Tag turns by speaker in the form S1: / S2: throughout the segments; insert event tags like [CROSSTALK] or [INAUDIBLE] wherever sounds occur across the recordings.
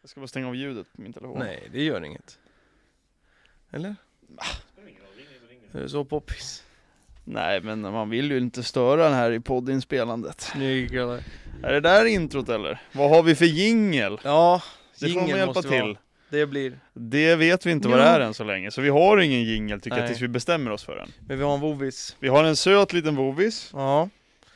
S1: Jag ska bara stänga av ljudet på min telefon.
S2: Nej, det gör inget. Eller? Är du så poppis?
S1: Nej, men man vill ju inte störa den här i poddinspelandet.
S2: Snygg eller?
S1: Är det där introt eller? Vad har vi för jingel?
S2: Ja,
S1: Det får man
S2: jingeln
S1: hjälpa
S2: måste
S1: till.
S2: Vara. Det blir.
S1: Det vet vi inte vad
S2: Ja.
S1: det är än så länge, så vi har ingen jingel tycker jag
S2: Nej.
S1: tills vi bestämmer oss för den.
S2: Men vi har en vovis.
S1: Vi har en söt liten vovis.
S2: Ja.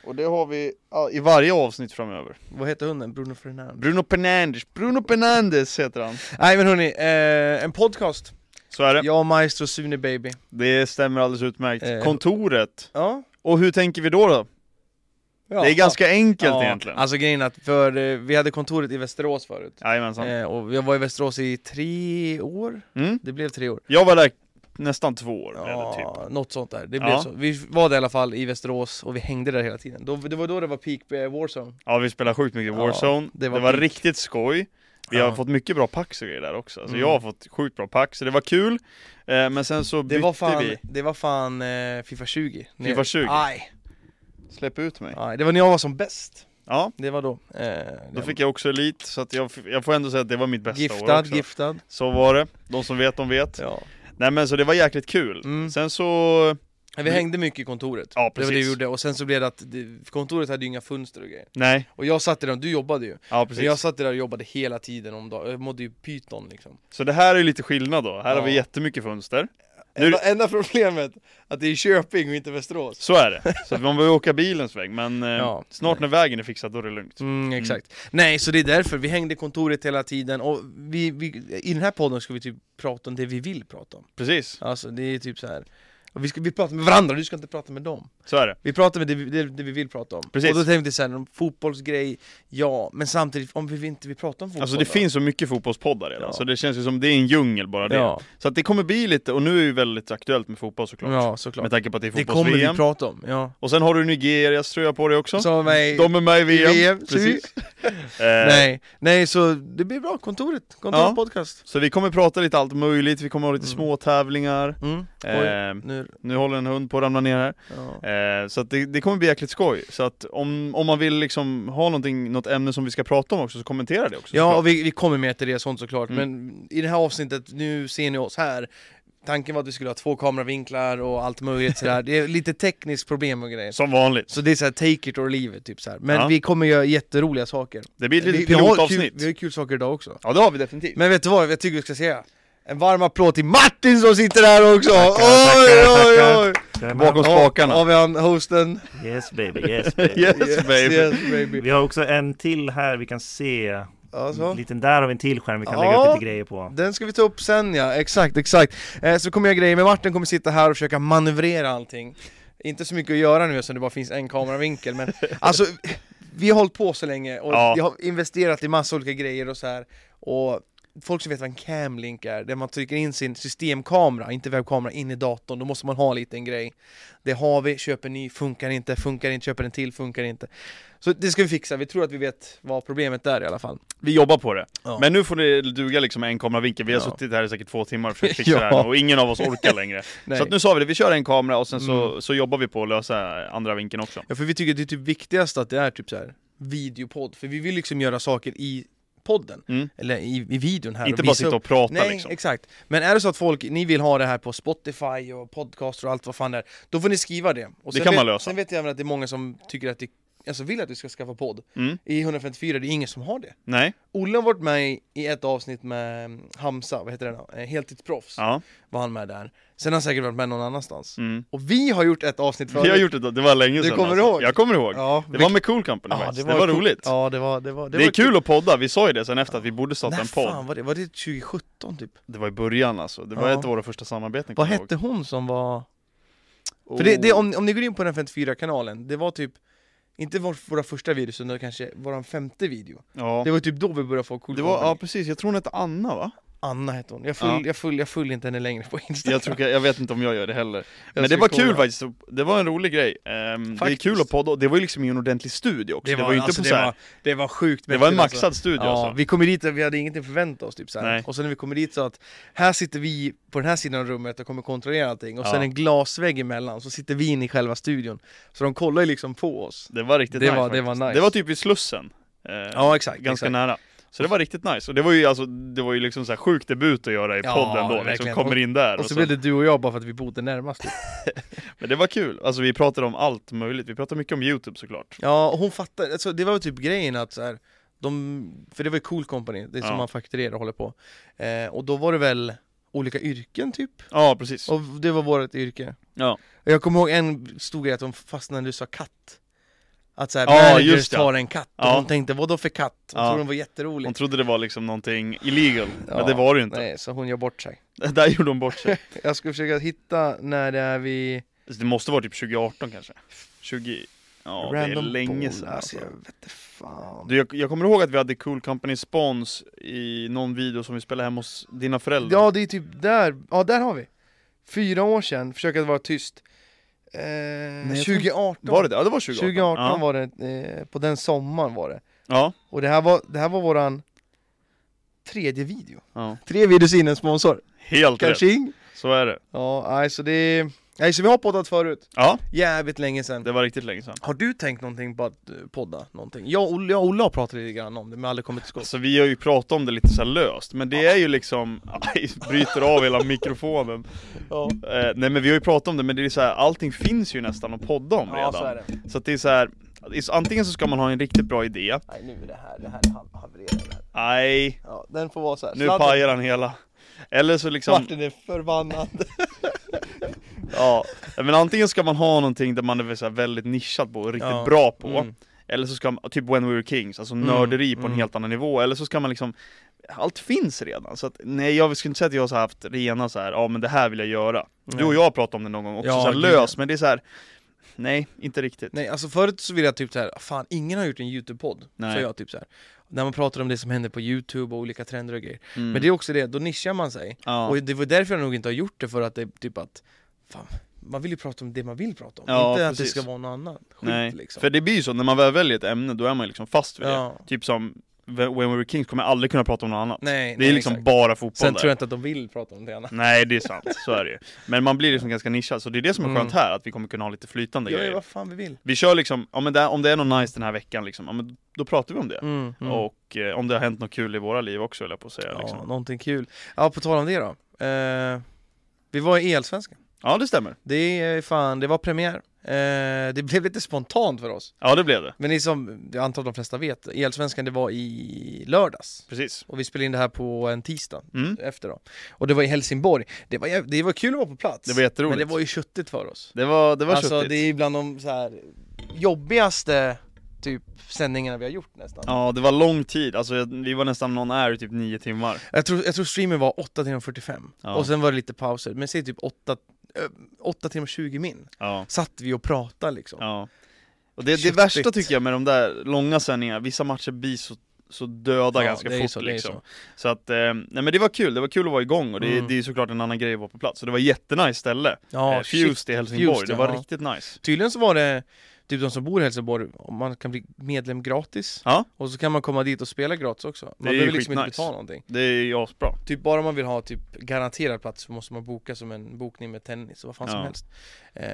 S1: Och det har vi ja, i varje avsnitt framöver.
S2: Vad heter hunden? Bruno Fernandes?
S1: Bruno Pernandes, Bruno Pernandes heter han.
S2: Nej men hörni, eh, en podcast.
S1: Så är det.
S2: Jag, Maestro, Sune Baby.
S1: Det stämmer alldeles utmärkt.
S2: Eh.
S1: Kontoret.
S2: Ja.
S1: Och hur tänker vi då då?
S2: ja.
S1: Det är ganska enkelt
S2: Ja,
S1: egentligen.
S2: Alltså grejen är att för, eh, vi hade kontoret i Västerås förut.
S1: Jajamensan.
S2: Eh, och jag var i Västerås i tre år.
S1: Mm.
S2: Det blev tre år.
S1: Jag var där nästan två år, eller typ.
S2: Ja, något sånt där. Det blev
S1: Ja.
S2: så. Vi var där i alla fall i Västerås och vi hängde där hela tiden. Då, det var då det var peak eh, Warzone.
S1: Ja, vi spelar sjukt mycket
S2: Ja,
S1: Warzone. det
S2: det
S1: var,
S2: var peak.
S1: riktigt skoj. Vi
S2: Ja.
S1: har fått mycket bra packs och grejer där också. Alltså
S2: Mm.
S1: jag har fått sjukt bra packs, så det var kul. Eh, men sen så
S2: Det
S1: bytte
S2: var fan,
S1: vi.
S2: det var fan eh, Fifa 20.
S1: FIFA 20?
S2: Aj,
S1: Släpp ut mig.
S2: aj, det var när jag var som bäst.
S1: Ja,
S2: Det var då. Eh,
S1: då
S2: det-
S1: fick jag också elit, så att jag, f- jag får ändå säga att det var mitt bästa år
S2: giftad,
S1: också.
S2: giftad.
S1: Så var det. De som vet, de vet.
S2: Ja.
S1: Nej men så det var jäkligt kul.
S2: Mm.
S1: Sen så,
S2: Men Vi
S1: Mm.
S2: hängde mycket i kontoret.
S1: ja
S2: Det var
S1: precis.
S2: det vi gjorde. Och sen så blev det att det, kontoret hade ju inga fönster och grejer.
S1: Nej,
S2: Och jag satt där, du jobbade ju.
S1: ja
S2: Men
S1: precis.
S2: jag satt där och jobbade hela tiden om dagen. Jag mådde ju pyton liksom.
S1: Så det här är ju lite skillnad då. Här har vi
S2: Ja.
S1: jättemycket fönster. Nu-
S2: Enda, enda problemet, att det är Köping och inte Västerås.
S1: Så är det.
S2: [LAUGHS]
S1: Så att man behöver åka bilens väg, men eh,
S2: Ja.
S1: snart när vägen är fixad då är det lugnt.
S2: Mm, exakt. Nej, så det är därför vi hängde i kontoret hela tiden och vi, vi, i den här podden ska vi typ prata om det vi vill prata om.
S1: Precis,
S2: Alltså det är typ så här. Och vi, ska, vi pratar med varandra, du ska inte prata med dem.
S1: så är det.
S2: Vi pratar med det, vi- det, det vi vill prata om.
S1: Precis.
S2: Och då tänkte jag så här, om fotbollsgrej, ja, men samtidigt om vi inte vill prata om fotboll.
S1: Alltså det
S2: då?
S1: finns så mycket fotbollspoddar redan,
S2: Ja.
S1: så det känns ju som det är en djungel bara det.
S2: Ja,
S1: Så att det kommer bli lite, och nu är ju väldigt aktuellt med fotboll såklart.
S2: ja såklart.
S1: Med tanke på att det är
S2: Det kommer vi
S1: fotbolls-VM.
S2: prata om, ja.
S1: Och sen har du Nigerias tröja på dig också.
S2: Så, nej,
S1: De är med i VM.
S2: VM,
S1: Precis. Eh,
S2: nej, nej, så det blir bra, kontoret, kontor,
S1: Ja.
S2: podcast.
S1: Så vi kommer prata lite allt möjligt, vi kommer ha lite
S2: Mm.
S1: små tävlingar.
S2: Mm. Oj,
S1: Eh,
S2: nu,
S1: nu håller en hund på att ramla ner här.
S2: ja.
S1: Eh, så att det, det kommer bli jäkligt skoj. Så att om, om man vill liksom ha någonting, något ämne som vi ska prata om också, så kommentera det också.
S2: Ja,
S1: såklart.
S2: och vi, vi kommer med till det sånt såklart,
S1: Mm.
S2: men i det här avsnittet, nu ser ni oss här Tanken var att vi skulle ha två kameravinklar och allt möjligt sådär, det är lite tekniskt problem och grejer
S1: Som vanligt.
S2: Så det är såhär take it or leave it, typ såhär Men
S1: Ja.
S2: vi kommer göra jätteroliga saker
S1: Det blir ett litet
S2: vi, har kul,
S1: pilotavsnitt.
S2: vi har kul saker idag också
S1: Ja det har vi definitivt.
S2: Men vet du vad, jag tycker vi ska säga En varm applåd till Martin som sitter här också! oj,
S3: tackar,
S2: oj, oj!
S1: Bakom spakarna.
S2: Ja, Har vi han, hosten?
S3: Yes baby,
S2: [LAUGHS]
S3: yes baby.
S1: Yes, baby.
S2: yes, baby.
S3: Vi har också en till här vi kan se.
S2: Ja, så.
S3: Liten där har vi en till skärm vi kan
S2: Ja.
S3: lägga upp lite grejer på.
S2: Den ska vi ta upp sen ja, exakt, exakt. Eh, så kommer jag grejer med Martin kommer sitta här och försöka manövrera allting. Inte så mycket att göra nu eftersom det bara finns en kameravinkel men alltså vi har hållit på så länge och
S1: Ja.
S2: vi har investerat i massa olika grejer och så här och folk som vet vad en camlink är, där man trycker in sin systemkamera, inte webbkamera, in i datorn, då måste man ha en liten grej. Det har vi, köper ny, funkar inte, funkar inte, köper en till, funkar inte. Så det ska vi fixa, vi tror att vi vet vad problemet är i alla fall.
S1: Vi jobbar på det.
S2: Ja.
S1: Men nu får det duga liksom med en kameravinkel. Vi har
S2: Ja.
S1: suttit här i säkert två timmar och försökt
S2: [LAUGHS]
S1: fixa
S2: Ja.
S1: det här och ingen av oss orkar
S2: [LAUGHS]
S1: längre.
S2: Nej. Mm.
S1: Så att nu sa vi det, vi kör en kamera och sen så, så jobbar vi på att lösa andra vinkeln också.
S2: Ja för vi tycker det är typ viktigast att det är typ så här videopodd, för vi vill liksom göra saker i podden,
S1: Mm.
S2: eller i, i videon här
S1: Inte bara
S2: visa
S1: sitta
S2: upp-
S1: och prata
S2: Nej,
S1: liksom.
S2: exakt. Men är det så att folk, ni vill ha det här på Spotify och podcaster och allt vad fan det är, då får ni skriva det. Och
S1: Det
S2: sen
S1: kan
S2: vet,
S1: man lösa.
S2: Sen vet jag även att det är många som tycker att det, alltså vill att vi ska skaffa podd.
S1: Mm.
S2: I 154, det är ingen som har det.
S1: Nej?
S2: Olle har varit med i ett avsnitt med mm, Hamza, vad heter det nu? Eh, Heltidsproffs
S1: Ja.
S2: var han med där. Sen har han säkert varit med någon annanstans.
S1: Mm.
S2: Och vi har gjort ett avsnitt förut.
S1: Vi har gjort det, då. det var länge
S2: Du
S1: sedan. alltså.
S2: kommer ihåg?
S1: Jag kommer ihåg.
S2: Ja,
S1: Det var med Cool Company faktiskt. det var,
S2: coolt.
S1: roligt.
S2: Ja, det var... Det, var,
S1: det,
S2: var typ-
S1: är kul att podda, vi sa ju det sen efter att vi borde starta
S2: När
S1: en podd.
S2: fan var det? Var det 2017 typ?
S1: Det var i början alltså, det var
S2: Ja.
S1: ett av våra första samarbeten
S2: Vad
S1: kommer jag Oh.
S2: hette hon som var...
S1: ihåg.
S2: För det, det, om, om ni går in på den 54-kanalen, det var typ inte vår, våra första videos utan kanske vår femte video.
S1: Ja.
S2: Det var typ då vi började få cool
S1: Det var, ja
S2: company.
S1: precis, jag tror hon hette Anna va?
S2: Anna hette hon. Jag följer
S1: Ja.
S2: jag följ, jag följ inte henne längre på Instagram.
S1: Jag, tror, jag vet inte om jag gör det heller. Men det
S2: ska
S1: var kul
S2: kolla.
S1: faktiskt, det var en rolig grej. Ehm, det är
S2: Faktiskt.
S1: kul att podda, och det var ju liksom i en ordentlig studio också. Det var, ju inte
S2: alltså,
S1: på
S2: det,
S1: så här,
S2: var, det var sjukt
S1: det var en
S2: mäktigt, alltså.
S1: maxad studio
S2: Ja,
S1: alltså.
S2: vi kommer dit och vi hade ingenting förväntat oss typ så
S1: Nej.
S2: här. Och sen när vi kommer dit så att Här sitter vi på den här sidan av rummet och kommer kontrollera allting Och
S1: Ja.
S2: sen en glasvägg emellan så sitter vi inne i själva studion Så de kollar ju liksom på oss
S1: Det var riktigt
S2: Det
S1: nice,
S2: var- det var
S1: faktiskt.
S2: nice.
S1: Det var typ vid Slussen. Eh,
S2: Ja exakt,
S1: ganska
S2: exakt.
S1: nära. Så det var riktigt nice, och det var ju alltså, det var ju liksom så här sjuk debut att göra i
S2: Ja,
S1: podden då, liksom
S2: verkligen.
S1: kommer in där
S2: Och så blev det du och jag bara för att vi bodde
S1: [LAUGHS]
S2: närmast. typ.
S1: Men det var kul, alltså vi pratade om allt möjligt, vi pratade mycket om Youtube såklart
S2: Ja, och hon fattade, alltså, det var väl typ grejen att så här, de, för det var ju Cool Company, det är som
S1: Ja.
S2: man fakturerar och håller på. Eh, och då var det väl olika yrken typ?
S1: Ja precis,
S2: Och det var vårt yrke.
S1: ja,
S2: Och Jag kommer ihåg en stor grej att de fastnade när du sa katt. Att såhär,
S1: Ja,
S2: managers
S1: just ja.
S2: tar en katt. Och
S1: Ja.
S2: hon tänkte, vadå för katt? Hon
S1: Ja.
S2: trodde den var jätterolig.
S1: hon trodde det var liksom någonting illegal,
S2: Ja,
S1: men det var det ju inte
S2: Nej, så hon gör bort sig.
S1: [LAUGHS] Där gjorde hon bort sig
S2: Jag ska försöka hitta när det är vi...
S1: Så Det måste vara typ 2018 kanske? 20... Ja, det är länge
S2: ball,
S1: sedan
S2: Alltså,
S1: alltså.
S2: jag vet inte fan.
S1: du, jag, jag kommer ihåg att vi hade Cool Company spons i någon video som vi spelade hemma hos dina föräldrar
S2: Ja, det är typ där. Ja, där har vi. Fyra år sedan, försök att vara tyst. Eh,
S1: jag tror-
S2: 2018.
S1: Var det det? Ja det var 2018
S2: 2018
S1: ja.
S2: var det, eh, på den sommaren var det.
S1: Ja,
S2: Och det här var, det här var våran tredje video.
S1: ja.
S2: Tre videos in en sponsor.
S1: Helt rätt,
S2: Kanske
S1: så är det
S2: Ja, nej så det... Nej så vi har poddat förut.
S1: Ja,
S2: Jävligt länge sedan.
S1: det var riktigt länge sedan
S2: Har du tänkt någonting på att eh, podda någonting? Jag och Olle, jag och Olle har pratat lite grann om det men aldrig kommit till skott.
S1: Alltså vi har ju pratat om det lite så här löst, men det är ju liksom, [LAUGHS] aj, bryter av hela mikrofonen
S2: Ja,
S1: eh, Nej men vi har ju pratat om det, men det är så här, allting finns ju nästan att podda om redan
S2: så är det.
S1: Så att det är så här, det är- antingen så ska man ha en riktigt bra idé,
S2: Nej nu är det här, det här är havererat.
S1: nej,
S2: Ja, den får vara så här.
S1: nu
S2: Sladden-
S1: pajar han hela Eller så liksom,
S2: Martin är förbannad.
S1: ja, men antingen ska man ha någonting där man är väl så här väldigt nischad på och riktigt
S2: Ja.
S1: bra på
S2: Mm.
S1: Eller så ska man, typ When We Were Kings, alltså
S2: Mm,
S1: nörderi på
S2: mm.
S1: en helt annan nivå, eller så ska man liksom Allt finns redan, så att, nej jag skulle inte säga att jag har så här haft rena så här, ja men det här vill jag göra Du och jag har pratat om det någon gång också,
S2: Ja,
S1: så här,
S2: gud,
S1: lös, men det är så här. Nej, inte riktigt
S2: [LAUGHS] Nej alltså förut så ville jag typ så här, fan ingen har gjort en YouTube-podd.
S1: Nej.
S2: Så jag typ så här. När man pratar om det som händer på YouTube och olika trender och grejer.
S1: Mm.
S2: Men det är också det, då nischar man sig.
S1: ja.
S2: Och det var därför jag nog inte har gjort det, för att det är typ att fan, man vill ju prata om det man vill prata om,
S1: Ja,
S2: inte att
S1: precis.
S2: det ska vara någon annan skit
S1: Nej,
S2: liksom
S1: för det blir ju så, när man väl väljer ett ämne då är man ju liksom fast vid
S2: Ja.
S1: det Typ som When We Were Kings kommer jag aldrig kunna prata om något annat
S2: Nej,
S1: Det är
S2: nej,
S1: liksom
S2: exakt.
S1: bara fotboll
S2: Sen
S1: där.
S2: tror jag inte att de vill prata om det annat
S1: Nej det är sant, så är det ju Men man blir liksom ganska nischad, så det är det som
S2: Mm.
S1: är skönt här, att vi kommer kunna ha lite flytande
S2: Vi gör ju
S1: grejer
S2: vad fan vi vill
S1: Vi kör liksom, ja, men det, om det är något nice den här veckan liksom, ja, men då pratar vi om det.
S2: mm, mm.
S1: Och eh, om det har hänt något kul i våra liv också höll jag på att säga.
S2: ja,
S1: Ja, liksom.
S2: någonting kul Ja, på tal om det då eh, Vi var i Elsvenskan,
S1: ja det stämmer.
S2: det är fan, det var premiär eh, Det [LAUGHS] blev lite spontant för oss
S1: Ja det blev det.
S2: Men ni som, jag antar att de flesta vet, Elsvenskan det var i lördags
S1: Precis.
S2: och vi spelade in det här på en tisdag
S1: Mm.
S2: efter då Och det var i Helsingborg, det var, jäv- det var kul att vara på plats
S1: Det var jätteroligt.
S2: Men det var ju köttigt för oss
S1: Det var, det var
S2: Alltså
S1: köttigt.
S2: det är bland de så här jobbigaste typ sändningarna vi har gjort nästan
S1: Ja det var lång tid, alltså jag- vi var nästan någon är i typ nio timmar.
S2: jag, tror, jag tror streamen var 8 timmar 45
S1: Ja.
S2: och sen var det lite pauser, men säg typ 8, 8 timmar 20 min
S1: Ja.
S2: Satt vi och pratade liksom
S1: ja. Och det, det
S2: Köttigt.
S1: värsta tycker jag med de där långa sändningarna, vissa matcher blir så, så döda
S2: Ja,
S1: ganska
S2: det är ju
S1: fort
S2: så, det är ju
S1: liksom. Så. att, eh, nej men det var kul, det var kul att vara igång och det,
S2: Mm.
S1: det är ju såklart en annan grej att vara på plats. Så det var jättenice ställe.
S2: Ja,
S1: eh,
S2: shit.
S1: Fused i Helsingborg,
S2: Fused,
S1: det var
S2: ja.
S1: riktigt nice.
S2: Tydligen så var det typ de som bor i Helsingborg, om man kan bli medlem gratis
S1: Ja.
S2: Och så kan man komma dit och spela gratis också Man
S1: Det är ju
S2: behöver liksom inte
S1: skitnice.
S2: betala någonting
S1: Det är ju asbra.
S2: Typ bara om man vill ha typ garanterad plats så måste man boka som en bokning med tennis och vad fan som
S1: Ja.
S2: helst eh,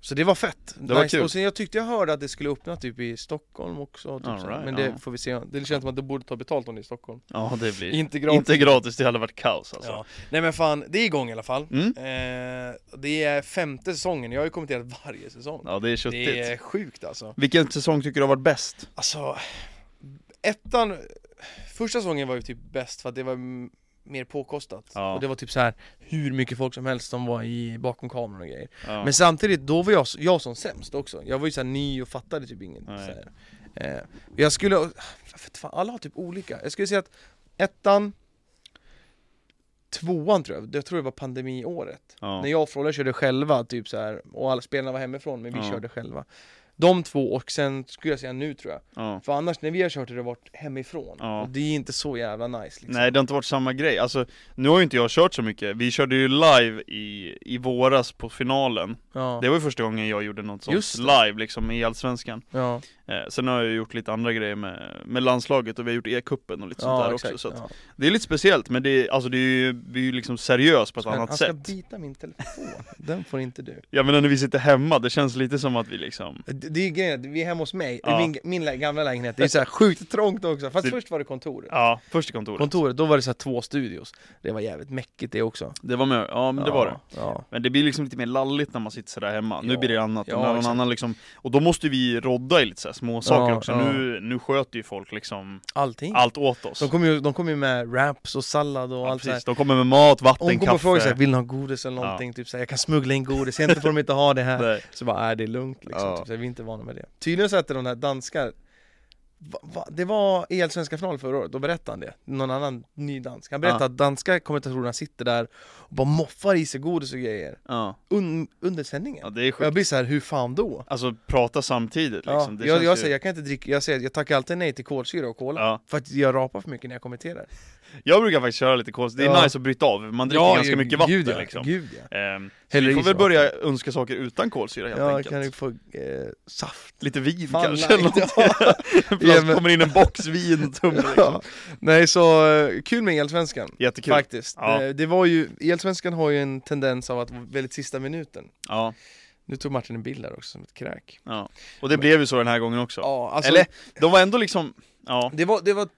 S2: Så det var fett!
S1: Det var kul.
S2: Och sen jag tyckte jag hörde att det skulle öppna typ i Stockholm också typ
S1: All
S2: så här.
S1: right,
S2: Men det
S1: ja.
S2: får vi se, det känns som att de borde ta betalt om det är i Stockholm
S1: Ja det blir
S2: Inte [LAUGHS] gratis.
S1: Inte gratis, det hade varit kaos alltså
S2: ja. Nej men fan, det är igång i alla fall
S1: Mm.
S2: eh, Det är femte säsongen, jag har ju kommenterat varje säsong
S1: Ja det är köttigt
S2: Det är sjukt alltså
S1: Vilken säsong tycker du har varit bäst?
S2: Alltså, ettan, första säsongen var ju typ bäst för att det var m- mer påkostat
S1: Ja.
S2: Och det var typ så här hur mycket folk som helst som var i, bakom kameran och grejer
S1: Ja.
S2: Men samtidigt, då var jag, s- jag som sämst också Jag var ju så här ny och fattade typ inget så
S1: Nej.
S2: här. Eh, Jag skulle, jag vet fan, alla har typ olika Jag skulle säga att ettan Tvåan tror jag, jag tror det var pandemiåret
S1: ja.
S2: När jag och Frolle körde själva typ så här och alla spelarna var hemifrån men vi
S1: Ja.
S2: körde själva De två och sen skulle jag säga nu tror jag
S1: Ja.
S2: för annars när vi har kört har det varit hemifrån
S1: Ja.
S2: och det är inte så jävla nice liksom.
S1: Nej det har inte varit samma grej, alltså nu har ju inte jag kört så mycket Vi körde ju live i, i våras på finalen
S2: Ja.
S1: Det var ju första gången jag gjorde något sånt
S2: Just det.
S1: live liksom i Allsvenskan
S2: ja.
S1: eh, Sen har jag ju gjort lite andra grejer med, med landslaget och vi har gjort E-cupen och lite sånt
S2: ja,
S1: där
S2: exakt,
S1: också så att
S2: ja.
S1: Det är lite speciellt men det är, alltså det är ju, vi är ju liksom seriös på ett
S2: Men
S1: annat
S2: han ska
S1: sätt
S2: bita min telefon, den får inte du
S1: Jag menar när vi sitter hemma, det känns lite som att vi liksom
S2: Det det det är ju grejen, att vi är hemma hos mig,
S1: Ja.
S2: min, min lä- gamla lägenhet, det är ju så här sjukt trångt också, fast
S1: Det-
S2: först var det kontoret
S1: Ja, först i kontoret.
S2: Kontoret, då var det så här två studios Det var jävligt mäckigt det också
S1: Det var med, ja men det var det.
S2: Ja,
S1: Men det blir liksom lite mer lalligt när man sitter sådär hemma, nu
S2: Ja.
S1: blir det annat,
S2: Ja,
S1: och någon
S2: exakt.
S1: annan liksom, och då måste vi rodda i lite såhär små saker
S2: Ja,
S1: också,
S2: ja.
S1: Nu, nu sköter ju folk liksom
S2: allting
S1: allt åt oss.
S2: De kom ju, de kom ju med wraps och sallad och
S1: ja,
S2: allt så här.
S1: precis. De kommer med mat, vatten,
S2: Hon kommer
S1: kaffe.
S2: och frågar såhär, vill ni ha godis eller
S1: Ja.
S2: någonting? Typ såhär, jag kan smuggla in godis, egentligen får de inte ha det här
S1: [LAUGHS] Nej.
S2: Så bara, är det är lugnt liksom,
S1: Ja.
S2: typ, så här, vi är inte vana med det Tydligen så hette de där danskar va, va, Det var EL-svenska final förra året, då berättade han det Någon annan ny dansk, han berättade
S1: Ja.
S2: att danska kommentatorerna sitter där och bara moffar i sig godis och grejer
S1: Ja.
S2: un, under sändningen
S1: ja, det är
S2: Och jag
S1: sjukt.
S2: blir så här, hur fan då?
S1: Alltså prata samtidigt
S2: Ja,
S1: liksom. det
S2: jag,
S1: känns
S2: jag
S1: ju-
S2: säger jag kan inte dricka, jag säger jag tackar alltid nej till kolsyra och cola
S1: Ja.
S2: För att jag rapar för mycket när jag kommenterar
S1: Jag brukar faktiskt köra lite kolsyra, det är
S2: Ja.
S1: nice att bryta av, man dricker ganska
S2: ju-
S1: mycket vatten
S2: gud, ja,
S1: liksom.
S2: Gud ja,
S1: Ehm, så
S2: Häller
S1: vi får
S2: i
S1: väl
S2: så
S1: börja önska saker utan kolsyra helt
S2: ja
S1: enkelt.
S2: kan du få eh, saft?
S1: Lite vin
S2: Fan,
S1: kanske, [LAUGHS] eller
S2: nej,
S1: något. Plötsligt
S2: [LAUGHS] Ja, men-
S1: kommer in en box vin och tumme
S2: [LAUGHS]
S1: liksom.
S2: Ja. Nej så, eh, kul med Elsvenskan
S1: Jättekul.
S2: Faktiskt. Eh,
S1: Ja.
S2: Det, det var ju, Elsvenskan har ju en tendens av att vara väldigt sista minuten.
S1: Ja,
S2: Nu tog Martin en bild där också som ett kräk.
S1: ja. Och det blev ju så den här gången också.
S2: Ja, alltså,
S1: Eller, de var ändå liksom, ja.
S2: det var, det var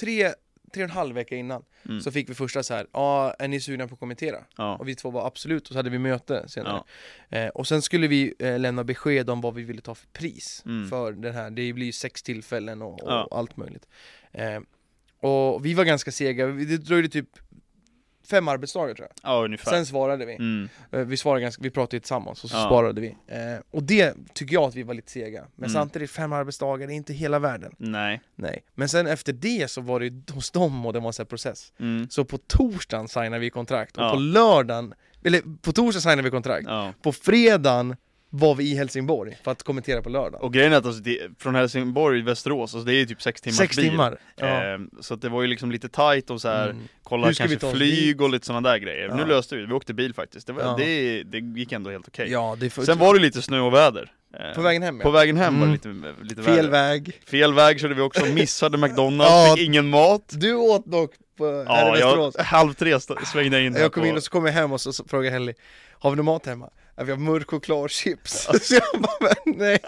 S2: tre, tre och en halv vecka innan
S1: Mm.
S2: så fick vi första så här, ja, är ni sugna på att kommentera?
S1: ja.
S2: Och vi två var absolut, och så hade vi möte senare. Eh, och sen skulle vi eh, lämna besked om vad vi ville ta för pris
S1: Mm.
S2: för den här, det blir ju sex tillfällen och, och
S1: Ja.
S2: allt möjligt. Eh, och vi var ganska sega, Vi- det dröjde typ fem arbetsdagar tror jag.
S1: ja, ungefär.
S2: Sen svarade vi.
S1: mm.
S2: Eh, Vi svarade ganska, vi pratade ju tillsammans och så
S1: Ja.
S2: sparade vi. Eh, och det tycker jag att vi var lite sega. Men
S1: Mm.
S2: samtidigt, fem arbetsdagar, det är inte hela världen.
S1: Nej.
S2: Nej. Men sen efter det så var det ju hos dem och det var en sån här process.
S1: Mm.
S2: Så på torsdagen signade vi kontrakt och
S1: Ja.
S2: på lördagen, eller på torsdagen signade vi kontrakt.
S1: Ja.
S2: På fredagen var vi i Helsingborg för att kommentera på lördagen.
S1: Och grejen är att alltså, det, från Helsingborg till Västerås, alltså, det är ju typ sex timmars
S2: Sex
S1: bil.
S2: timmar. Ja.
S1: Ehm, så att det var ju liksom lite tight och så här,
S2: Mm.
S1: kolla
S2: Hur ska vi ta
S1: kanske
S2: oss
S1: flyg och lite sådana där grejer.
S2: Ja.
S1: Nu löste vi det, vi åkte bil faktiskt. Det, var,
S2: Ja.
S1: det, det gick ändå helt okej.
S2: Ja, det är för,
S1: Sen var det lite snö och väder. Ehm,
S2: på vägen hem ja.
S1: på vägen hem var det lite, lite väder.
S2: Fel väg.
S1: Fel väg körde vi
S2: [LAUGHS]
S1: också, missade McDonalds,
S2: Ja.
S1: fick ingen mat.
S2: Du åt dock på, här
S1: Ja,
S2: i
S1: jag,
S2: Västerås.
S1: halv tre st- svängde jag in här
S2: Jag kom
S1: på-
S2: in och så kom jag hem och så, så frågade Helly Har vi någon mat hemma? Ja, vi har mörk och klar chips [LAUGHS] Så jag bara, men nej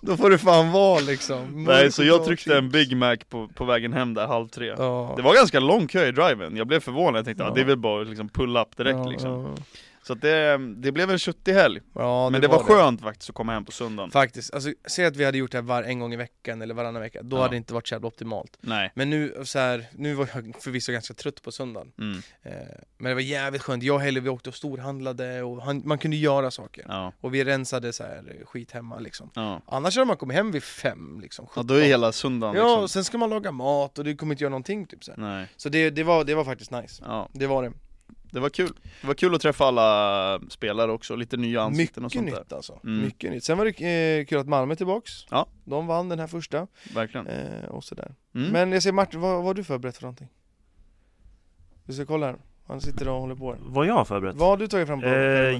S2: Då får du fan vara liksom Mörk
S1: Nej, så
S2: och
S1: jag
S2: klar
S1: tryckte
S2: chips.
S1: en Big Mac på, på vägen hem där halv tre.
S2: Ja
S1: Det var ganska lång kö i driven, jag blev förvånad, jag tänkte
S2: Ja.
S1: att det är väl bara att liksom pull up direkt
S2: ja,
S1: liksom.
S2: ja.
S1: Så att det, det blev en köttig helg,
S2: Ja,
S1: men det var, skönt faktiskt att komma hem på söndagen.
S2: Faktiskt, alltså säg att vi hade gjort det här var en gång i veckan eller varannan vecka Då
S1: Ja.
S2: hade det inte varit så jävla optimalt
S1: Nej.
S2: Men nu så här, nu var jag förvisso ganska trött på söndagen
S1: Mm.
S2: eh, Men det var jävligt skönt, jag och Helly vi åkte och storhandlade och han, man kunde göra saker
S1: Ja.
S2: Och vi rensade så här skit hemma liksom
S1: Ja.
S2: Annars hade man kommit hem vid fem liksom,
S1: ja,
S2: 17
S1: då är hela söndagen
S2: Ja,
S1: liksom. Mm.
S2: och sen ska man laga mat och du kommer inte göra någonting typ så, här.
S1: Nej.
S2: så det, det, var, det var faktiskt nice
S1: Ja,
S2: Det var det
S1: det var kul. Det var kul att träffa alla spelare också, lite nya ansikten och
S2: Mycket
S1: sånt
S2: nytt alltså,
S1: Mm.
S2: mycket nytt Sen var det eh, kul att Malmö är tillbaks
S1: Ja.
S2: De vann den här första
S1: där. Verkligen.
S2: eh, och sådär
S1: Mm.
S2: Men jag ser Martin, vad, vad har du förberett för någonting? Vi ska kolla här, han sitter och håller på här.
S3: Vad jag har förberett?
S2: Vad har du tagit fram på?
S3: Eh,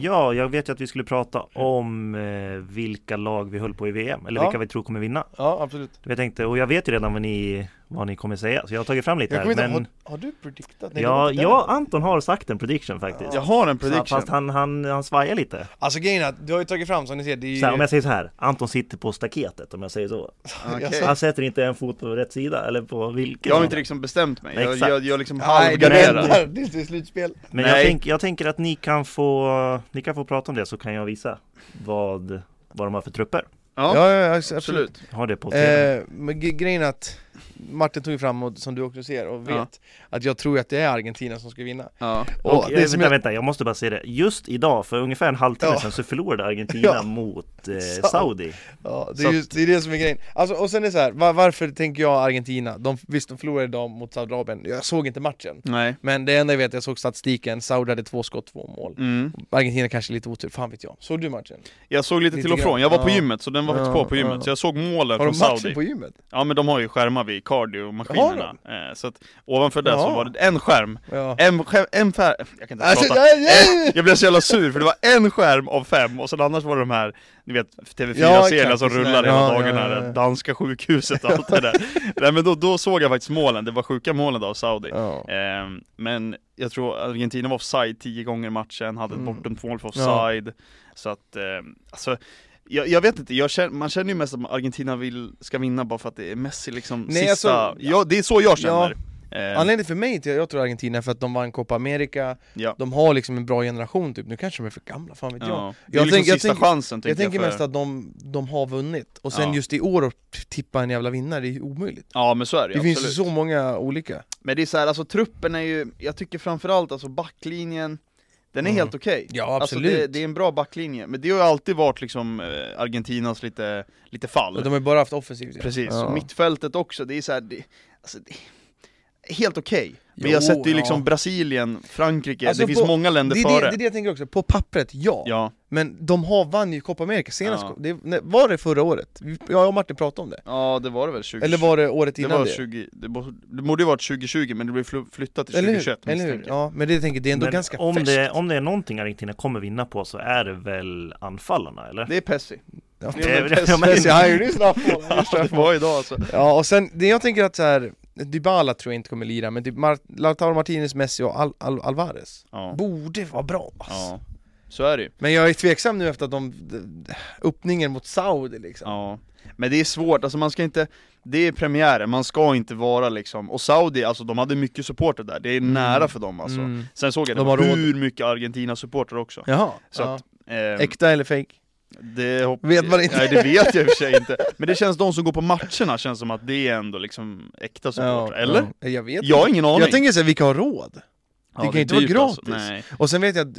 S3: ja, jag vet ju att vi skulle prata om eh, vilka lag vi höll på i VM, eller
S2: Ja.
S3: vilka vi tror kommer vinna.
S2: ja absolut
S3: Jag tänkte, och jag vet ju redan vad ni, vad ni kommer säga, så jag har tagit fram lite
S2: jag
S3: här.
S2: kommer inte,
S3: Men,
S2: har, har du prediktat? Nej, det var
S3: ja,
S2: inte den.
S3: ja, Anton har sagt en prediction faktiskt.
S1: Jag har en
S3: Ja,
S1: prediction.
S3: Fast han, han, han svajar lite.
S2: Alltså grejen är att du har ju tagit fram som ni ser, det är ju...
S3: Så här, om jag säger så här, Anton sitter på staketet om jag säger så.
S1: Okej.
S3: Han sätter inte en fot på rätt sida, eller på vilken.
S1: Jag har inte liksom bestämt mig, jag,
S3: Exakt.
S1: jag, jag liksom
S2: Nej, det
S1: halvgarderar.
S2: väntar tills det är slutspel
S3: Men jag,
S1: Nej.
S3: tänk, jag tänker att ni kan, få, ni kan få prata om det, så kan jag visa vad, vad de har för trupper.
S1: Ja,
S2: ja
S1: absolut.
S3: Jag Har det på tv.
S2: Eh, men ge- grejen är att Martin tog ju fram, och, som du också ser och vet,
S1: Ja.
S2: att jag tror att det är Argentina som ska vinna.
S1: Ja.
S3: Och,
S2: Och
S3: eh,
S2: det som
S3: vänta,
S2: jag,
S3: vänta, jag måste bara säga det. Just idag, för ungefär en halvtimme
S2: Ja.
S3: sedan, så förlorade Argentina
S2: [LAUGHS] Ja.
S3: mot eh,
S2: Sa-
S3: Saudi.
S2: ja, det,
S3: så
S2: är just, det är det som är grejen. Alltså, och sen är det så här, va- varför tänker jag Argentina? De, visst, de förlorade idag mot Saudiarabien, jag såg inte matchen.
S1: Nej.
S2: Men det enda jag vet, jag såg statistiken, Saudi hade två skott, två mål.
S1: Mm.
S2: Argentina kanske lite otur, fan vet jag. Såg du matchen?
S1: Jag såg lite,
S2: Lite
S1: till och
S2: grann.
S1: från, jag var på
S2: Ja.
S1: gymmet så den var faktiskt
S2: Ja,
S1: på på gymmet
S2: ja.
S1: så jag såg målen
S2: Har
S1: från
S2: de matchen
S1: Saudi
S2: på gymmet?
S1: Ja men de har ju skärmar vid kardiomaskinerna, eh, så att ovanför det så
S2: Ja.
S1: var det en skärm,
S2: Ja.
S1: en skärm, en fär... Jag kan inte ens
S2: Alltså,
S1: prata
S2: nej, nej!
S1: [LAUGHS] Jag blev så jävla sur för det var en skärm av fem och sen annars var det de här, ni vet
S2: Ja,
S1: TV4-serierna
S2: exakt,
S1: som
S2: sådär.
S1: rullar hela
S2: Ja,
S1: dagen
S2: ja,
S1: här,
S2: ja, ja.
S1: danska sjukhuset och allt det
S2: [LAUGHS]
S1: där Nej men då, då såg jag faktiskt målen, det var sjuka målen då av Saudi
S2: Ja.
S1: Ehm, Men jag tror Argentina var offside tio gånger i matchen, hade ett
S2: Mm.
S1: bortom mål för
S2: Ja.
S1: offside Så att, ehm, alltså jag, jag vet inte, jag känner, man känner ju mest att Argentina vill, ska vinna bara för att det är Messi liksom
S2: Nej,
S1: sista,
S2: alltså-
S1: ja, det är så jag känner eh,
S2: Anledningen för mig till att jag tror Argentina är för att de vann Copa America,
S1: ja.
S2: de har liksom en bra generation typ, nu kanske de är för gamla, fan vet jag
S1: Ja. Det är
S2: Jag
S1: liksom
S2: tänker- jag
S1: sista
S2: tänker-
S1: chansen
S2: Jag
S1: tänker jag,
S2: tänker
S1: för,
S2: mest att de, de har vunnit, och sen
S1: Ja.
S2: just i år att tippa en jävla vinnare, det är ju omöjligt
S1: Ja men så är det,
S2: Det
S1: ju,
S2: finns ju
S1: absolut.
S2: så många olika
S1: Men det är så här, alltså truppen är ju, jag tycker framförallt alltså backlinjen, den är
S2: Mm.
S1: helt okej
S2: Ja
S1: Alltså det, det är en bra backlinje, men det har ju alltid varit liksom eh, Argentinas lite, lite fall
S2: Och de har ju bara haft offensivt ja.
S1: Precis,
S2: Ja.
S1: och mittfältet också, det är så här, det, alltså, det, helt okej Men
S2: Jo,
S1: jag sätter ju liksom
S2: ja.
S1: Brasilien, Frankrike,
S2: Alltså
S1: det finns
S2: på-
S1: många
S2: det, är
S1: länder
S2: det,
S1: före
S2: det är det jag tänker också, på pappret ja,
S1: Ja,
S2: men de har vann ju Copa America senast,
S1: Ja.
S2: det, nej, var det förra året? Vi- Jag och Martin pratade om det,
S1: ja det var det väl 2020?
S2: eller var det året
S1: det
S2: innan
S1: var
S2: det?
S1: 20, det, bo- det borde ju varit 2020 men det blev fl- flyttat till
S2: Eller
S1: 2021
S2: hur? Eller hur?
S1: misstänker jag.
S2: Ja, men det jag tänker det är ändå
S3: Men
S2: ganska
S3: om
S2: färskt
S3: det, om det är någonting Argentina kommer vinna på så är det väl anfallarna eller? Eh,
S1: Det är Pessi [LAUGHS]
S2: Ja.
S1: Det är väl
S3: [LAUGHS] Ja,
S1: Pessi.
S3: men-
S1: Pessi, han gjorde ju snabb mål,
S2: [LAUGHS]
S1: han gjorde- det var idag alltså
S2: Ja, och sen, det jag tänker att så här, Dybala tror jag inte kommer lira, men typ Mar- Lautaro Martinez, Messi och Al- Al- Alvarez
S1: ja.
S2: borde vara bra alltså.
S1: ja, så är det ju
S2: Men jag är tveksam nu efter att de, d- d- öppningen mot Saudi liksom.
S1: Ja, men det är svårt, alltså man ska inte, det är premiären, man ska inte vara liksom, och Saudi, alltså de hade mycket supporter där, det är nära för dem alltså
S2: Mm.
S1: Sen såg jag det
S2: De
S1: var
S2: har råd.
S1: hur mycket Argentina-supporter också
S2: Jaha,
S1: Så
S2: ja.
S1: att, ehm,
S2: äkta eller fake?
S1: det hopp-
S2: Vet man inte.
S1: Nej det vet jag i och för sig inte,
S2: [LAUGHS]
S1: men det känns de som går på matcherna känns som att det är ändå liksom äkta supportrar, eller?
S2: Ja, jag vet
S1: Jag har ingen aning!
S2: Jag tänker såhär, vilka har råd?
S1: Ja,
S2: det kan ju inte vara
S1: dyrt, alltså.
S2: gratis.
S1: Nej,
S2: Och sen vet jag, att,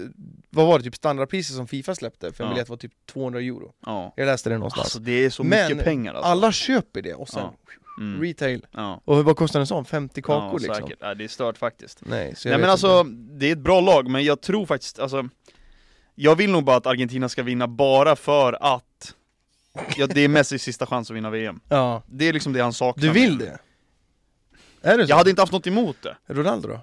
S2: vad var det, typ standardpriset som Fifa släppte för en
S1: Ja.
S2: biljett var typ 200 euro
S1: ja
S2: Jag läste det någonstans
S1: Alltså det är så
S2: Men
S1: mycket pengar alltså
S2: Alla köper det och sen
S1: Ja. mm.
S2: retail,
S1: ja.
S2: och vad kostar en sån? 50
S1: ja,
S2: kakor liksom?
S1: säkert, ja, det är stört faktiskt
S2: Nej, så jag
S1: Nej men
S2: vet
S1: alltså,
S2: inte.
S1: det är ett bra lag, men jag tror faktiskt, alltså Jag vill nog bara att Argentina ska vinna bara för att Ja det är Messis sista chans att vinna VM
S2: Ja,
S1: Det är liksom det han saknar
S2: du vill det? Är det så?
S1: Jag hade inte haft något emot det
S2: Ronaldo då?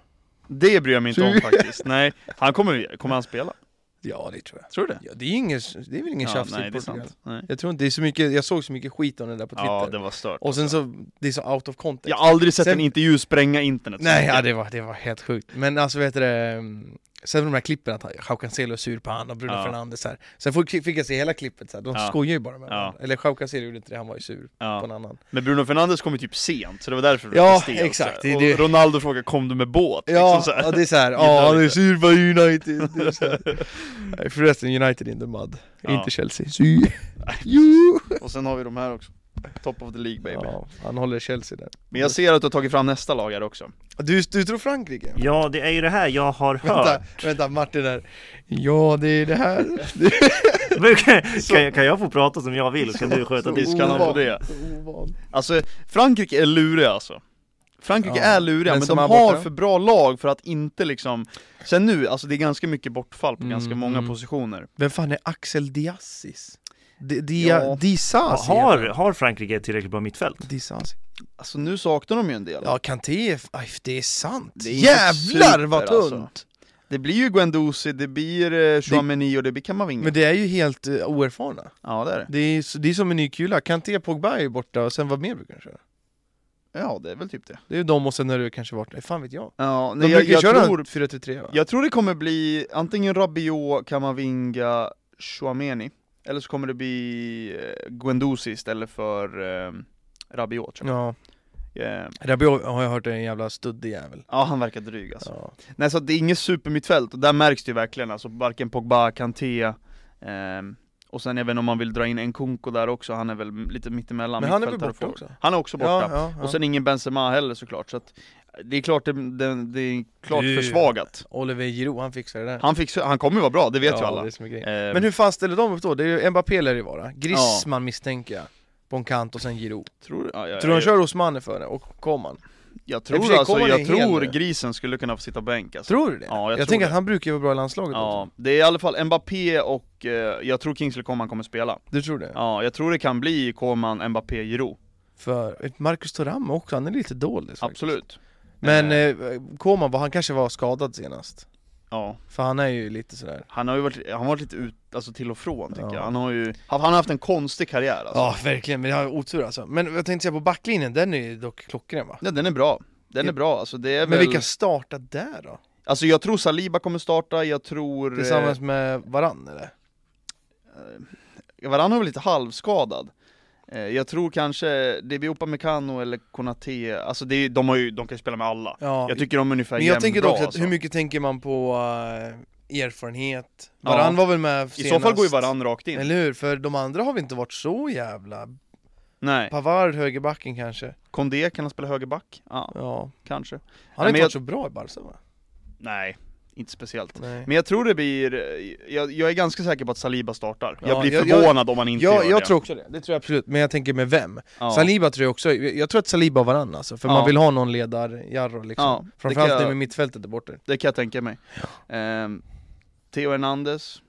S1: Det bryr jag mig inte om
S2: Tror-
S1: faktiskt, nej Han kommer, kommer han spela?
S2: Ja det tror jag
S1: Tror du det?
S2: ja, det, är ingen, det är väl ingen
S1: ja,
S2: tjafs
S1: nej
S2: i
S1: det är
S2: Portugal?
S1: sant nej.
S2: Jag tror inte, det är så mycket, jag såg så mycket skit om det där på Twitter
S1: Ja det var stört
S2: Och sen så, det är så out of context
S1: Jag har aldrig sett
S2: Sen-
S1: en intervju spränga internet så
S2: Nej, ja,
S1: mycket.
S2: det, var, det var helt sjukt. Men alltså vet du det, mm, sen de här klippen att Jao Cancelo är sur på han och Bruno
S1: Ja.
S2: Fernandes här. Sen fick fick jag se hela klippet, så här. de
S1: Ja.
S2: skojar ju bara med
S1: Ja.
S2: varandra. Eller Jao Cancelo gjorde inte det, han var ju sur på en
S1: ja.
S2: annan.
S1: Men Bruno Fernandes kom ju typ sent, så det var därför det
S2: Ja,
S1: blev stelt,
S2: exakt.
S1: så här.
S2: Det- det-
S1: Och Ronaldo frågade 'Kom du med båt?'
S2: Ja,
S1: liksom, så här.
S2: och det
S1: [LAUGHS]
S2: är såhär,
S1: Gillar
S2: ja han är
S1: lite.
S2: sur på United. Det är
S1: [LAUGHS]
S2: så här. Nej, Förresten, United in the mud.
S1: Ja. [LAUGHS]
S2: Inte Chelsea. Sy. [LAUGHS] Jo.
S1: Och sen har vi de här också Top of the League baby
S2: Ja, han håller Chelsea där.
S1: Men jag ser att du har tagit fram nästa lag här också
S2: Du, du tror Frankrike?
S3: Ja, det är ju det här jag har hört. [LAUGHS]
S2: Vänta, vänta Martin där. Ja, det är
S1: [LAUGHS]
S2: det här.
S3: Men kan, kan, kan jag få prata som jag vill? Kan du sköta
S1: Så
S3: disk?
S1: Diskarna på
S2: Ovan,
S1: det.
S2: så ovan.
S1: Alltså, Frankrike är luriga alltså Frankrike
S2: Ja,
S1: är luriga,
S2: men
S1: men,
S2: som
S1: de
S2: här
S1: har
S2: borta.
S1: för bra lag för att inte liksom Sen nu, alltså det är ganska mycket bortfall på
S2: Mm,
S1: ganska många
S2: mm.
S1: positioner
S2: Vem fan är Axel Diassis? Di-
S1: Ja.
S2: Dia- Disasi?
S3: Har,
S2: heter
S3: har Frankrike ett tillräckligt bra mittfält?
S2: han. Disasi.
S1: Alltså nu saknar de ju en del
S2: Ja, Kanté, är- aj, det är sant!
S1: Det är inte
S2: Jävlar
S1: super,
S2: vad
S1: alltså.
S2: tunt!
S1: Det blir ju Guendouzi, det blir eh, Chouameni och det blir Kamavinga
S2: Men det är ju helt eh, oerfarna.
S1: Ja det är det
S2: Det är, s- det är som en ny kula, Kanté, Pogba är ju borta och sen vad mer brukar de köra?
S1: Ja det är väl typ det
S2: Det är ju de och sen har det kanske varit, nej, fan vet jag.
S1: Ja,
S2: De
S1: nej, jag,
S2: brukar
S1: jag,
S2: köra
S1: tror,
S2: 4-3-3 va?
S1: jag tror det kommer bli antingen Rabiot, Kamavinga, Chouameni Eller så kommer det bli eh, Guendouzi istället för eh, Rabiot tror jag
S2: Ja,
S1: Eh,
S2: Rabiot har jag hört är en jävla studdig jävel.
S1: Ja han verkar dryg alltså.
S2: Ja.
S1: Nej så att det är inget supermittfält, och där märks det ju verkligen alltså, varken Pogba, Kanté ehm, Och sen även om man vill dra in en Kunko där också, han är väl m- lite mittemellan
S2: Men han är väl
S1: mittfältare och
S2: borta
S1: forward.
S2: också?
S1: Han är också borta,
S2: Ja, ja, ja.
S1: och sen ingen Benzema heller såklart så att Det är klart, det, det, det är klart
S2: Du.
S1: försvagat
S2: Oliver Giroud, han fixar det där.
S1: han, fix, han kommer ju vara bra, det vet
S2: ja,
S1: ju alla
S2: Det är som är grejen.
S1: Ehm,
S2: Men hur fan ställer de upp då? Det är ju Mbappé lär det ju vara, Griezmann misstänker jag, Bonkant och sen Giroud.
S1: tror du? Ja, jag,
S2: Tror du han
S1: Eh, jag,
S2: kör Osmane före och Koman?
S1: jag
S2: I och för
S1: tror
S2: sig
S1: alltså,
S2: kommer det
S1: jag
S2: en hel
S1: tror
S2: del.
S1: grisen skulle kunna få sitta på bänk alltså.
S2: Tror du det?
S1: Ja, jag
S2: jag
S1: tror
S2: tänker
S1: det.
S2: att han brukar ju vara bra i landslaget
S1: Ja,
S2: också.
S1: det är i alla fall Mbappé och, eh, jag tror Kingsley Coman kommer spela
S2: Du tror det?
S1: Ja, jag tror det kan bli Koman, Mbappé, Giroud.
S2: För Marcus Thuram också, han är lite dålig faktiskt.
S1: Absolut.
S2: Men
S1: Eh,
S2: eh, Koman, var- han kanske var skadad senast.
S1: ja.
S2: För han är ju lite sådär...
S1: Han har ju varit, han har varit lite ut, alltså till och från tycker
S2: Ja.
S1: jag. Han har ju, han han har haft en konstig karriär alltså.
S2: Ja verkligen, men jag har otur alltså. Men jag tänkte säga på backlinjen, den är ju dock klockren va?
S1: Ja, den är bra. Den är
S2: Ja.
S1: bra, alltså det är
S2: Men
S1: väl,
S2: vilka startar där då?
S1: alltså jag tror Saliba kommer starta, jag tror... eh,
S2: Tillsammans med varann eller?
S1: Varann har väl eh, lite halvskadad. Eh, Jag tror kanske, det blir Upamecano eller Konate, alltså det, är- de, har ju, de kan ju spela med alla.
S2: Ja,
S1: Jag tycker de är ungefär
S2: men jag
S1: jämnbra,
S2: tänker också att
S1: alltså.
S2: hur mycket tänker man på eh, erfarenhet?
S1: Ja.
S2: Varann var väl med senast?
S1: I så fall går ju varann rakt in.
S2: Eller hur? För de andra har vi inte varit så jävla...
S1: Nej,
S2: Pavard, högerbacken kanske?
S1: Kondé kan han spela högerback? Ja,
S2: Ja.
S1: kanske.
S2: Han har
S1: men
S2: inte
S1: jag-
S2: varit så bra i Barca va?
S1: Nej, inte speciellt.
S2: Nej.
S1: Men jag tror det blir, jag, jag är ganska säker på att Saliba startar.
S2: Ja,
S1: Jag blir
S2: jag- jag-
S1: förvånad om han inte
S2: Jag,
S1: gör
S2: jag
S1: det.
S2: tror också det, det tror jag absolut. Men jag tänker med vem?
S1: ja.
S2: Saliba tror jag också, jag tror att Saliba och varann alltså, för
S1: Ja.
S2: man vill ha någon ledarjarro liksom.
S1: Ja, det kan,
S2: Framförallt nu
S1: jag,
S2: med mittfältet där borta.
S1: det kan jag tänka mig. Ehm, Theo Hernandez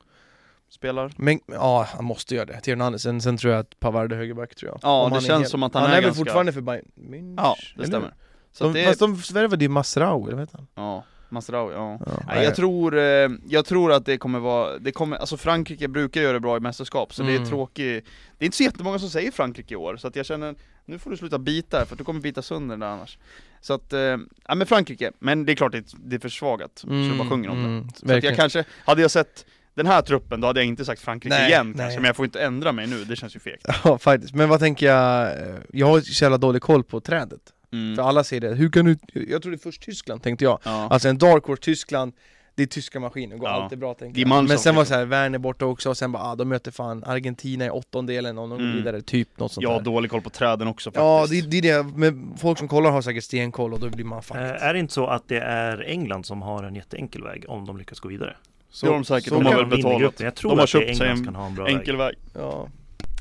S1: spelar.
S2: Men ja, han måste göra det. Theo Hernandez, sen, sen tror jag att Pavard är högerback tror jag.
S1: Ja,
S2: Om
S1: det
S2: han är
S1: känns
S2: hel.
S1: som att han
S2: Han,
S1: är
S2: är väl
S1: ganska-
S2: fortfarande för Bayern München?
S1: Ja, det
S2: eller?
S1: stämmer. Så
S2: De,
S1: att det,
S2: Fast de värvade ju Masraoui, eller vad heter han?
S1: ja, Masraoui, ja.
S2: Ja.
S1: Nej, jag, tror, eh, jag tror att det kommer vara, det kommer, alltså Frankrike brukar göra det bra i mästerskap, så det är
S2: Mm.
S1: tråkigt Det är inte så jättemånga som säger Frankrike i år, så att jag känner, nu får du sluta bita här, för att du kommer bita sönder den där annars Så att, eh, ja men Frankrike, men det är klart det är, det är försvagat, så det bara sjunger om det
S2: mm,
S1: Så att jag
S2: verkligen.
S1: kanske, hade jag sett den här truppen, då hade jag inte sagt Frankrike
S2: Nej,
S1: igen
S2: nej.
S1: kanske, men jag får inte ändra mig nu, det känns ju fegt
S2: Ja faktiskt, men vad tänker jag, eh, jag har så jävla dålig koll på trädet
S1: mm.
S2: För alla säger det, hur kan du, jag trodde först Tyskland tänkte jag
S1: ja.
S2: Alltså en dark horse Tyskland, det är tyska maskiner, går
S1: Ja.
S2: alltid bra tänker
S1: Die
S2: jag
S1: Mannschaft,
S2: Men sen var det
S1: liksom.
S2: såhär, Werner borta också och sen bara, ah, de möter fan Argentina i åttondelen och de
S1: Mm.
S2: går vidare, typ något sånt
S1: Jag har
S2: där
S1: dålig koll på träden också faktiskt
S2: Ja det, det är det, men folk som kollar har säkert stenkoll och då blir man fucked
S3: Eh, Är det inte så att det är England som har en jätteenkel väg om de lyckas gå vidare?
S2: så,
S1: det har de säkert.
S2: så
S1: De har
S2: kan-
S1: väl
S3: vinner
S1: betalat.
S3: gruppen. Jag tror
S1: De har
S3: att det är
S1: köpt sig
S3: England
S1: en
S3: som kan ha en bra väg.
S1: Enkel väg
S2: ja.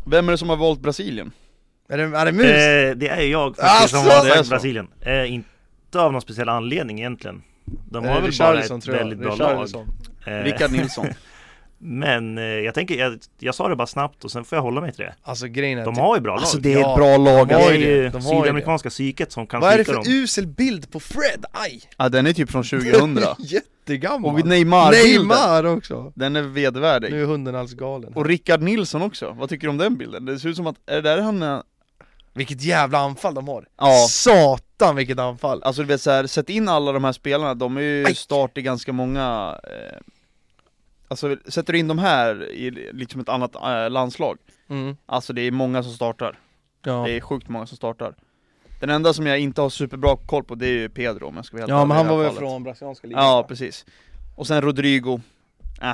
S1: Vem är det som har valt Brasilien?
S2: Är det, är det mus?
S3: Eh, det är jag faktiskt
S2: Alltså!
S3: som har
S1: Det är
S3: sagt
S1: så.
S3: Brasilien. Eh, inte av någon speciell anledning egentligen. De
S1: Eh,
S2: Är
S3: har
S2: det
S3: väl bara
S2: Richarlison,
S3: ett väldigt bra lag.
S2: Richarlison?
S3: Eh,
S1: Rickard
S2: [LAUGHS]
S1: Nilsson
S3: Men eh, jag tänker, jag, jag sa det bara snabbt och sen får jag hålla mig till det.
S2: Alltså grejen är
S3: De
S2: att-
S3: har ju bra
S1: Alltså
S3: lag.
S1: det är
S2: Ja,
S1: ett bra lag
S2: de
S3: Det
S2: har
S1: alltså.
S3: är
S2: ju
S3: ju
S2: det, de har ju det.
S3: sydamerikanska psyket som kan
S2: Vad är det
S3: skicka
S2: för
S3: dem.
S2: usel bild på Fred? Aj!
S1: Ja den är typ från 2000
S2: [LAUGHS] Jättegammal!
S1: Och Neymar-bilden,
S2: Neymar också!
S1: den är vedervärdig
S2: Nu är hunden alldeles galen
S1: Och Rickard Nilsson också, vad tycker du om den bilden? Det ser ut som att, är det där han är?
S2: Vilket jävla anfall de har!
S1: Ja.
S2: Satan vilket anfall!
S1: Alltså du vet såhär, sätt in alla de här spelarna, de är ju
S2: Aj.
S1: start i ganska många eh, Alltså sätter du in de här i liksom ett annat eh, landslag
S2: Mm.
S1: Alltså det är många som startar,
S2: Ja.
S1: det är sjukt många som startar Den enda som jag inte har superbra koll på det är ju Pedro om jag ska vara helt
S2: ja
S1: ärlig
S2: men
S1: i
S2: han
S1: det här
S2: var väl
S1: fallet.
S2: från brasilianska ligan?
S1: Ja
S2: va?
S1: precis Och sen Rodrigo, äh.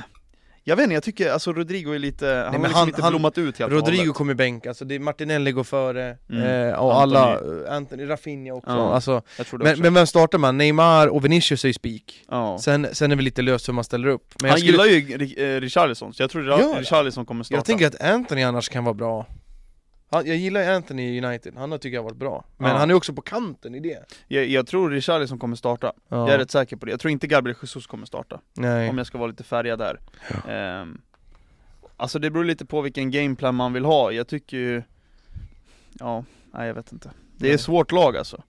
S1: Jag vet inte, jag tycker alltså Rodrigo är lite, han har
S2: men
S1: liksom
S2: han-
S1: inte
S2: han-
S1: blommat ut helt och
S2: Rodrigo
S1: hållet.
S2: kommer bänk, alltså det är Martinelli går före,
S1: Mm.
S2: eh, och
S1: Anthony.
S2: alla, eh, Anthony, Rafinha också
S1: Ja.
S2: alltså,
S1: jag tror det
S2: men,
S1: också.
S2: men vem startar man? Neymar och Vinicius är ju spik
S1: ja.
S2: sen, sen är det lite löst hur man ställer upp men
S1: han
S2: jag, skulle,
S1: gillar ju Ri- eh, Richarlison, så jag tror
S2: Gör
S1: Ra-
S2: det?
S1: Richarlison kommer starta
S2: jag tänker att Anthony annars kan vara bra han, jag gillar ju Anthony i United, han har tycker jag varit bra Men
S1: Ja.
S2: han är också på kanten i det
S1: jag, jag tror Richarlison kommer starta,
S2: ja.
S1: jag är rätt säker på det Jag tror inte Gabriel Jesus kommer starta,
S2: Nej.
S1: om jag ska vara lite färgad där Ehm, Alltså det beror lite på vilken gameplan man vill ha, jag tycker ju Ja, nej jag vet inte Det är
S2: Nej.
S1: ett svårt lag alltså,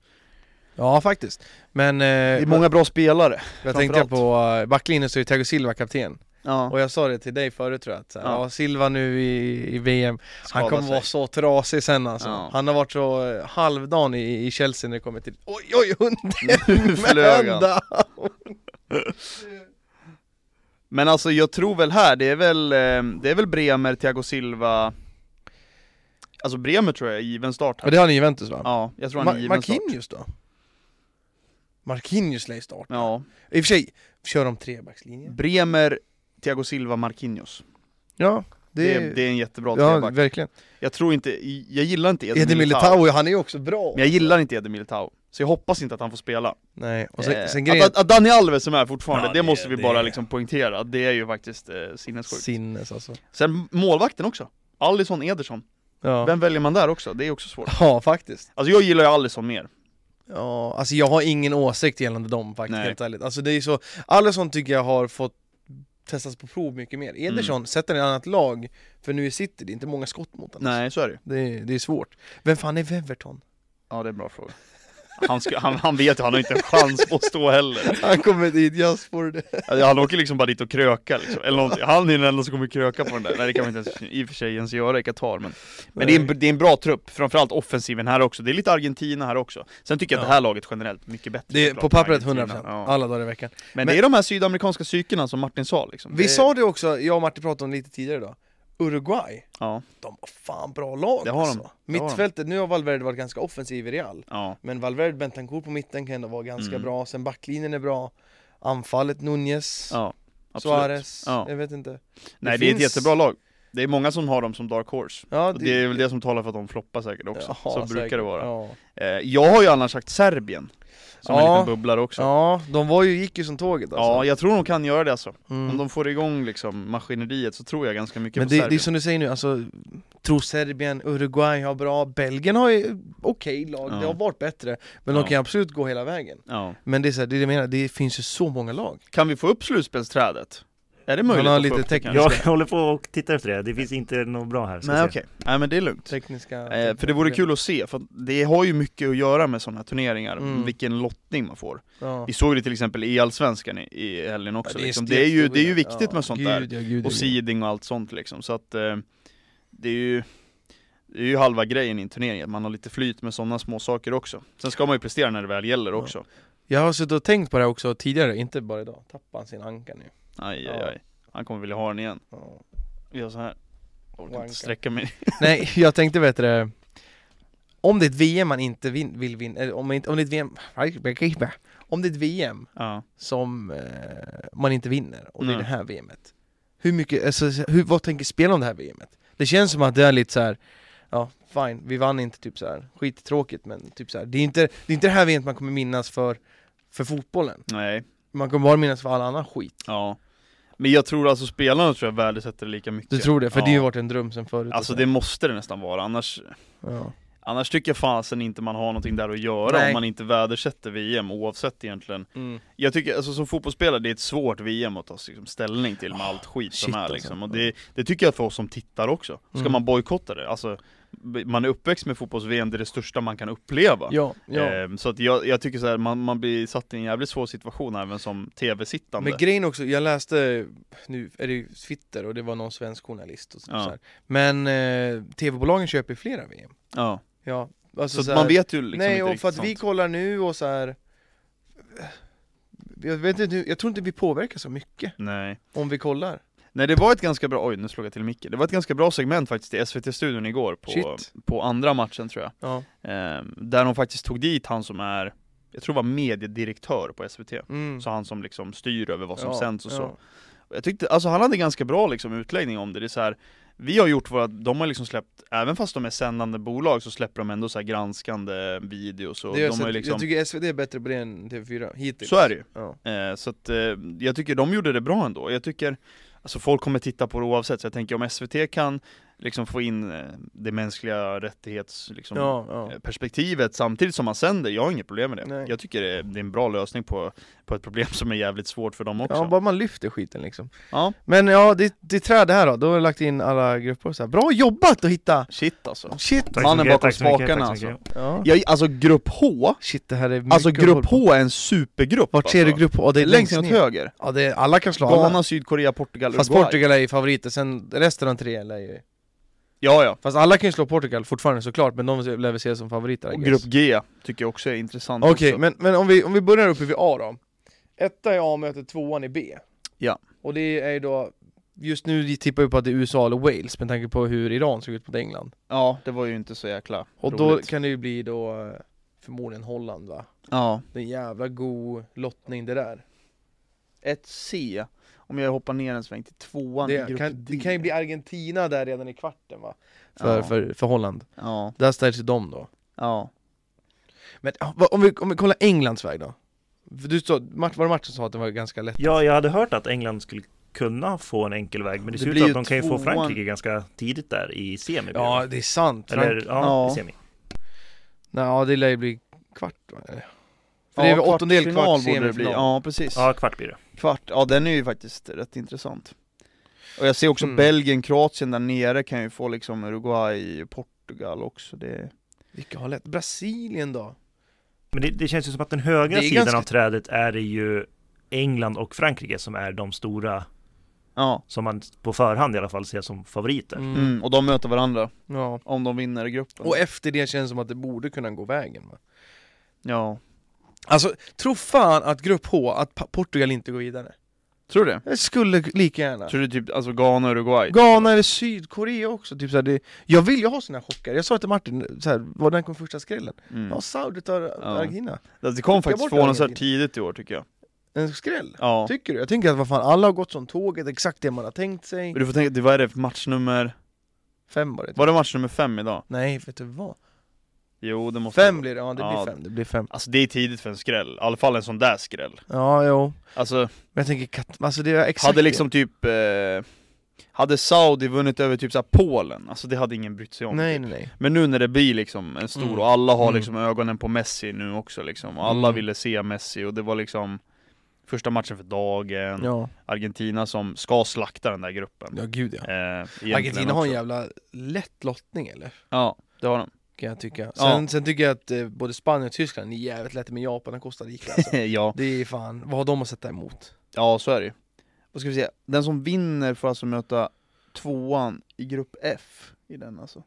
S2: Ja faktiskt, men eh,
S1: det är många bra spelare
S2: jag tänkte på eh, backlinjen så är Thiago Silva kapten
S1: ja,
S2: Och jag sa det till dig förut tror jag, att, så här,
S1: Ja.
S2: ja. Silva nu i, i VM, han
S1: skadar
S2: kommer
S1: sig.
S2: vara så trasig sen alltså
S1: Ja.
S2: Han har varit så eh, halvdan i, i Chelsea när det kommer till, oj oj
S1: Nu
S2: hunden
S1: flög han.
S2: vända!
S1: Men alltså jag tror väl här, det är väl, eh, det är väl Bremer, Thiago Silva Alltså Bremer tror jag är given start
S2: Och
S1: här.
S2: det har ni Juventus va?
S1: Ja, jag tror han är
S2: Ma-
S1: given start
S2: Marquinhos då? Marquinhos lär ju starta,
S1: Ja,
S2: i och för sig, kör de trebackslinjen?
S1: Bremer, Thiago Silva, Marquinhos
S2: Ja,
S1: Det,
S2: det,
S1: är, det är en jättebra
S2: ja
S1: treback
S2: verkligen
S1: Jag tror inte, jag gillar inte Eder,
S2: Edin
S1: Militao,
S2: Militao, han är ju också bra!
S1: Men jag gillar inte Eder Militao Så jag hoppas inte att han får spela
S2: Nej, och sen,
S1: Eh,
S2: sen grejen,
S1: att, att Dani Alves som är fortfarande,
S3: Ja,
S1: det,
S3: det-
S1: måste vi
S3: det-
S1: bara liksom poängtera Det är ju faktiskt eh, sinnessjukt
S2: sinnes alltså
S1: Sen målvakten också, Alisson Ederson
S2: Ja,
S1: Vem väljer man där också? Det är också svårt
S2: ja faktiskt
S1: Alltså jag gillar ju Alisson mer
S2: Ja, alltså jag har ingen åsikt gällande dem faktiskt
S1: Nej.
S2: helt ärligt. Alltså det är så, Alisson tycker jag har fått testas på prov mycket mer.
S1: Mm.
S2: Ederson, sätt den i ett annat lag, för nu i City, det är inte många skott mot honom.
S1: Nej, så är det ju.
S2: Det, är- det är svårt. Vem fan är Weverton? [LAUGHS]
S1: Ja det är en bra fråga han, ska, han, han vet ju, han har inte en chans på att stå heller
S2: Han kommer dit, jag spår det.
S1: Alltså, Han åker liksom bara dit och krökar liksom. Eller någonting. Han är den enda som kommer kröka på den där Nej det kan man inte ens, i och för sig ens göra i Qatar men Men det är, en, det är en bra trupp, framförallt offensiven här också Det är lite Argentina här också Sen tycker jag att det här laget generellt är mycket bättre
S2: Det är
S1: såklart
S2: på
S1: än
S2: pappret
S1: Argentina.
S2: 100%,
S1: Ja.
S2: alla dagar i veckan.
S1: Men,
S2: Men-
S1: det är de här sydamerikanska psykena som Martin sa liksom
S2: Vi
S1: det...
S2: sa det också, jag och Martin pratade om det lite tidigare idag. Uruguay,
S1: Ja,
S2: de har fan bra lag
S1: Det har de.
S2: alltså.
S1: Det har de.
S2: Mittfältet, nu har Valverde varit ganska offensiv i Real.
S1: ja.
S2: Men Valverde, Bentancourt på mitten kan ändå vara ganska
S1: Mm.
S2: bra, sen backlinjen är bra. Anfallet, Nunez,
S1: Ja, absolut.
S2: Suarez,
S1: Ja.
S2: jag vet inte.
S1: Nej, det,
S2: det
S1: är ett
S2: finns-
S1: jättebra lag. Det är många som har dem som dark horse.
S2: Ja,
S1: Och det är väl det som talar för att de floppar säkert också.
S2: Ja,
S1: så brukar
S2: säkert.
S1: det vara.
S2: Ja,
S1: Eh, jag har ju annars sagt Serbien, som en
S2: Ja.
S1: liten bubblare också. Ja,
S2: ja de var ju, gick ju som tåget alltså.
S1: jag tror de kan göra det alltså.
S2: Mm.
S1: Om de får igång liksom maskineriet så tror jag ganska mycket
S2: Men
S1: på
S2: det,
S1: Serbien.
S2: det är som du säger nu, alltså Tror Serbien, Uruguay har bra, Belgien har ju okej lag,
S1: Ja.
S2: det har varit bättre Men
S1: Ja.
S2: de kan absolut gå hela vägen
S1: ja.
S2: Men det är så här, det är det jag menar, det finns ju så många lag
S1: Kan vi få upp slutspelsträdet? Är det möjligt
S2: har
S1: att få
S2: lite
S1: upp det
S2: teknisk-
S1: kanske?
S3: Jag [LAUGHS] håller på och tittar efter det, det finns inte något bra här. ska
S1: Nej
S3: se.
S1: okej, nej men det är lugnt.
S2: Tekniska
S1: Eh, för det vore kul att se, för att det har ju mycket att göra med sådana här turneringar,
S2: Mm.
S1: vilken lottning man får.
S2: ja.
S1: Vi såg det till exempel i Allsvenskan i, i helgen också,
S2: Ja,
S1: det,
S2: är
S1: liksom. det, är ju, det är ju
S2: jättestor-
S1: viktigt
S2: ja,
S1: med sånt
S2: gud,
S1: där.
S2: Ja, gud, ja,
S1: Och
S2: gud.
S1: seeding och allt sånt liksom, så att eh, det är ju det är ju halva grejen i en turnering, att man har lite flyt med sådana små saker också. Sen ska man ju prestera när det väl gäller
S2: Ja.
S1: också.
S2: Jag har suttit och tänkt på det här också tidigare, inte bara idag, tappar han sin anka nu?
S1: Aj, aj,
S2: Ja.
S1: aj. Han kommer vilja ha den igen.
S2: Ja.
S1: Vi gör så här. Jag orkar
S2: Wanka.
S1: inte sträcka mig.
S2: [LAUGHS]
S1: [LAUGHS]
S2: Nej, jag tänkte vet du Om det är ett VM man inte vin, vill vinna, eller om, inte, om det är ett VM, [LAUGHS] om det är ett VM
S1: Ja.
S2: som eh, man inte vinner, och det
S1: Nej.
S2: är det här VMet. Hur mycket, alltså, hur, vad tänker spelarna om det här VMet? Det känns som att det är lite så här. ja fine, vi vann inte typ så här. skittråkigt men typ så här. Det, är inte, det är inte det här VMet man kommer minnas för, för fotbollen,
S1: Nej,
S2: man kommer bara minnas för all annan skit.
S1: ja. Men jag tror alltså spelarna tror jag värdesätter det lika mycket.
S2: Du tror det? För det har ju
S1: Ja.
S2: varit en dröm sen förut. och
S1: Alltså
S2: så
S1: det
S2: här.
S1: måste det nästan vara, annars,
S2: ja.
S1: annars tycker jag fasen inte man har någonting där att göra om
S2: Nej.
S1: man inte vädersätter VM oavsett egentligen.
S2: Mm.
S1: Jag tycker, alltså som fotbollsspelare, det är ett svårt VM att ta liksom, ställning till med allt skit som
S2: shit,
S1: är
S2: alltså.
S1: liksom. Och det, det tycker jag för oss som tittar också. Ska
S2: Mm.
S1: man bojkotta det? Alltså, b- man är uppväxt med fotbolls-VM, det är det största man kan uppleva.
S2: ja, ja.
S1: Ehm, så att jag, jag tycker så här, man, man blir satt i en jävligt svår situation även som tv-sittande.
S2: Men grejen också, jag läste, nu är det ju Twitter och det var någon svensk journalist och så,
S1: Ja.
S2: så här. Men eh, tv-bolagen köper ju flera VM.
S1: ja.
S2: Ja,
S1: Så,
S2: alltså
S1: att
S2: här-
S1: man vet ju liksom
S2: Nej,
S1: inte
S2: och för att
S1: riktigt
S2: vi
S1: sånt.
S2: kollar nu och så här. Jag vet inte, jag tror inte vi påverkar så mycket
S1: Nej.
S2: om vi kollar.
S1: Nej det var ett ganska bra, oj nu slog jag till micken, det var ett ganska bra segment faktiskt i SVT-studion igår på, um,
S2: Shit.
S1: på andra matchen tror jag
S2: Ja.
S1: Ehm, Där de faktiskt tog dit han som är, jag tror var mediedirektör på SVT
S2: Mm.
S1: Så han som liksom styr över vad som
S2: ja,
S1: sänds och så
S2: ja.
S1: Och Jag tyckte, alltså han hade ganska bra liksom utläggning om det, det är så här, Vi har gjort våra, de har liksom släppt, även fast de är sändande bolag så släpper de ändå så här granskande videos och
S2: Det är
S1: de
S2: så
S1: har ju
S2: att
S1: liksom
S2: Jag tycker SVT är bättre på det än TV4 hittills.
S1: Så är det ju
S2: Ja.
S1: Eh, Så att eh, jag tycker de gjorde det bra ändå. Jag tycker, alltså folk kommer titta på det oavsett, så jag tänker om SVT kan liksom få in eh, det mänskliga rättighets liksom,
S2: Ja, ja.
S1: eh, perspektivet samtidigt som man sänder, jag har inget problem med det.
S2: Nej.
S1: Jag tycker det är, det är en bra lösning på, på ett problem som är jävligt svårt för dem också.
S2: ja, bara man lyfter skiten liksom.
S1: Ja.
S2: Men ja, det, det är träd här då, då har jag lagt in alla grupper och så här. Bra jobbat att hitta!
S1: Shit alltså.
S2: Shit!
S3: Tack så
S1: Mannen
S3: mycket,
S1: bakom
S3: tack så mycket,
S1: spakarna,
S3: tack så mycket.
S2: Ja.
S1: Jag, alltså grupp H,
S2: Shit det här är mycket
S1: alltså
S2: att hålla
S1: grupp
S2: på.
S1: H är en supergrupp
S2: Vart ser du
S1: alltså.
S2: grupp H? Ja, det är
S1: Längst
S2: längst
S1: ner åt
S2: ner.
S1: höger.
S2: Ja, det är, alla kan slå alla.
S1: Ghana, Sydkorea, Portugal,
S2: Fast
S1: Uruguay.
S2: Portugal är ju favoriter, sen resten av tre är ju
S1: Ja, ja.
S2: Fast alla kan ju slå Portugal fortfarande såklart, men de lär vi se som favoriter I
S1: Och
S2: guess.
S1: grupp G tycker jag också är intressant
S2: Okej,
S1: också.
S2: men, men om, vi, om vi börjar uppe vid A då Etta i A möter tvåan i B
S1: Ja.
S2: Och det är ju då, just nu tippar vi på att det är USA eller Wales med tanke på hur Iran såg ut mot England
S1: Ja, det var ju inte så jäkla
S2: Och då
S1: roligt.
S2: kan det ju bli då eh, förmodligen Holland va?
S1: Ja.
S2: Det är en jävla god lottning det där
S1: ett C Om jag hoppar ner en sväng till tvåan i
S2: det
S1: grupp
S2: kan,
S1: D
S2: det kan ju bli Argentina där redan i kvarten va? För,
S1: Ja.
S2: för, för Holland,
S1: Ja,
S2: där ställs ju de då
S1: ja
S2: Men ja, vad- om vi, om vi kollar Englands väg då? För Du sa, Mart, var det Mart som sa att den var ganska lätt?
S3: Ja, jag hade hört att England skulle kunna få en enkel väg, men det,
S1: Det
S3: ser ut
S1: blir
S3: att
S1: ju
S3: de kan ju få
S1: tvåan.
S3: Frankrike ganska tidigt där i semi. blir
S2: Ja,
S3: det.
S2: det är sant. Frank...
S3: Eller, ja,
S1: Ja.
S3: i semi.
S2: Nej, ja, det lär ju bli kvart va? Eller? För
S1: Ja,
S2: det är väl åttondel,
S1: kvartsfinal
S2: kvart,
S1: borde det bli.
S2: semifinal.
S1: Ja precis,
S3: Ja, kvart blir det.
S1: kvart, ja den är ju faktiskt rätt intressant Och jag ser också
S2: Mm.
S1: Belgien, Kroatien där nere kan ju få liksom Uruguay, Portugal också det...
S2: Vilka har lätt? Brasilien då?
S3: Men det, det känns ju som att den högra
S2: Det är
S3: sidan
S2: ganska-
S3: av trädet är det ju England och Frankrike som är de stora
S1: Ja,
S3: som man på förhand i alla fall ser som favoriter.
S1: mm. och de möter varandra
S2: Ja.
S1: om de vinner gruppen
S2: Och efter det känns det som att det borde kunna gå vägen va?
S1: Ja,
S2: Alltså, tro fan att grupp H, att Pa- Portugal inte går vidare
S1: Tror du det?
S2: Jag skulle lika gärna.
S1: Tror du typ, alltså Ghana, Uruguay?
S2: Ghana eller Sydkorea också, typ så här, det, jag vill ju ha såna här chocker. Jag sa till Martin, så här, var den kom första skrällen?
S1: Mm.
S2: Ja, Saudi tar Argentina.
S1: Det kom faktiskt
S2: bort
S1: förvånansvärt
S2: Argentina.
S1: tidigt i år tycker jag
S2: En skräll?
S1: Ja,
S2: Tycker du? Jag tänker att vad fan, alla har gått som tåget, exakt det man har tänkt sig.
S1: men du får tänka, det- vad är det för matchnummer?
S2: Fem var det.
S1: Var det matchnummer fem idag?
S2: Nej, vet du vad?
S1: Jo det måste
S2: Fem
S1: det
S2: blir det, ja det
S1: Ja.
S2: blir fem, det blir fem.
S1: Alltså det är tidigt för en skräll, i alla fall en sån där skräll
S2: Ja, jo.
S1: Alltså,
S2: Men jag tänker katt, alltså det är exakt
S1: hade liksom typ eh, Hade Saudi vunnit över typ såhär Polen, alltså det hade ingen brytt sig
S2: det.
S1: om
S2: Nej,
S1: typ.
S2: nej, nej.
S1: Men nu när det blir liksom en stor
S2: Mm.
S1: och alla har
S2: Mm.
S1: liksom ögonen på Messi nu också liksom och Alla
S2: Mm.
S1: ville se Messi och det var liksom Första matchen för dagen,
S2: Ja,
S1: Argentina som ska slakta den där gruppen
S2: ja gud ja.
S1: eh, egentligen
S2: Argentina har en
S1: också.
S2: jävla lätt lottning eller?
S1: Ja, det har de [LAUGHS]
S2: Kan jag tycka.
S1: Ja.
S2: Sen, sen tycker jag att eh, både Spanien och Tyskland är jävligt lätta, men Japan och Costa Rica alltså.
S1: Ja,
S2: Det är fan, vad har de att sätta emot?
S1: ja så är det ju. Vad ska vi se, den som vinner får alltså möta tvåan i grupp F i den alltså.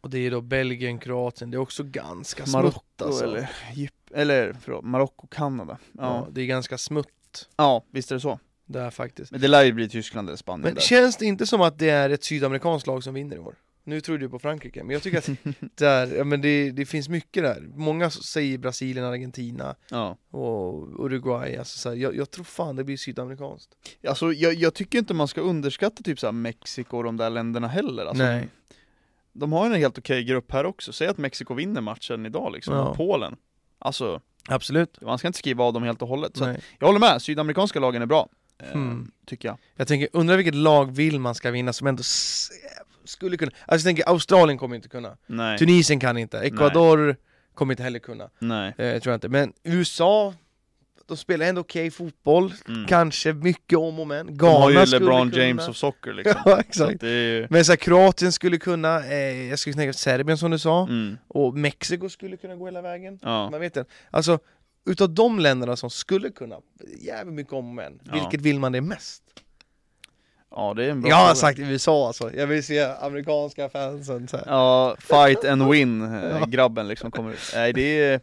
S2: Och det är då Belgien, Kroatien, det är också ganska
S1: Marocko
S2: smutt alltså.
S1: eller, Egypt- eller förlåt, Marocko, Kanada.
S2: Ja,
S1: Ja.
S2: det är ganska smutt
S1: ja, visst är det så.
S2: där faktiskt.
S1: Men det lär ju bli Tyskland eller Spanien
S2: Men
S1: där.
S2: känns det inte som att det är ett sydamerikanskt lag som vinner i år? Nu tror du på Frankrike, men jag
S1: [LAUGHS]
S2: tycker att där, ja, men det, det finns mycket där. Många säger Brasilien, Argentina
S1: Ja.
S2: och Uruguay. Alltså så här, jag, jag tror fan det blir sydamerikanskt.
S1: Alltså jag, jag tycker inte man ska underskatta typ så här Mexiko och de där länderna heller. Alltså,
S2: Nej.
S1: De har ju en helt okej grupp här också. Säg att Mexiko vinner matchen idag liksom,
S2: Ja.
S1: och Polen. Alltså,
S2: Absolut.
S1: man ska inte skriva av dem helt och hållet. Så att,
S2: Nej.
S1: jag håller med, sydamerikanska lagen är bra. eh,
S2: Hmm.
S1: Tycker jag.
S2: Jag tänker, undrar vilket lag vill man ska vinna som ändå s- skulle kunna. Alltså jag tänker Australien kommer inte kunna.
S1: Nej,
S2: Tunisien kan inte, Ecuador kommer inte heller kunna,
S1: nej.
S2: eh, tror jag inte. Men USA, de spelar ändå okej fotboll,
S1: Mm.
S2: kanske mycket om och men.
S1: De har
S2: Ghana
S1: ju
S2: skulle
S1: LeBron
S2: kunna.
S1: James of soccer liksom.
S2: ja,
S1: Så att
S2: exakt.
S1: det är ju...
S2: Men så här, Kroatien skulle kunna, eh, jag skulle tänka Serbien som du sa,
S1: Mm,
S2: och Mexiko skulle kunna gå hela vägen.
S1: ja.
S2: Man vet inte. Alltså, utav de länderna som skulle kunna, jävligt mycket om och men,
S1: Ja.
S2: vilket vill man det mest?
S1: ja, det är en bra
S2: Jag har
S1: fråga.
S2: sagt USA alltså, jag vill se amerikanska fansen så här.
S1: [LAUGHS] Ja, fight and win, eh, grabben liksom kommer ut. Nej det är,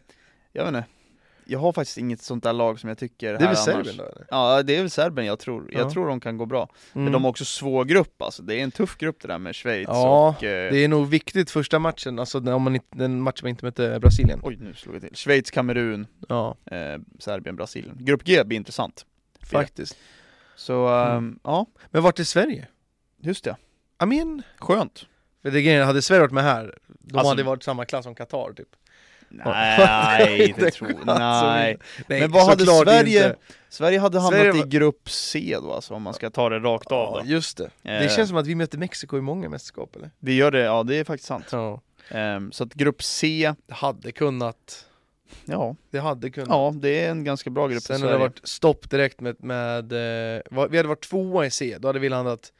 S1: jag vet inte. Jag har faktiskt inget sånt där lag som jag tycker
S2: Det är
S1: här
S2: väl
S1: annars.
S2: Serbien då eller?
S1: Ja, det är väl Serbien jag tror. Jag
S2: Ja.
S1: tror de kan gå bra. Men
S2: Mm.
S1: de har också svår grupp alltså. Det är en tuff grupp det där med Schweiz
S2: Ja,
S1: och... Eh,
S2: Det är nog viktigt första matchen, alltså när- om man inte, den matchen man inte mötte Brasilien.
S1: Oj, nu slog jag till. Schweiz, Kamerun,
S2: Ja,
S1: eh, Serbien, Brasilien. Grupp G blir intressant.
S2: faktiskt.
S1: Så, ehm, ja,
S2: Men vart är Sverige?
S1: just det.
S2: I mean,
S1: Skönt.
S2: för det grejen, hade Sverige varit med här, de
S1: Alltså-
S2: hade varit samma klass som Qatar typ.
S1: [LAUGHS]
S2: [LAUGHS]
S1: Nej,
S2: Inte
S1: det
S2: en
S1: tror
S2: chans att
S1: Nej.
S2: vinna. Nej,
S1: Men vad hade
S2: såklart
S1: Sverige-
S2: inte.
S1: Sverige hade hamnat
S2: Sverige var-
S1: i grupp C då alltså, om man ska ta det rakt av då.
S2: Ja, just det.
S1: Eh,
S2: Det känns som att vi mötte Mexiko i många mästerskap eller?
S1: Det gör det, ja det är faktiskt sant.
S2: Ja.
S1: Ehm, så att grupp C,
S2: Det hade kunnat.
S1: ja,
S2: Det hade kunnat.
S1: ja det är en ganska bra grupp
S2: Sen
S1: för
S2: hade det
S1: Sverige.
S2: varit stopp direkt med, med eh, vad- vi hade varit tvåa i C, då hade vi landat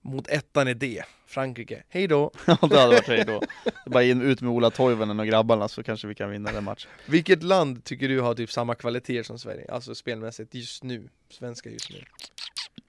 S2: mot ettan i D, Frankrike. Hej då!
S1: [LAUGHS] ja, det hade varit hej då. Bara in, ut med Ola Toivonen och grabbarna så kanske vi kan vinna den matchen.
S2: Vilket land tycker du har typ samma kvaliteter som Sverige? Alltså spelmässigt just nu, svenska just nu.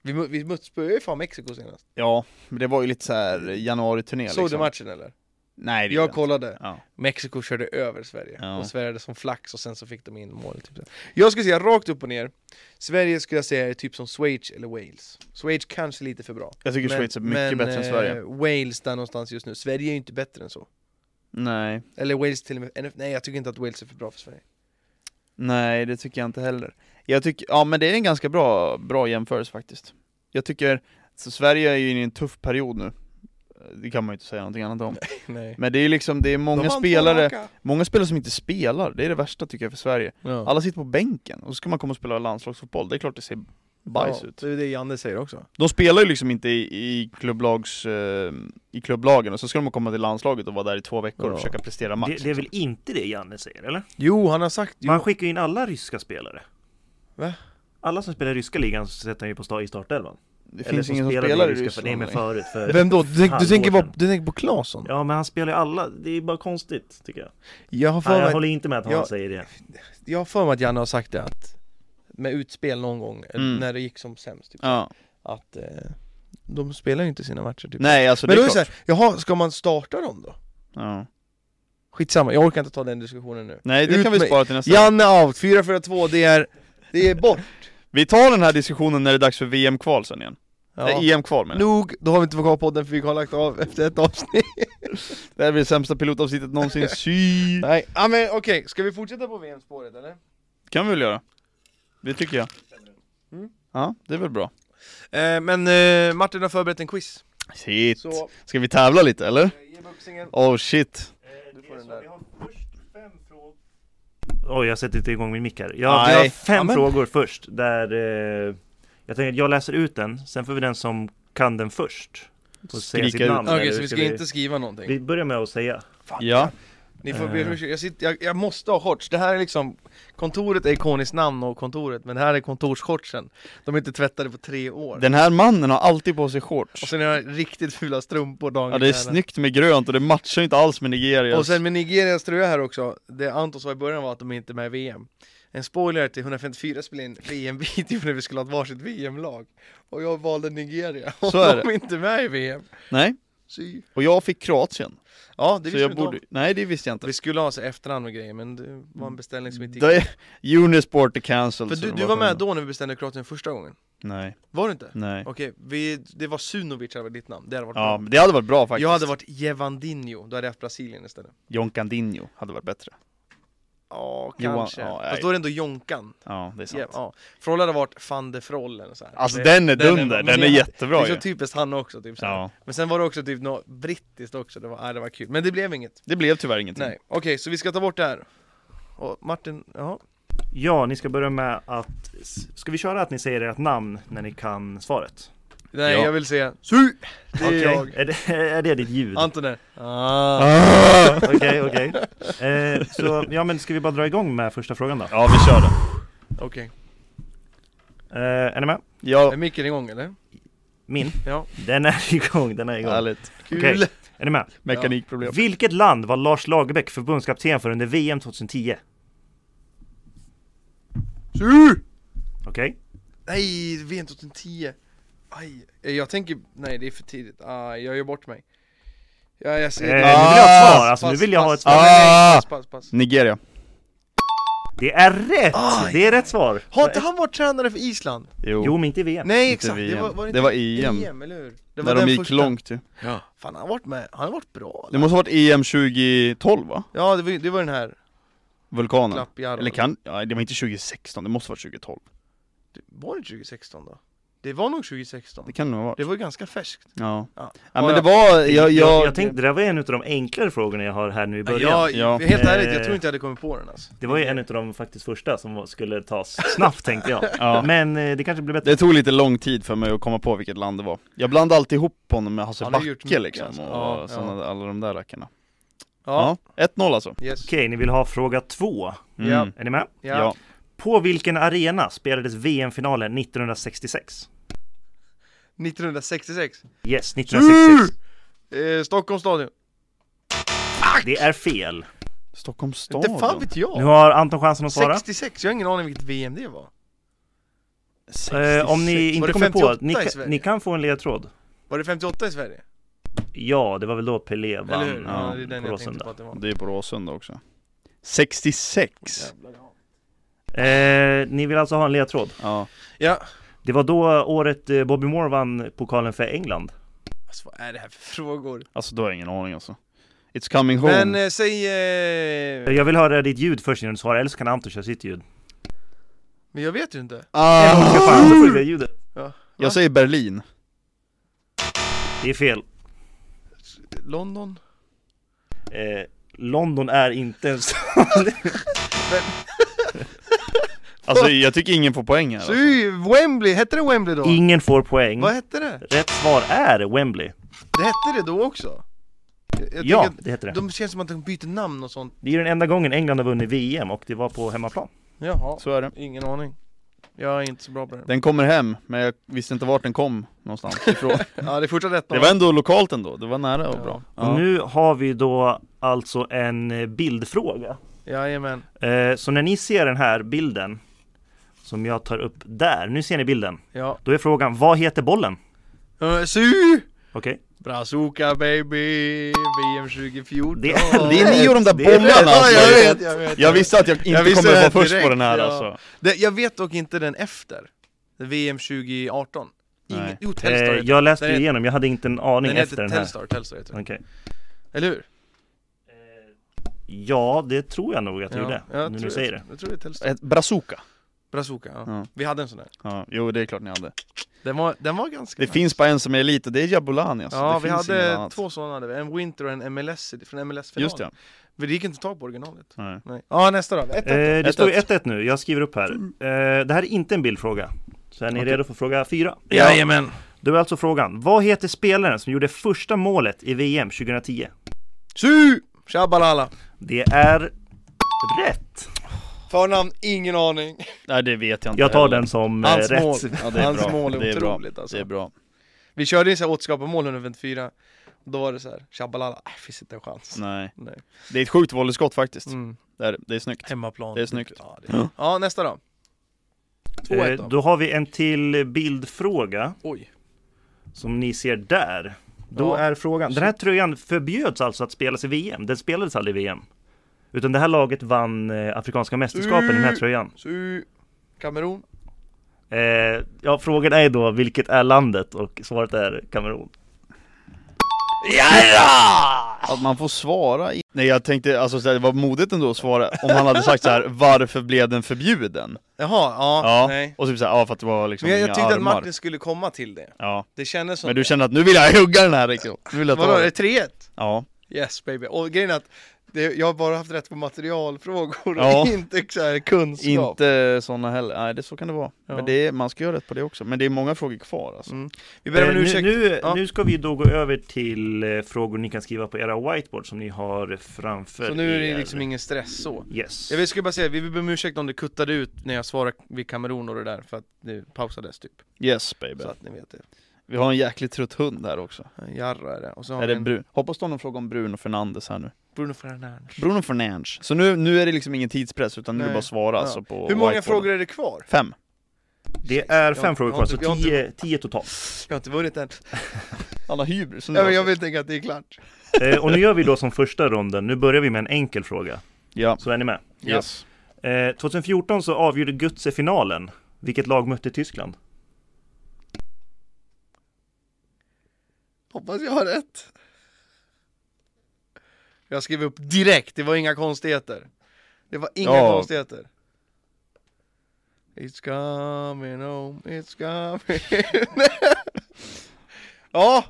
S2: Vi, mö- vi möts- spöade ju fan Mexiko senast.
S1: Ja, men det var ju lite så här januari-turné
S2: Såg
S1: liksom.
S2: du matchen eller?
S1: Nej, det gjorde
S2: Jag
S1: jag inte.
S2: kollade.
S1: Ja.
S2: Mexiko körde över Sverige.
S1: Ja.
S2: Och Sverige hade som flax och sen så fick de in mål. Typ. så. Jag skulle säga rakt upp och ner. Sverige skulle jag säga är typ som Schweiz eller Wales. Schweiz kanske lite för bra.
S1: Jag tycker Schweiz är mycket bättre än
S2: eh,
S1: Sverige.
S2: Wales där någonstans just nu. Sverige är ju inte bättre än så.
S1: Nej,
S2: Eller Wales till och med. NF Nej, jag tycker inte att Wales är för bra för Sverige.
S1: nej det tycker jag inte heller. Jag tycker, ja men det är en ganska bra, bra jämförelse faktiskt. Jag tycker, så Sverige är ju inne i en tuff period nu. Det kan man ju inte säga någonting annat om.
S2: Nej.
S1: Men det är ju liksom, det är
S2: De
S1: många
S2: vann två
S1: spelare,
S2: raka.
S1: många spelare som inte spelar, det är det värsta tycker jag för Sverige.
S2: Ja.
S1: Alla sitter på bänken, och så ska man komma och spela landslagsfotboll, det är klart det ser bajs ut.
S2: Det är det Janne säger också.
S1: De spelar ju liksom inte i, i, klubblags, eh, i klubblagen, och så ska de komma till landslaget och vara där i två veckor och
S2: Ja.
S1: försöka prestera match. liksom.
S3: Det, det är väl inte det Janne säger eller?
S2: Jo, han har sagt jo.
S3: Man skickar ju in alla ryska spelare.
S2: Va?
S3: Alla som spelar i ryska ligan så sätter han ju på sta- i startelvan.
S1: Det
S3: Eller
S1: finns
S3: som
S1: ingen som
S3: spelade
S1: spelar i
S3: ryska- Nej
S1: Ryssland
S3: men
S1: längre.
S3: förut, för...
S2: Vem då? Du, tänk- du,
S3: Halvår
S2: tänker på,
S3: sedan.
S2: du tänker på Claesson?
S3: Ja men han spelar ju alla, det är bara konstigt tycker jag.
S2: Jag har
S3: Nej, jag
S2: för mig,
S3: håller inte med att han
S2: jag-
S3: säger det.
S2: jag har för mig att Janne har sagt det att med utspel någon gång, eh,
S1: Mm.
S2: när det gick som sämst, typ,
S1: Ja.
S2: att eh, de spelar ju inte sina matcher typ.
S1: Nej alltså
S2: Men
S1: det
S2: då
S1: är
S2: är det så
S1: klart.
S2: här, jaha, ska man starta dem då?
S1: Ja.
S2: Skitsamma, jag orkar inte ta den diskussionen nu.
S1: Nej det
S2: Ut
S1: kan vi
S2: med-
S1: spara till nästa gång.
S2: [LAUGHS] Janne out, 4-4-2, det är, det är bort!
S1: Vi tar den här diskussionen när det är dags för VM-kval sen igen.
S2: Ja.
S1: Nej, EM-kval menar jag.
S2: Nog, då har vi inte varit kvar på podden för vi har lagt av efter ett avsnitt
S1: Det här blir det sämsta pilotavsnittet [LAUGHS] någonsin, sy
S2: Nej, ja, men okej, ska vi fortsätta på VM-spåret eller?
S1: kan vi väl göra? Det tycker jag
S2: Mm.
S1: Ja, det är väl bra
S2: Eh, men eh, Martin har förberett en quiz
S1: Shit!
S2: Så,
S1: Ska vi tävla lite eller?
S2: ge buxingen
S1: Oh shit!
S2: Du får den där.
S3: har först fem frågor. Oj, jag sätter inte igång min mick här. Jag,
S1: Nej.
S3: jag har fem
S2: Ja, men-
S3: frågor först, där eh, jag tänker att jag läser ut den, sen får vi den som kan den först. Och säga
S1: Skrika
S3: sitt
S1: ut.
S3: namn.
S2: Okej,
S3: eller
S2: så vi ska inte skriva någonting?
S3: Vi börjar med att säga.
S1: Ja,
S2: Ni får
S1: Eh.
S2: be om ursäkt, jag, sitter, jag, jag måste ha shorts, det här är liksom Kontoret är ikoniskt namn och kontoret, men det här är kontorsshortsen De är inte tvättade på tre år
S1: den här mannen har alltid på sig
S2: Och
S1: shorts
S2: sen har jag riktigt fula strumpor dagen
S1: Ja det är
S2: innan.
S1: snyggt med grönt och det matchar ju inte alls med Nigeria
S2: Och sen med Nigerias tröja här också, det Anton sa i början var att de inte är med i VM En spoiler till 154 spelade in VM-video [LAUGHS] när vi skulle ha ett varsitt VM-lag Och jag valde Nigeria, och
S1: Så är
S2: de är inte med i VM
S1: Nej,
S2: Sy.
S1: och jag fick Kroatien
S2: Ja, det
S1: så
S2: visste
S1: jag
S2: vi borde...
S1: borde... Nej det visste jag inte
S2: Vi skulle ha så efterhand och grejer, men det var en beställning som inte gick
S1: det... Unisport är cancelled
S2: För
S1: så
S2: du,
S1: det
S2: du var med
S1: skönt.
S2: då när vi beställde Kroatien första gången?
S1: Nej,
S2: Var du inte?
S1: Mm. nej
S2: Okej, vi, det var Sunovic hade varit ditt namn, det hade varit
S1: Ja, men det hade varit bra
S2: bra
S1: faktiskt
S2: Jag hade varit Jevandinho, då hade jag haft Brasilien istället
S1: Jonkandinho hade varit bättre
S2: Ja,
S1: Johan-
S2: kanske,
S1: ja, nej.
S2: fast då är det ändå Jonkan
S1: Ja, det är sant
S2: Ja, ja. Frolle hade varit van de Frollen och så här.
S1: Alltså
S2: Det-
S1: den är
S2: men
S1: dunder, den är
S2: jag-
S1: jättebra
S2: Det är
S1: ju
S2: så typiskt han också, typ så här.
S1: Ja.
S2: Men sen var det också typ något brittiskt också, det var, nej, det var kul. Men det blev inget.
S1: Det blev tyvärr ingenting
S2: Nej, okej, så vi ska ta bort det här. Och Martin, ja.
S3: Ja, ni ska börja med att... Ska vi köra att ni säger ert namn när ni kan svaret?
S2: Nej,
S1: Ja.
S2: jag vill se. Su! Det är
S3: Okej,
S2: jag.
S3: är, det, [LAUGHS] är det ditt ljud?
S2: Anton är. Ah.
S1: Ah!
S3: Okej, okej. Eh, så, ja men ska vi bara dra igång med första frågan då?
S1: [LAUGHS] Ja, vi kör då
S2: Okej.
S3: Eh, är ni med?
S1: Ja,
S2: Är micken igång eller?
S3: Min?
S2: Ja.
S3: Den är [LAUGHS] igång, den är igång.
S1: härligt
S2: Kul!
S3: Okej. Är ni med?
S1: Mekanikproblem
S3: Vilket land var Lars Lagerbäck förbundskapten för under VM 2010?
S2: Su!
S3: Okej?
S2: Nej, VM 2010. Aj, jag tänker, nej det är för tidigt. Aj, jag gör bort mig. Ja, jag
S3: Eh,
S2: ser
S3: nu vill
S1: Ah!
S3: jag ha ett svar, alltså nu
S2: Pass,
S3: vill jag ha ett
S2: pass.
S3: svar.
S2: Nej, nej, nej,
S1: Ah!
S2: Pass, pass, pass.
S1: Nigeria
S3: Det är rätt!
S2: Aj!
S3: Det är rätt svar!
S2: Har inte han varit tränare för Island?
S3: Jo men inte i VM.
S2: Nej
S1: Inte
S2: exakt, det
S1: VM.
S2: var, var
S1: Det
S2: inte
S1: var EM.
S2: eller hur? Det
S1: När
S2: den
S1: de gick
S2: första.
S1: långt ju
S2: Ja. Fan han har varit med, han har varit bra alltså.
S1: Det måste ha varit EM 2012 va?
S2: Ja det var, det var den här
S1: Vulkanen
S2: Klappjärven
S1: Eller kan, ja, det var inte 2016, det måste ha varit 2012
S2: Det- Typ, Var det 2016 då? Det var nog 2016
S1: Det kan det nog ha varit
S2: Det var ju ganska färskt
S1: Ja, ja.
S2: Ja.
S1: men
S2: Ja,
S1: det var, jag, jag,
S3: Jag, jag tänkte, det där var en av de enklare frågorna jag har här nu i början.
S2: jag,
S1: Ja.
S2: Helt ärligt, jag
S3: Eh.
S2: tror inte jag hade kommit på den alltså.
S3: Det var ju en av de faktiskt första som var- skulle tas
S2: [LAUGHS]
S3: snabbt tänkte jag.
S1: Ja.
S3: Men eh, det kanske blir bättre.
S1: Det tog lite lång tid för mig att komma på vilket land det var Jag blandade alltid ihop honom med Hasse
S2: Han har gjort
S1: Backe
S2: mycket,
S1: liksom
S2: alltså.
S1: och
S2: Ja,
S1: såna, alla de där rackarna
S2: Ja,
S1: Ja, 1-0 alltså
S2: yes
S3: Okej, ni vill ha fråga två.
S1: Mm.
S2: Ja.
S3: Är ni med?
S2: ja.
S1: Ja.
S3: På vilken arena spelades VM-finalen 1966?
S2: 1966
S3: Yes, 1966.
S2: eh, Stockholms stadion
S3: Det är fel.
S1: Stockholms stad
S2: Inte fan vet
S3: Nu
S2: jag!
S3: har Anton chansen att svara.
S2: 66, jag har ingen aning vilket VM det var
S3: Eh, om ni
S2: Var
S3: inte
S2: det
S3: kommer på,
S2: 58
S3: ni,
S2: i
S3: ka-
S2: Sverige?
S3: ni kan få en ledtråd.
S2: Var det 58 i Sverige?
S3: Ja, det var väl då Pelé
S2: Eller
S3: vann
S2: hur? Ja, det är den
S3: på
S2: jag tänkte
S3: Råsunda.
S2: på att det var
S1: Det är på Råsunda också 66
S2: Jävlar, ja.
S3: Eh, ni vill alltså ha en ledtråd.
S1: Ja,
S2: Ja,
S3: Det var då året eh, Bobby Moore vann pokalen för England.
S2: alltså vad är det här för frågor?
S1: alltså då har jag ingen aning alltså It's coming home
S2: Men eh, säg... Eh,
S3: Jag vill höra ditt ljud först innan du svarar, eller så kan Anton köra sitt ljud.
S2: men jag vet ju inte.
S3: Nej,
S2: eh,
S3: men hon ska få
S1: ah!
S3: Anton först, ljudet.
S1: Jag säger Berlin
S3: Det är fel.
S2: London?
S3: Eh, London är inte en stad.
S1: Alltså jag tycker ingen får poäng här
S2: Så
S1: alltså.
S2: ju Wembley, hette det Wembley då?
S3: Ingen får poäng.
S2: Vad hette det?
S3: Rätt svar är Wembley.
S2: Det hette det då också? Jag, jag
S3: ja,
S2: tänker
S3: det heter
S2: att
S3: det.
S2: De känns som att de byter namn och sånt.
S3: Det är den enda gången England har vunnit VM och det var på hemmaplan.
S2: Jaha,
S1: Så är det
S2: ingen aning. Jag är inte så bra på det.
S1: Den kommer hem, men jag visste inte vart den kom någonstans
S2: [LAUGHS]
S1: ifrån
S2: Ja, det är fortsatt rätt
S1: Det var ändå lokalt ändå, det var nära och
S2: Ja.
S1: bra
S3: Och nu har vi då alltså en eh, bildfråga.
S2: Jajamän.
S3: Eh, så när ni ser den här bilden som jag tar upp där, nu ser ni bilden.
S2: Ja.
S3: Då är frågan, vad heter bollen?
S2: Eh, Su!
S3: Okej?
S2: Brazuka baby, VM 2014.
S3: [LAUGHS] Det-
S1: Det är ni och de där
S3: Det är-
S1: bollarna
S2: Ja, jag
S1: alltså.
S2: vet, jag vet.
S1: Jag visste att jag inte
S2: visste
S1: kommer
S2: det
S1: vara
S2: här
S1: först på
S2: direkt,
S1: den här
S2: ja.
S1: alltså
S2: Det, jag vet dock inte den efter. VM 2018?
S1: Nej.
S2: Ingen, jo,
S3: Eh,
S2: Telstar heter
S3: jag läste
S2: Den är-
S3: igenom, jag hade inte en
S2: den.
S3: aning
S2: Den
S3: efter
S2: heter
S3: den här.
S2: Telstar, Telstar heter den.
S3: Okej.
S2: Eller hur?
S3: Ja, det tror jag nog att jag gjorde.
S2: jag
S3: nu
S2: tror-
S3: du säger det.
S2: Jag tror det är Telstar.
S1: Ett Bazooka.
S2: Bazooka, ja.
S1: Ja.
S2: Vi hade en sån där.
S1: Ja, jo det är klart ni hade.
S2: Den var, den var ganska
S1: Det
S2: nice.
S1: finns bara en som är elit och det är Jabulani alltså.
S2: Ja,
S1: det
S2: vi
S1: finns inget
S2: hade
S1: annat.
S2: två sådana. hade vi. En Winter och en MLS från MLS-finalen.
S1: Just det.
S2: Men det gick inte att ta på originalet.
S1: Nej.
S2: Nej. Ja, nästa då. Ett, ett.
S3: Eh, det
S1: Ett,
S3: står ju
S1: ett.
S3: 1-1 nu, jag skriver upp här. Eh, det här är inte en bildfråga. Så är ni
S1: Okej.
S3: redo för fråga 4?
S2: Jajamän.
S3: Då är alltså frågan, vad heter spelaren som gjorde första målet i VM 2010?
S2: Su! Shabalala.
S3: Det är rätt!
S2: Förnamn, ingen aning.
S1: Nej det vet jag inte
S3: Jag tar
S1: heller.
S3: den som eh,
S2: Hans
S3: rätt.
S2: mål.
S1: Ja, det är
S2: [LAUGHS] Hans
S1: bra.
S2: mål är
S1: det är
S2: otroligt
S1: bra.
S2: alltså.
S1: Det är bra.
S2: Vi körde ju såhär återskaparmål 154. Då var det såhär, Shabalala, äh, finns inte en chans.
S1: Nej.
S2: Nej.
S1: Det är ett sjukt volleyskott faktiskt.
S2: Mm.
S1: Det, är, det är snyggt.
S2: Hemmaplan.
S1: Det är snyggt. Eh,
S2: Ja, det är... ja nästa då. 2-1
S3: Eh,
S2: då.
S3: då har vi en till bildfråga
S2: Oj.
S3: som ni ser där. Då
S2: Ja.
S3: är frågan, den här tröjan förbjöds alltså att spelas i VM, den spelades aldrig i VM. Utan det här laget vann eh, Afrikanska mästerskapen i den
S2: Mm.
S3: här tröjan.
S2: Su! Kamerun.
S3: Eh, ja, frågan är då vilket är landet och svaret är Kamerun.
S1: Att man får svara i... Nej jag tänkte, alltså så här, det var modigt ändå att svara om han hade sagt så här: [LAUGHS] varför blev den förbjuden?
S2: Jaha, ja,
S1: Ja,
S2: nej.
S1: och typ såhär, ja för att det var liksom
S2: Men jag,
S1: inga
S2: jag tyckte att
S1: armar.
S2: Martin skulle komma till det.
S1: Ja,
S2: Det kändes som
S1: men du kände att nu vill jag hugga den här liksom. Nu vill jag
S2: Vadå,
S1: ta
S2: är
S1: den.
S2: det 3-1?
S1: Ja.
S2: Yes baby, och grejen är att det, jag har bara haft rätt på materialfrågor och
S1: Ja.
S2: [LAUGHS] inte så här kunskap
S1: Inte såna heller, nej det, så kan det vara.
S2: Ja.
S1: Men det är, man ska göra rätt på det också, men det är många frågor kvar alltså.
S2: Mm. Vi ber om
S3: Eh,
S2: en
S3: nu,
S2: ursäkt,
S3: nu,
S2: Ja.
S3: nu ska vi då gå över till eh, frågor ni kan skriva på era whiteboard som ni har framför
S2: så nu är
S3: er.
S2: det liksom ingen stress så
S3: Yes.
S2: Jag vill- skulle bara säga, vi ber om ursäkt om det kuttade ut när jag svarade vid Kamerun och det där för att det pausades typ
S1: Yes baby.
S2: Så att ni vet det
S1: Vi har en jäkligt trött hund här också.
S2: Jarra är det, och så har
S1: är
S2: vi
S1: det
S2: en
S1: Brun? Hoppas det är någon fråga om Bruno Fernandes här nu.
S2: Bruno Fernandes
S1: Bruno Fernandes. Så nu, nu är det liksom ingen tidspress utan nu är
S2: Nej.
S1: det bara att svara
S2: Ja.
S1: alltså på
S2: Hur många
S1: whiteboarden.
S2: frågor är det kvar?
S1: Fem.
S3: Det är fem
S2: Jag har-
S3: frågor
S2: jag
S3: kvar,
S2: har
S3: så
S2: inte- jag har inte-
S3: tio, tio totalt.
S2: Jag har inte vunnit än,
S1: Mm. Alla hybris.
S2: jag vill, jag vill tänka att det är klart
S3: Eh, och nu gör vi då som första ronden, nu börjar vi med en enkel fråga.
S1: Ja.
S3: Så är ni med?
S1: Yes.
S3: Eh, 2014 så avgjorde Götze finalen. Vilket lag mötte Tyskland?
S2: Hoppas jag har rätt Jag skrev upp direkt, det var inga konstigheter Det var inga
S1: Ja.
S2: konstigheter It's coming home, it's coming [LAUGHS] Ja,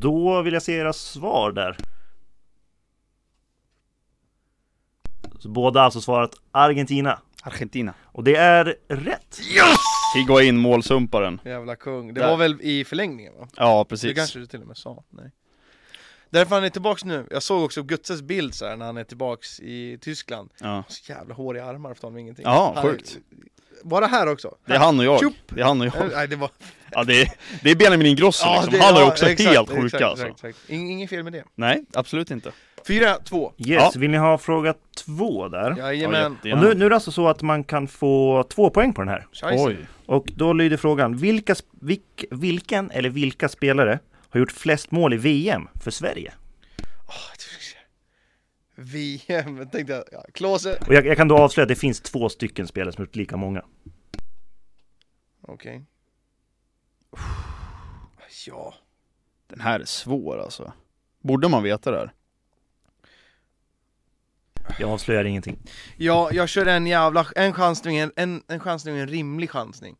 S3: Då vill jag se era svar där. Så båda har alltså svarat Argentina.
S1: Argentina.
S3: Och det är rätt!
S1: Higuain, målsumparen.
S2: jävla kung Det
S1: Där.
S2: var väl i förlängningen va?
S1: Ja,
S2: Det
S1: precis.
S2: kanske du till och med sa, nej Därför han är tillbaks nu, jag såg också Gutzes bild så här när han är tillbaks i Tyskland
S1: Ja.
S2: Så jävla håriga armar för tal om ingenting
S1: Ja,
S2: Han-
S1: sjukt.
S2: Bara här också
S1: Det är han och jag.
S2: Tjup.
S1: Det är han och jag.
S2: Nej det var
S1: Ja, det, är, det är Benjamin Ingrosso liksom.
S2: det-
S1: han har ju
S2: ja,
S1: också
S2: exakt,
S1: helt sjuka
S2: exakt,
S1: alltså.
S2: exakt, exakt. Ing- Inget fel med det.
S1: Nej, absolut inte.
S2: 4-2.
S3: Yes, vill ni ha fråga två där?
S2: Jajamän.
S1: Ja,
S3: Och nu, nu är det alltså så att man kan få två poäng på den här.
S2: Scheisse.
S1: Oj.
S3: Och då lyder frågan, vilka, sp- vilk, vilken eller vilka spelare har gjort flest mål i VM för Sverige?
S2: Åh, det- VM, tänkte jag. Ja, Klose.
S3: Och jag, jag kan då avslöja att det finns två stycken spelare som har gjort lika många.
S2: Okej. Ja.
S1: Den här är svår alltså. Borde man veta det här?
S3: Jag avslöjar ingenting.
S2: ja, jag kör en jävla, en chansning, en, en, en chansning, en rimlig chansning.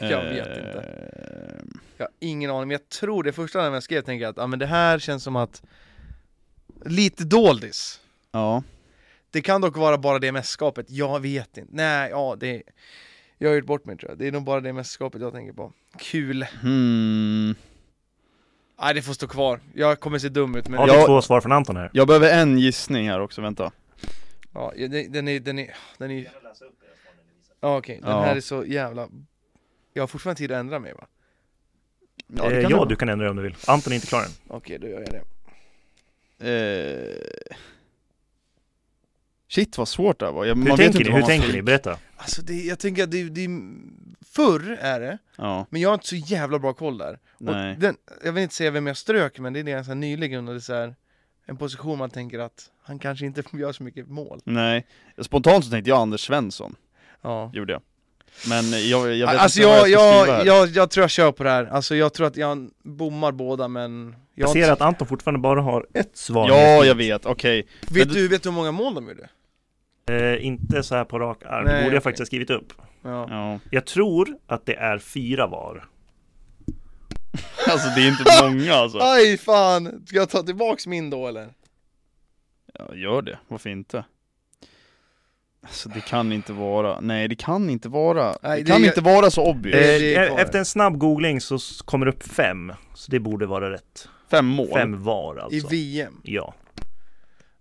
S2: Jag vet inte.
S1: Eh,
S2: Jag har ingen aning, men jag tror det första när jag skrev tänkte jag att ah, men det här känns som att lite doldis.
S1: Ja.
S2: Det kan dock vara bara det mästerskapet, jag vet inte. Nej, ja det... Jag har gjort bort mig tror jag. Det är nog bara det mästerskapet jag tänker på. Kul.
S1: Hmm.
S2: Nej det får stå kvar, jag kommer se dum ut men
S3: Har
S2: ja.
S3: vi
S1: Jag-
S3: två svar från Anton här?
S1: Jag behöver en gissning här också, vänta.
S2: den, den är, den är, den är Ja okej, den
S1: Ja.
S2: här är så jävla Jag har fortfarande tid att ändra mig va?
S1: Ja,
S3: eh,
S1: det kan
S3: ja
S1: det
S3: du kan ändra dig om du vill. Anton är inte klar än.
S2: Okej då gör jag det
S1: Eh... Shit vad svårt det här var. Jag,
S3: Hur
S1: man vet inte
S3: tänker ni?
S1: vad
S3: Hur
S1: man
S3: tänker
S1: ska-
S3: ni? Berätta.
S2: Alltså det, jag tänker att det, det Förr är det,
S1: Ja,
S2: men jag har inte så jävla bra koll där
S1: nej.
S2: Och den, jag vill inte säga vem jag strök men det är ganska nyligen och det är så här, En position man tänker att han kanske inte [LAUGHS] gör så mycket mål
S1: Nej. Spontant så tänkte jag Anders Svensson,
S2: Ja,
S1: gjorde jag. Men jag, jag vet
S2: Alltså
S1: inte
S2: jag,
S1: vad jag ska skriva
S2: jag,
S1: här.
S2: jag, jag tror jag kör på det här, alltså jag tror att jag bommar båda men jag
S3: Jag
S2: har
S3: ser
S2: inte-
S3: att Anton fortfarande bara har ett svar.
S1: Ja, jag vet, okej.
S2: vet, du, vet du hur många mål de gjorde?
S3: Eh, inte så här på rak
S2: Nej,
S3: arm, det borde
S2: okej.
S3: jag faktiskt ha skrivit upp.
S2: Ja.
S1: Ja.
S3: Jag tror att det är fyra var.
S1: Alltså det är inte många alltså.
S2: Aj fan! Ska jag ta tillbaks min då eller?
S1: Ja, gör det, varför inte? Alltså det kan inte vara, nej det kan inte vara,
S2: Nej,
S1: det kan
S2: det-
S1: inte vara så obvious.
S2: Det-
S3: Eh,
S2: det är kvar.
S3: efter en snabb googling så s- kommer det upp fem, så det borde vara rätt.
S1: Fem mål.
S3: Fem var
S2: I
S3: alltså.
S2: VM?
S3: Ja.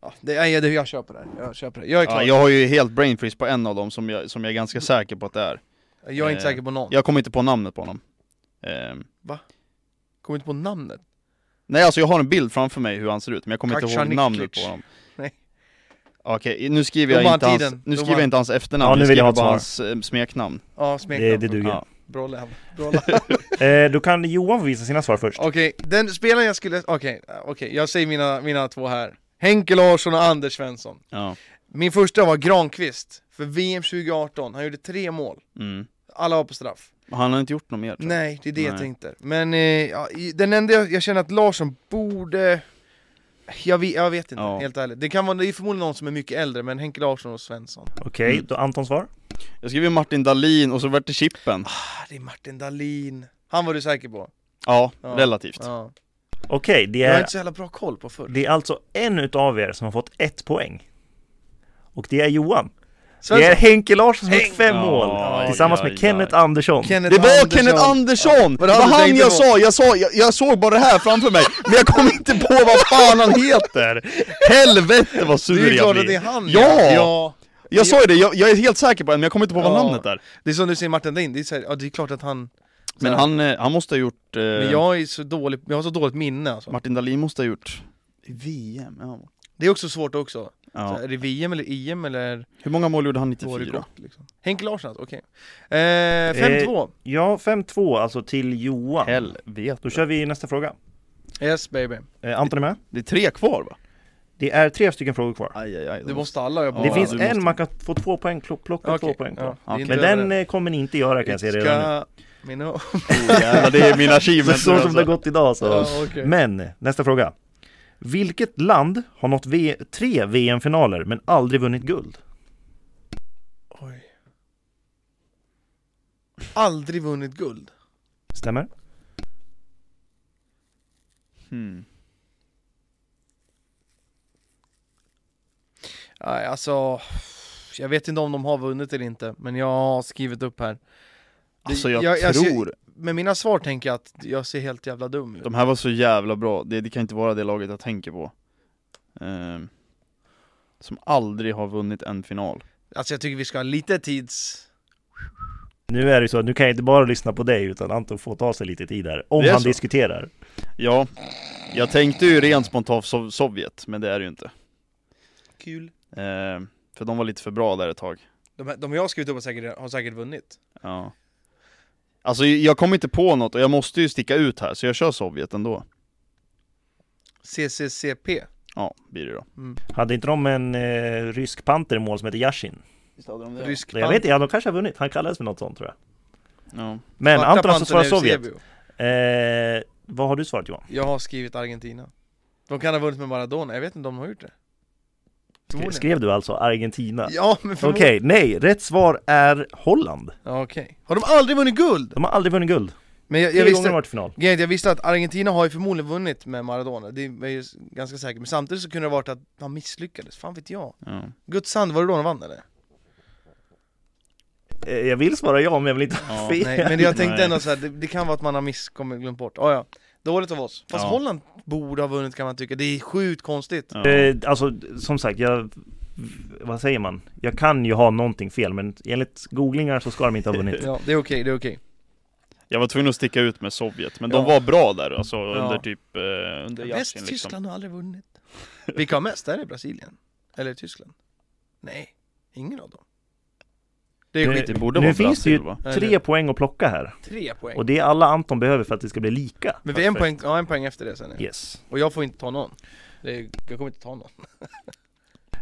S2: Ja, det, nej, det, jag kör på det här, jag kör på det här. Jag är klar,
S1: Ja, jag har ju helt brain freeze på en av dem som jag, som jag är ganska säker på att det är.
S2: jag, är inte
S1: eh,
S2: säker på någon
S1: Jag kommer inte på namnet på honom. Ehm,
S2: Kommer inte på namnet
S1: nej alltså jag har en bild framför mig hur han ser ut, men jag kommer inte ihåg
S2: Kacaniklic.
S1: namnet på honom.
S2: Nej.
S1: Okej, nu skriver jag
S2: Domar
S1: inte hans,
S2: tiden.
S1: nu skriver
S2: Domar.
S1: jag inte hans efternamn,
S3: Ja, nu
S1: jag
S3: vill
S1: skriver
S3: jag
S1: bara
S3: ha ett
S1: hans eh, smeknamn.
S2: Ja,
S3: Det, det
S2: smeknamn,
S3: duger.
S1: Ja.
S2: bra läm, bra läm
S3: Eh, då kan Johan få visa sina svar först.
S2: Okej, den spelaren jag skulle, okej, okej, jag säger mina, mina två här Henke Larsson och Anders Svensson
S1: Ja.
S2: Min första var Granqvist, för VM 2018, han gjorde tre mål
S1: Mm.
S2: Alla var på straff
S1: Han har inte gjort något mer tror jag.
S2: Nej, det är det jag
S1: Nej.
S2: tänkte Men eh, ja, i- den enda jag, jag känner att Larsson borde jag vet, jag vet inte,
S1: Ja.
S2: helt ärligt. Det kan vara, det är förmodligen någon som är mycket äldre, men Henke Larsson och Svensson
S3: Okej, då Antons svar.
S1: Jag skriver Martin Dahlin och så vart det Chippen.
S2: Ah, det är Martin Dahlin Han var du säker på?
S1: Ja,
S2: Ja.
S1: relativt.
S2: Ja.
S3: Okej, det
S2: Jag har
S3: är
S2: inte så jävla bra koll på förr
S3: Det är alltså en utav er som har fått ett poäng. Och det är Johan. Det är
S2: Svensson,
S3: Henke Larsson som har gjort
S2: Henk!
S3: fem
S1: Ja,
S3: mål.
S1: ja,
S3: tillsammans
S1: ja,
S3: med
S1: ja.
S3: Kenneth Andersson.
S2: Kenneth
S1: Det var
S2: Andersson.
S1: Kenneth Andersson!
S2: Var
S1: Vad
S2: det
S1: det
S2: han
S1: var
S2: du
S1: han
S2: tänkte
S1: jag
S2: på?
S1: sa, jag, sa jag, jag såg bara det här framför mig, men jag kom inte på vad fan han heter! Helvete vad
S2: Det är
S1: sur
S2: ju
S1: jag
S2: klart att det
S1: blir!
S2: är han
S1: Ja!
S2: ja!
S1: Jag sa ju det, jag, jag är helt säker på det, men jag kommer inte på vad
S2: Ja.
S1: namnet är
S2: Det är som du säger Martin Lind, det är, så här, ja, det är klart att han
S1: Men han, eh, han måste ha gjort... Eh,
S2: Men jag är så dålig, jag har så dåligt minne alltså.
S1: Martin Dahlin måste ha gjort... I VM, ja.
S2: Det är också svårt också, så
S1: ja.
S2: här, är det VM eller EM eller
S1: Hur många mål gjorde han
S2: var det
S1: 94?
S2: gott liksom? Henke Larsson alltså, okej eh, 5-2,
S3: Ja, 5-2 alltså till Johan. Då
S1: Helvete.
S3: kör vi nästa fråga.
S2: yes baby
S3: Eh, Anton är med.
S1: Det är tre kvar va?
S3: Det är tre stycken frågor kvar.
S1: Aj, aj, aj.
S2: Du måste alla jag
S1: Ja,
S3: det
S2: bara-
S3: finns
S1: du
S3: en,
S1: måste-
S3: man kan få två poäng, plo- plocka
S2: Okej,
S3: två poäng på.
S2: ja, det är
S1: Okej.
S2: inte
S3: Men
S2: över
S3: den
S2: än.
S3: eh, kommer ni inte göra kan jag säga redan nu.
S2: Ska... Min... Ja,
S1: Oh, Jävlar, det är [LAUGHS] min
S3: Så,
S1: achievement
S3: så som det har gått idag så.
S2: okej.
S3: Men, nästa fråga. Vilket land har nått v- tre VM-finaler men aldrig vunnit guld?
S2: Oj. Aldrig vunnit guld
S3: Stämmer?
S1: Hmm.
S2: Nej, alltså Jag vet inte om de har vunnit eller inte, men jag har skrivit upp här
S1: Alltså jag,
S2: ser-
S1: tror,
S2: med mina svar tänker jag att jag ser helt jävla dum ut
S1: typ. de här var så jävla bra, det, det kan inte vara det laget jag tänker på Ehm, Som aldrig har vunnit en final
S2: Alltså jag tycker vi ska ha lite tids...
S3: Nu är det ju så att nu kan jag inte bara lyssna på dig utan Anton får ta sig lite tid här. Om
S1: Det är
S3: han
S1: så.
S3: diskuterar.
S1: Ja, jag tänkte ju rent spontant Sov Sovjet, men det är det ju inte
S2: Kul
S1: Ehm, För de var lite för bra där ett tag
S2: De, här- de jag har skrivit upp har säkert, har säkert vunnit
S1: Ja Alltså jag kom inte på något och jag måste ju sticka ut här, så jag kör Sovjet ändå
S2: CCCP
S1: Ja, blir det då
S3: Hade inte de en eh, rysk panter i mål som heter Yashin?
S2: Rysk
S3: Jag vet inte, ja, de kanske har vunnit. Han kallades för något sånt tror jag.
S1: Ja,
S3: Men
S2: Svarta
S3: Anton har alltså
S2: Pantern
S3: svarat
S2: är
S3: Sovjet.
S2: Eusebio.
S3: Eh, vad har du svarat Johan?
S2: Jag har skrivit Argentina De kan ha vunnit med Maradona, jag vet inte om de har gjort det Förmodligen.
S3: Skrev du alltså Argentina?
S2: Ja men
S3: Okej,
S2: förmodligen
S3: nej, rätt svar är Holland.
S2: Ja, Okej Har de aldrig vunnit guld?
S3: De har aldrig vunnit guld.
S2: Men jag,
S3: Tre
S2: jag
S3: gånger har
S2: visste
S3: varit i final.
S2: Grejen är att jag visste att Argentina har ju förmodligen vunnit med Maradona, det är jag ju ganska säker Men samtidigt så kunde det ha varit att han misslyckades, fan vet jag
S1: ja.
S2: Guds sand, var det då de vann eller?
S3: Eh, jag vill svara ja, men jag vill inte ha
S1: Ja,
S3: fel.
S2: Nej, men jag tänkte
S1: Nej.
S2: ändå såhär, det, det kan vara att man har misskommit, glömt bort. Ah, ja. Dåligt av oss. Fast
S1: Ja.
S2: Holland borde ha vunnit kan man tycka, det är sjukt konstigt.
S1: ja.
S3: Eh, alltså, som sagt, jag... Vad säger man? Jag kan ju ha någonting fel, men enligt googlingar så ska de inte ha vunnit.
S2: Ja, det är okej, det är okej.
S1: Jag var tvungen att sticka ut med Sovjet, men
S2: Ja.
S1: de var bra där alltså
S2: Ja.
S1: under typ, eh, under Yashin liksom
S2: Västtyskland har aldrig vunnit. Vilka har mest? Är det Brasilien? Eller Tyskland? Nej, ingen av dem. Det är
S3: Det-
S2: skit.
S1: Det borde
S3: Nu
S1: vara
S3: finns det ju-
S1: Brasil va?
S3: Tre poäng att plocka här.
S2: Tre poäng.
S3: Och det är alla Anton behöver för att det ska bli lika.
S2: Men vi är en poäng, ja, en poäng efter det sen.
S3: Yes.
S2: Och jag får inte ta någon. Det är, jag kommer inte ta någon.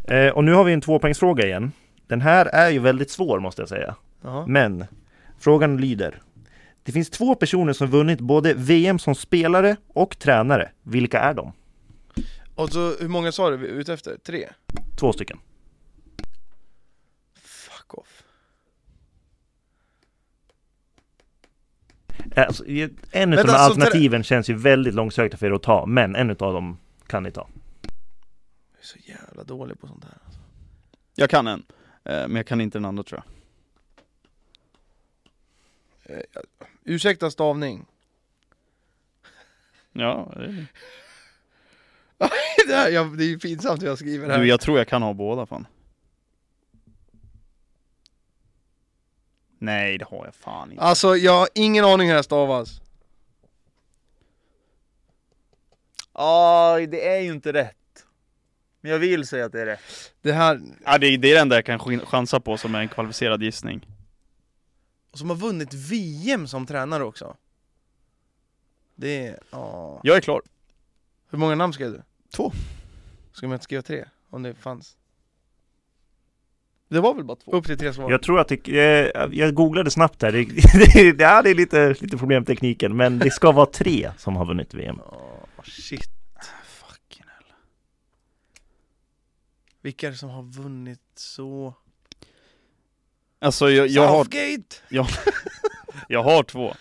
S3: Eh, och nu har vi en tvåpoängsfråga igen. Den här är ju väldigt svår måste jag säga.
S2: Jaha.
S3: Men Frågan lyder. Det finns två personer som vunnit både VM som spelare och tränare. Vilka är de?
S2: Och så, hur många sa du vi är ute efter? Tre?
S3: Två stycken.
S2: Fuck off.
S3: Alltså, en av
S2: Vänta,
S3: de här
S2: alltså,
S3: alternativen känns ju väldigt långsökta för er att ta, men en av dem kan ni ta.
S2: Jag är så jävla dålig på sånt här.
S1: Jag kan en, eh, men jag kan inte den andra tror jag.
S2: Ursäkta stavning.
S1: Ja, det är-
S2: [LAUGHS] det, här, jag, det är ju pinsamt hur jag skriver här.
S1: du, jag tror jag kan ha båda fan. Nej, det har jag fan inte.
S2: Alltså jag har ingen aning hur det här stavas.
S1: Aj, det är ju inte rätt. Men jag vill säga att det är rätt.
S2: Det här,
S1: Ja, Ah, det, det är det enda jag kan skin- chansa på som är en kvalificerad gissning.
S2: och som har vunnit VM som tränare också. Det är, ja.
S1: Jag är klar.
S2: Hur många namn skrev du?
S1: Två.
S2: Ska man inte skriva tre? Om det fanns. Det var väl bara två? Upp till tre svar.
S3: Jag tror jag tycker, eh, jag googlade snabbt här, det, [LAUGHS] det, det, ja, det är lite, lite problem med tekniken, men det ska vara tre som har vunnit VM.
S2: Åh, shit.
S1: Fucking hell.
S2: Vilka är det som har vunnit så?
S1: Alltså jag, jag, har,
S2: Southgate!
S1: jag har två.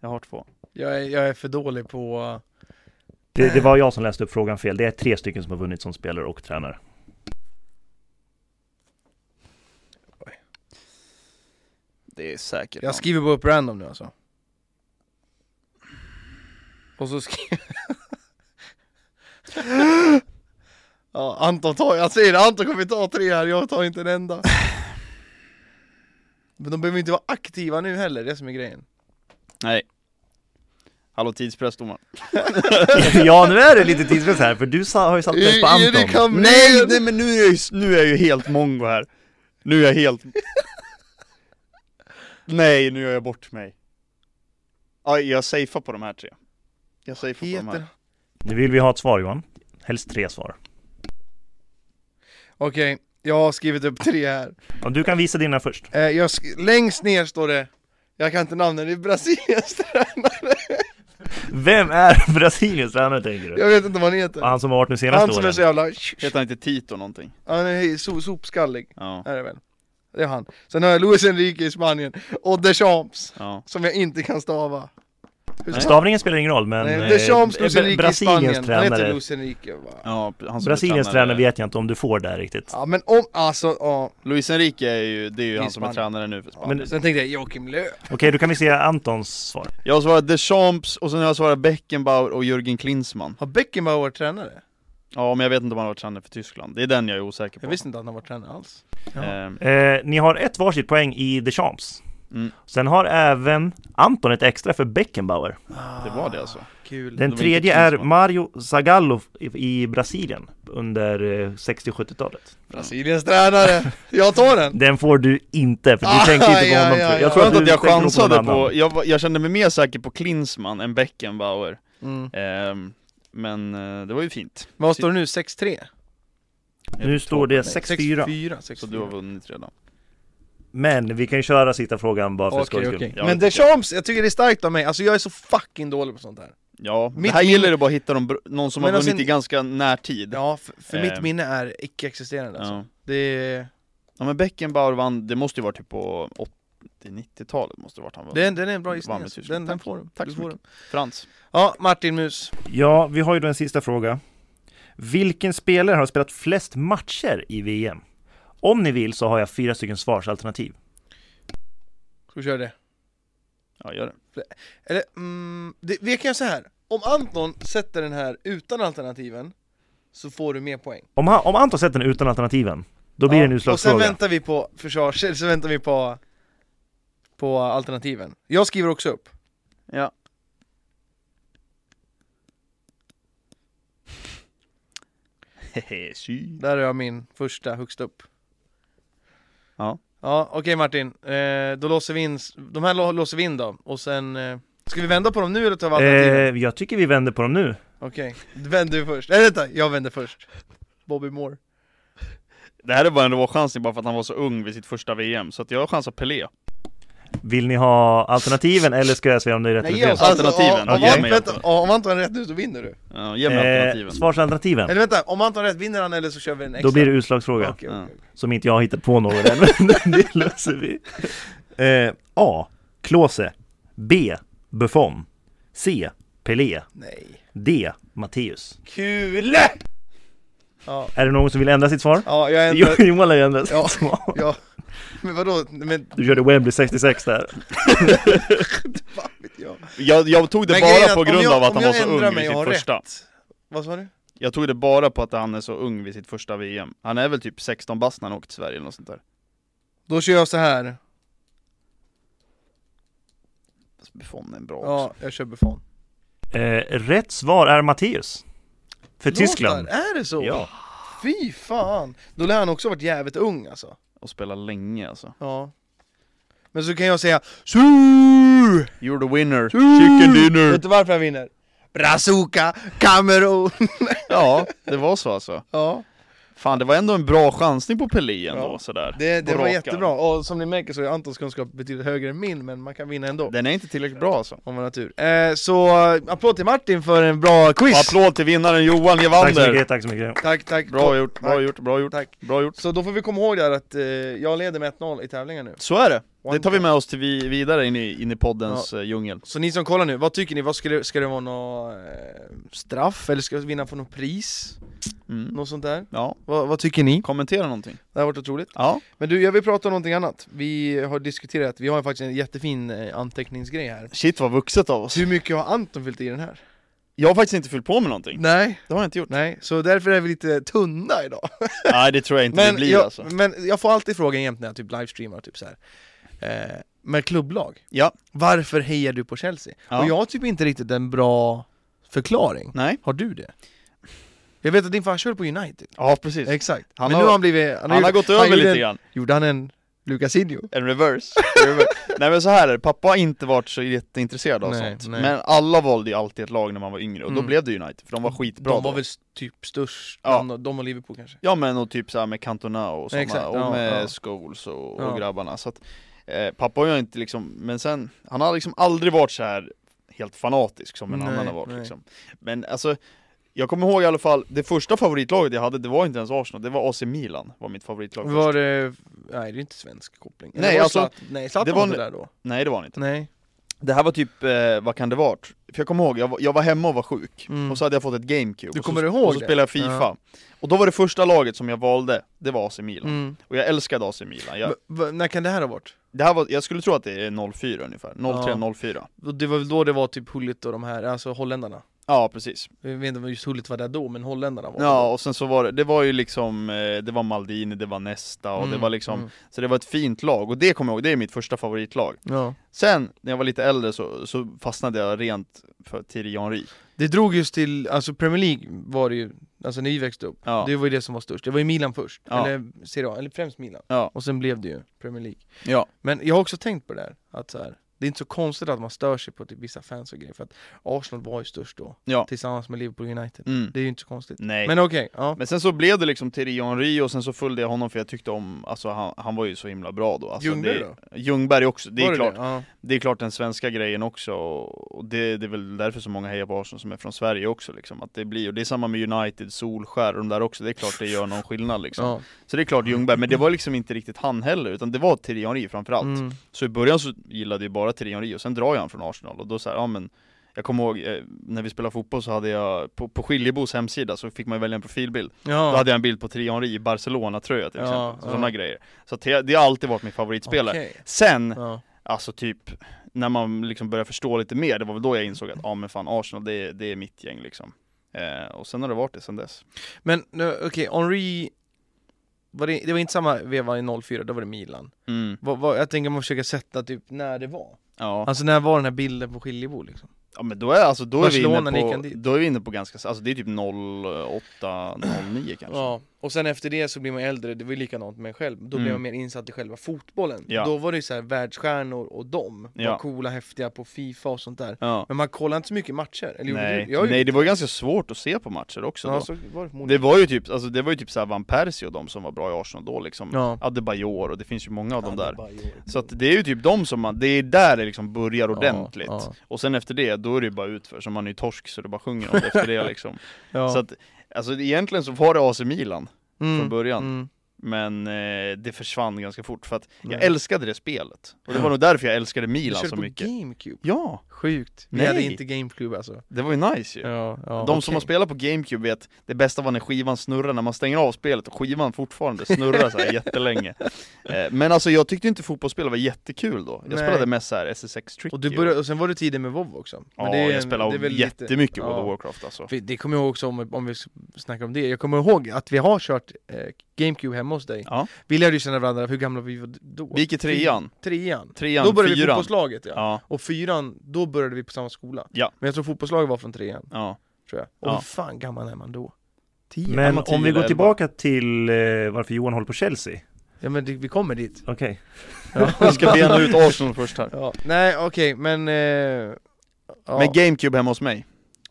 S1: Jag har två.
S2: Jag är, jag är för dålig på...
S3: Det, det var jag som läste upp frågan fel, det är tre stycken som har vunnit som spelare och tränare. [LAUGHS]
S1: Det är säkert
S2: Jag skriver bara upp random nu alltså. Och så skriver... [LAUGHS] ja, Anton tar, jag säger det, Anton kommer ta tre här, jag tar inte en enda. Men de behöver inte vara aktiva nu heller, det är som är grejen.
S1: Nej. Hallå tidspress domaren.
S3: ja, nu är det lite tidspress här, för du sa, har ju satt press på
S2: Erik
S3: Anton.
S2: Hamrén!
S1: Nej, nej men nu är, jag, ju- nu är jag ju helt mongo här. Nu är jag helt... Nej, nu gör jag bort mig. Aj, jag safear på de här tre. Jag safear på de
S2: Heter...
S1: här.
S3: Nu vill vi ha ett svar Johan, helst tre svar.
S2: Okej, jag har skrivit upp tre här.
S3: Ja, du kan visa dina först.
S2: Eh, jag sk- längst ner står det, jag kan inte namnen, det är Brasiliens tränare.
S3: Vem är [LAUGHS] Brasiliens tränare tänker du?
S2: Jag vet inte vad han heter.
S3: Han som har varit nu senaste
S2: Han som är
S3: åren.
S2: så jävla...
S1: Heter han inte Tito någonting?
S2: Han är so- sopskallig.
S1: Ja,
S2: är det väl. Det är han. Sen har jag Luis Enrique i Spanien och Deschamps
S1: ja.
S2: som jag inte kan stava. Hur ska-
S3: Stavningen spelar ingen roll, men...
S2: Nej,
S3: eh,
S2: Deschamps, Luis
S3: Bra-
S2: Enrique i Spanien.
S3: Brasiliens
S2: Han heter
S3: tränare.
S2: Luis Enrique va?
S1: ja han som är
S3: Brasiliens tränare vet jag inte om du får där riktigt.
S2: Ja men om, alltså ja.
S1: Luis Enrique är ju, det är ju
S2: I
S1: han som är
S2: Spanien.
S1: tränare nu för Spanien.
S3: Men-
S2: Sen tänkte jag Joakim Löw.
S3: Okej, då kan vi se Antons svar.
S1: Jag har svarat Deschamps och sen har jag svarat Beckenbauer och Jürgen Klinsmann.
S2: Har Beckenbauer varit tränare?
S1: Ja, men jag vet inte om han har varit tränare för Tyskland. Det är den jag är osäker på.
S2: Jag visste inte att han var tränare alls.
S1: Ehm,
S3: Eh, ni har ett varsitt poäng i Deschamps.
S1: Mm.
S3: Sen har även Anton ett extra för Beckenbauer.
S1: det var det alltså.
S2: Kul.
S3: Den
S1: inte
S3: tredje är
S1: Klinsmann.
S3: Mario Zagallo i, i Brasilien under eh, 60-70-talet.
S2: Brasiliens tränare. Jag tar den.
S3: Den får du inte, för du
S2: Ah,
S3: tänkte inte på
S2: ja,
S3: honom.
S2: ja,
S3: tror
S2: ja.
S3: Jag tror att
S1: Skönt
S3: du
S1: att jag
S3: tänker nog på,
S1: chansade
S3: någon
S1: på,
S3: annan.
S1: jag, var- jag kände mig mer säker på Klinsmann än Beckenbauer.
S2: Mm.
S1: Ehm, men eh, det var ju fint.
S2: Men vad står det nu? 6-3?
S3: Nu står det 6-4.
S2: 6-4.
S1: Så du har vunnit redan.
S3: Men vi kan ju köra sista frågan bara för skojs
S2: Okej,
S3: skull.
S2: okej.
S1: Ja,
S2: Men
S1: det tycker
S2: Deschamps, jag tycker det är starkt av mig. Alltså jag är så fucking dålig på sånt här.
S1: Ja,
S2: Mitt
S1: det här
S2: minne-
S1: gäller det bara att hitta de, br- någon som har
S2: Men
S1: vunnit
S2: alltså
S1: i
S2: en-
S1: ganska närtid. Ja.
S2: Ja, för, för mitt
S1: Eh.
S2: minne är icke-existerande alltså.
S1: Ja.
S2: Det är,
S1: men Beckenbauer vann, det måste ju varit typ på 80-90-talet måste det varit han vann.
S2: den, den är en bra gissning
S1: Vann med
S2: alltså.
S1: Tyskland.
S2: den, den
S1: Tack.
S2: får du.
S1: Tack
S2: du
S1: så
S2: får
S1: mycket. Frans.
S2: den. Ja, Martin Mus.
S3: Ja, vi har ju då en sista fråga. Vilken spelare har spelat flest matcher i VM? Om ni vill så har jag fyra stycken svarsalternativ.
S2: Ska vi köra det?
S1: Ja, gör det.
S2: Eller, mm, det, vi kan göra så här. Om Anton sätter den här utan alternativen så får du mer poäng.
S3: Om, han, om Anton sätter den utan alternativen, då blir det en
S2: Och sen
S3: utslagsfråga.
S2: väntar vi på [LAUGHS] försvars... eller Så väntar vi på, på alternativen. Jag skriver också upp.
S1: Ja. Hehe, sy.
S2: Där har jag min första högst upp.
S1: Ja.
S2: Ja, okej Martin. Eh, då låser vi in, s- de här lå- låser vi in då. Och sen, eh, ska vi vända på dem nu eller tar vi alternativen?
S3: Eh, jag tycker vi vänder på dem nu.
S2: Okej, du vänder ju först. Nej vänta, jag vänder först. Bobby Moore.
S1: Det här är bara en råchansning bara för att han var så ung vid sitt första VM, så att jag chansar Pelé.
S3: Vill ni ha alternativen eller ska jag säga om det är rätt
S1: Nej,
S3: eller fel?
S1: oss alternativen.
S2: Alltså, om,
S1: Ja,
S2: om,
S1: ge mig
S2: vänta,
S1: alternativen.
S2: om Anton har rätt nu så vinner du.
S1: Ja, ge mig
S2: Eh,
S1: alternativen.
S3: Eh, svarsalternativen.
S2: Eller vänta, om Anton har rätt vinner han eller så kör vi en extra.
S3: Då blir det utslagsfråga.
S2: Okej, okej, okej.
S3: Som inte jag har hittat på någon än, [LAUGHS] men det löser vi. Eh, A. Klose B. Buffon C. Pelé
S2: Nej.
S3: D. Matteus
S2: Kul! Ja,
S3: Är det någon som vill ändra sitt svar?
S2: ja jag
S3: Jo,
S2: ändrar.
S3: Johan lär ju ändra
S1: [LAUGHS]
S3: sitt
S2: Ja.
S3: svar.
S2: Ja. Men vadå? Men
S3: Du körde Wembley 66 där.
S2: fan vet jag.
S1: Jag, jag tog det
S2: Men grejen är
S1: bara
S2: att
S1: på
S2: om
S1: grund
S2: jag-
S1: av att
S2: om
S1: han
S2: jag
S1: var så
S2: ändrar
S1: ung
S2: mig
S1: vid
S2: och har
S1: sitt första.
S2: Vad sa du?
S1: Jag tog det bara på att han är så ung vid sitt första VM. Han är väl typ 16 bast när han åkte till Sverige eller något sånt där.
S2: Då kör jag så här.
S1: Fast Buffon är bra också.
S2: Ja, jag kör Buffon.
S3: Eh, rätt svar är Matteus. För Tyskland.
S2: Låtar, är det så?
S3: Ja.
S2: Fy fan! Då lär han också ha varit jävligt ung alltså.
S1: Och spelar länge alltså.
S2: Ja. Men så kan jag säga Su!
S1: You're the winner, chicken dinner!
S2: Vet du varför jag vinner? Brazuka Kamerun!
S1: Ja, det var så alltså.
S2: [LAUGHS] ja,
S1: Fan, det var ändå en bra chansning på Pelé ändå
S2: Ja.
S1: sådär.
S2: det, det
S1: På
S2: var
S1: rakan.
S2: jättebra. Och som ni märker så är Antons kunskap betydligt högre än min, men man kan vinna ändå.
S1: Den är inte tillräckligt bra alltså.
S2: Om man har tur. Eh, så applåd till Martin för en bra
S1: Och
S2: quiz!
S1: Applåd till vinnaren Johan
S3: Tack så
S1: Gevander!
S3: mycket, tack så mycket.
S2: Tack, tack!
S1: Bra gjort, bra
S2: Tack.
S1: gjort, bra gjort,
S2: Tack.
S1: bra gjort.
S2: Så då får vi komma ihåg där att eh, jag leder med 1-0 i tävlingen nu.
S1: Så är det! Det
S2: One
S1: tar vi
S2: point.
S1: med oss till vi, vidare in i, in i poddens ja. djungel.
S2: Så ni som kollar nu, vad tycker ni? Vad ska, det, ska det vara något eh, straff? Eller ska vi vinna för något pris?
S1: Mm.
S2: Något sånt där?
S1: Ja,
S2: Vad, vad tycker ni?
S1: kommentera någonting.
S2: Det har varit otroligt.
S1: Ja,
S2: Men du, jag vill prata om någonting annat. Vi har diskuterat, vi har faktiskt en jättefin eh, anteckningsgrej här.
S1: shit vad vuxet av oss.
S2: Hur mycket har Anton fyllt i den här?
S1: Jag har faktiskt inte fyllt på med någonting.
S2: Nej,
S1: Det har jag inte gjort.
S2: nej, så därför är vi lite tunna idag.
S1: [LAUGHS] Nej, [LAUGHS] det tror jag inte det blir
S2: jag,
S1: alltså.
S2: men jag får alltid frågan jämt när jag typ livestreamar, typ så här. Eh, med klubblag,
S1: Ja,
S2: varför hejar du på Chelsea?
S1: Ja.
S2: Och jag har typ inte riktigt en bra förklaring.
S1: nej.
S2: Har du det? Jag vet att din farsa höll på United.
S1: Ja, precis.
S2: Exakt.
S1: Han
S2: men
S1: har-
S2: nu har han blivit...
S1: Han
S2: Han,
S1: har
S2: gjort-
S1: gått
S2: han
S1: över
S2: gjorde
S1: lite
S2: en-
S1: grann.
S2: Gjorde han en Lucasinho?
S1: En reverse. [LAUGHS] nej men så här är det, pappa har inte varit så jätteintresserad av
S2: Nej,
S1: sånt.
S2: nej.
S1: Men alla valde ju alltid ett lag när man var yngre, och då
S2: Mm.
S1: blev det United, för de var skitbra
S2: de
S1: då.
S2: var väl s- typ störst,
S1: Ja.
S2: bland de och Liverpool kanske?
S1: Ja men och typ såhär med Cantona och såna,
S2: Exakt,
S1: och
S2: ja,
S1: med
S2: ja.
S1: Scholes och,
S2: Ja.
S1: och grabbarna så att eh, Pappa har ju inte liksom, men sen, han har liksom aldrig varit så här helt fanatisk som en
S2: Nej,
S1: annan har varit
S2: nej.
S1: liksom Men alltså jag kommer ihåg i alla fall, det första favoritlaget jag hade, det var inte ens Arsenal, det var AC Milan var mitt favoritlag
S2: Var
S1: först.
S2: det... Nej det är inte svensk koppling.
S1: Nej,
S2: Eller var
S1: alltså,
S2: Zlatan- Nej Zlatan
S1: det
S2: var
S1: var
S2: inte
S1: en-
S2: där då?
S1: Nej det var det inte
S2: Nej.
S1: Det här var typ, eh, vad kan det varit? För jag kommer ihåg, jag var, jag var hemma och var sjuk,
S2: Mm.
S1: och så hade jag fått ett GameCube
S2: Du
S1: och
S2: kommer
S1: så,
S2: ihåg
S1: och så
S2: det?
S1: spelade jag Fifa
S2: Ja.
S1: Och då var det första laget som jag valde, det var AC Milan
S2: Mm.
S1: Och jag älskade AC Milan, jag,
S2: Va- va- när kan det här ha varit?
S1: Det här var, jag skulle tro att det är 04 ungefär, 03-04
S2: Och Det var väl då det var typ Hullit och de här, alltså holländarna?
S1: Ja precis,
S2: Jag vet inte om just Hullit var där då, men holländarna var
S1: ja och sen så var det, det var ju liksom, eh, det var Maldini, det var Nesta och det
S2: Mm,
S1: var liksom
S2: mm.
S1: Så det var ett fint lag, och det kommer jag ihåg, det är mitt första favoritlag
S2: ja.
S1: Sen, när jag var lite äldre så, så fastnade jag rent för Thierry Henry
S2: Det drog just till, alltså Premier League var det ju, alltså när vi växte upp,
S1: Ja.
S2: det var ju det som var störst. Det var ju Milan först,
S1: Ja.
S2: eller Serie A, eller främst Milan.
S1: Ja.
S2: Och sen blev det ju Premier League.
S1: Ja,
S2: Men jag har också tänkt på det där, att så här, det är inte så konstigt att man stör sig på typ vissa fans och grejer, för att Arsenal var ju störst då,
S1: ja,
S2: tillsammans med Liverpool United.
S1: mm.
S2: Det är ju inte så konstigt.
S1: nej men,
S2: Men okej, ja.
S1: sen så blev det liksom Thierry Henry och sen så följde jag honom för jag tyckte om, alltså han, han var ju så himla bra då alltså,
S2: Ljungberg
S1: det,
S2: då?
S1: Ljungberg också, det är
S2: Var
S1: klart
S2: Det? Ja.
S1: Det är klart den svenska grejen också, och det, det är väl därför så många hejar på Arsenal som är från Sverige också liksom, att det blir, och det är samma med United, Solskär och de där också, det är klart det gör någon skillnad liksom.
S2: Ja.
S1: Så det är klart Ljungberg, men det var liksom inte riktigt han heller, utan det var Thierry Henry framförallt.
S2: Mm.
S1: Så i början så gillade jag bara Thierry Henry, och sen drar jag han från Arsenal, och då så här, ja men jag kommer ihåg, eh, när vi spelade fotboll så hade jag, på, på Skiljebos hemsida så fick man ju välja en profilbild
S2: ja.
S1: Då hade jag en bild på Thierry Henry i Barcelona-tröja till
S2: Ja,
S1: exempel,
S2: ja.
S1: sådana grejer Så att det, det har alltid varit min favoritspelare
S2: Okej.
S1: Sen,
S2: Ja.
S1: Alltså typ, när man liksom började förstå lite mer, det var väl då jag insåg att ja ah, men fan Arsenal det är, det är mitt gäng liksom. Eh, och sen har det varit det sen dess.
S2: Men nu, okej, Henri, var det, det var inte samma veva i 04, då var det Milan.
S1: Mm,
S2: Vad- vad- jag tänker man försöker sätta typ när det var.
S1: ja.
S2: Alltså när var den här bilden på Skiljebo liksom?
S1: ja men då är, alltså, då är, vi
S2: Barcelona,
S1: inne
S2: ni kan
S1: på,
S2: dit.
S1: då är vi inne på ganska, alltså det är typ 08, 09 kanske.
S2: Ja, och Och sen efter det så blir man äldre, det var ju likadant med mig själv Då blev
S1: Mm.
S2: man mer insatt i själva fotbollen
S1: Ja.
S2: Då var det ju så här världsstjärnor och dem
S1: Ja.
S2: var coola, häftiga på Fifa och sånt där
S1: Ja.
S2: Men man kollar inte så mycket matcher, eller gjorde
S1: Nej.
S2: du? Jag gjorde
S1: Nej, det var ju ganska svårt att se på matcher också
S2: ja,
S1: då.
S2: så var det förmodligen
S1: Det var ju typ, alltså det var ju typ såhär Van Persie och de som var bra i Arsenal då liksom
S2: Ja.
S1: Adebayor och det finns ju många av dem
S2: Ja, det
S1: där
S2: var ju-
S1: Så att det är ju typ de som man, det är där det liksom börjar ordentligt
S2: ja.
S1: Och sen efter det, då är det ju bara utför, så man är ju torsk så det bara sjunger om det efter
S2: [LAUGHS]
S1: det liksom
S2: Ja.
S1: Så att, alltså egentligen så var det AC Milan
S2: Mm,
S1: från början
S2: mm.
S1: Men eh, det försvann ganska fort för att jag
S2: Mm.
S1: älskade det spelet Och det var nog därför jag älskade
S2: Du
S1: Milan
S2: körde
S1: så
S2: på
S1: mycket
S2: GameCube?
S1: Ja!
S2: Sjukt, vi
S1: Nej.
S2: hade inte GameCube alltså
S1: Det var ju nice ju
S2: ja, ja,
S1: De som har spelat på GameCube vet, det bästa var när skivan snurrar, när man stänger av spelet och skivan fortfarande snurrar
S2: [LAUGHS]
S1: så här jättelänge Eh, Men alltså jag tyckte inte fotbollsspel var jättekul då, jag
S2: Nej.
S1: spelade mest såhär SS6 Tricky
S2: och, du började, och sen var du tidig med WoW också Men
S1: Ja,
S2: det är-
S1: jag
S2: det
S1: spelade
S2: är väl lite-
S1: jättemycket World
S2: ja.
S1: of Warcraft alltså
S2: För Det kommer jag ihåg också om, om vi s- snackar om det, jag kommer ihåg att vi har kört eh, GameCube hemma hos dig
S1: Ja.
S2: Vi lärde ju känna varandra, hur gamla vi var då?
S1: Vi gick i trean,
S2: Trean?
S1: trean,
S2: Då började vi
S1: fyran
S2: fotbollslaget ja.
S1: Ja,
S2: och fyran, då började vi på samma skola
S1: Ja.
S2: Men jag tror fotbollslaget var från trean, [LAUGHS]
S1: ja,
S2: tror jag Och
S1: Ja.
S2: hur fan gammal är man då? Tio?
S3: Men
S1: Ja, tio
S3: om vi
S1: eller
S3: går
S1: elva.
S3: tillbaka till eh, varför Johan håller på Chelsea.
S2: Ja men det, vi kommer dit
S3: Okej.
S1: jag ska bena ut Arsenal först här
S2: ja. Nej okej, men... Eh, ja.
S1: Men GameCube hemma hos mig,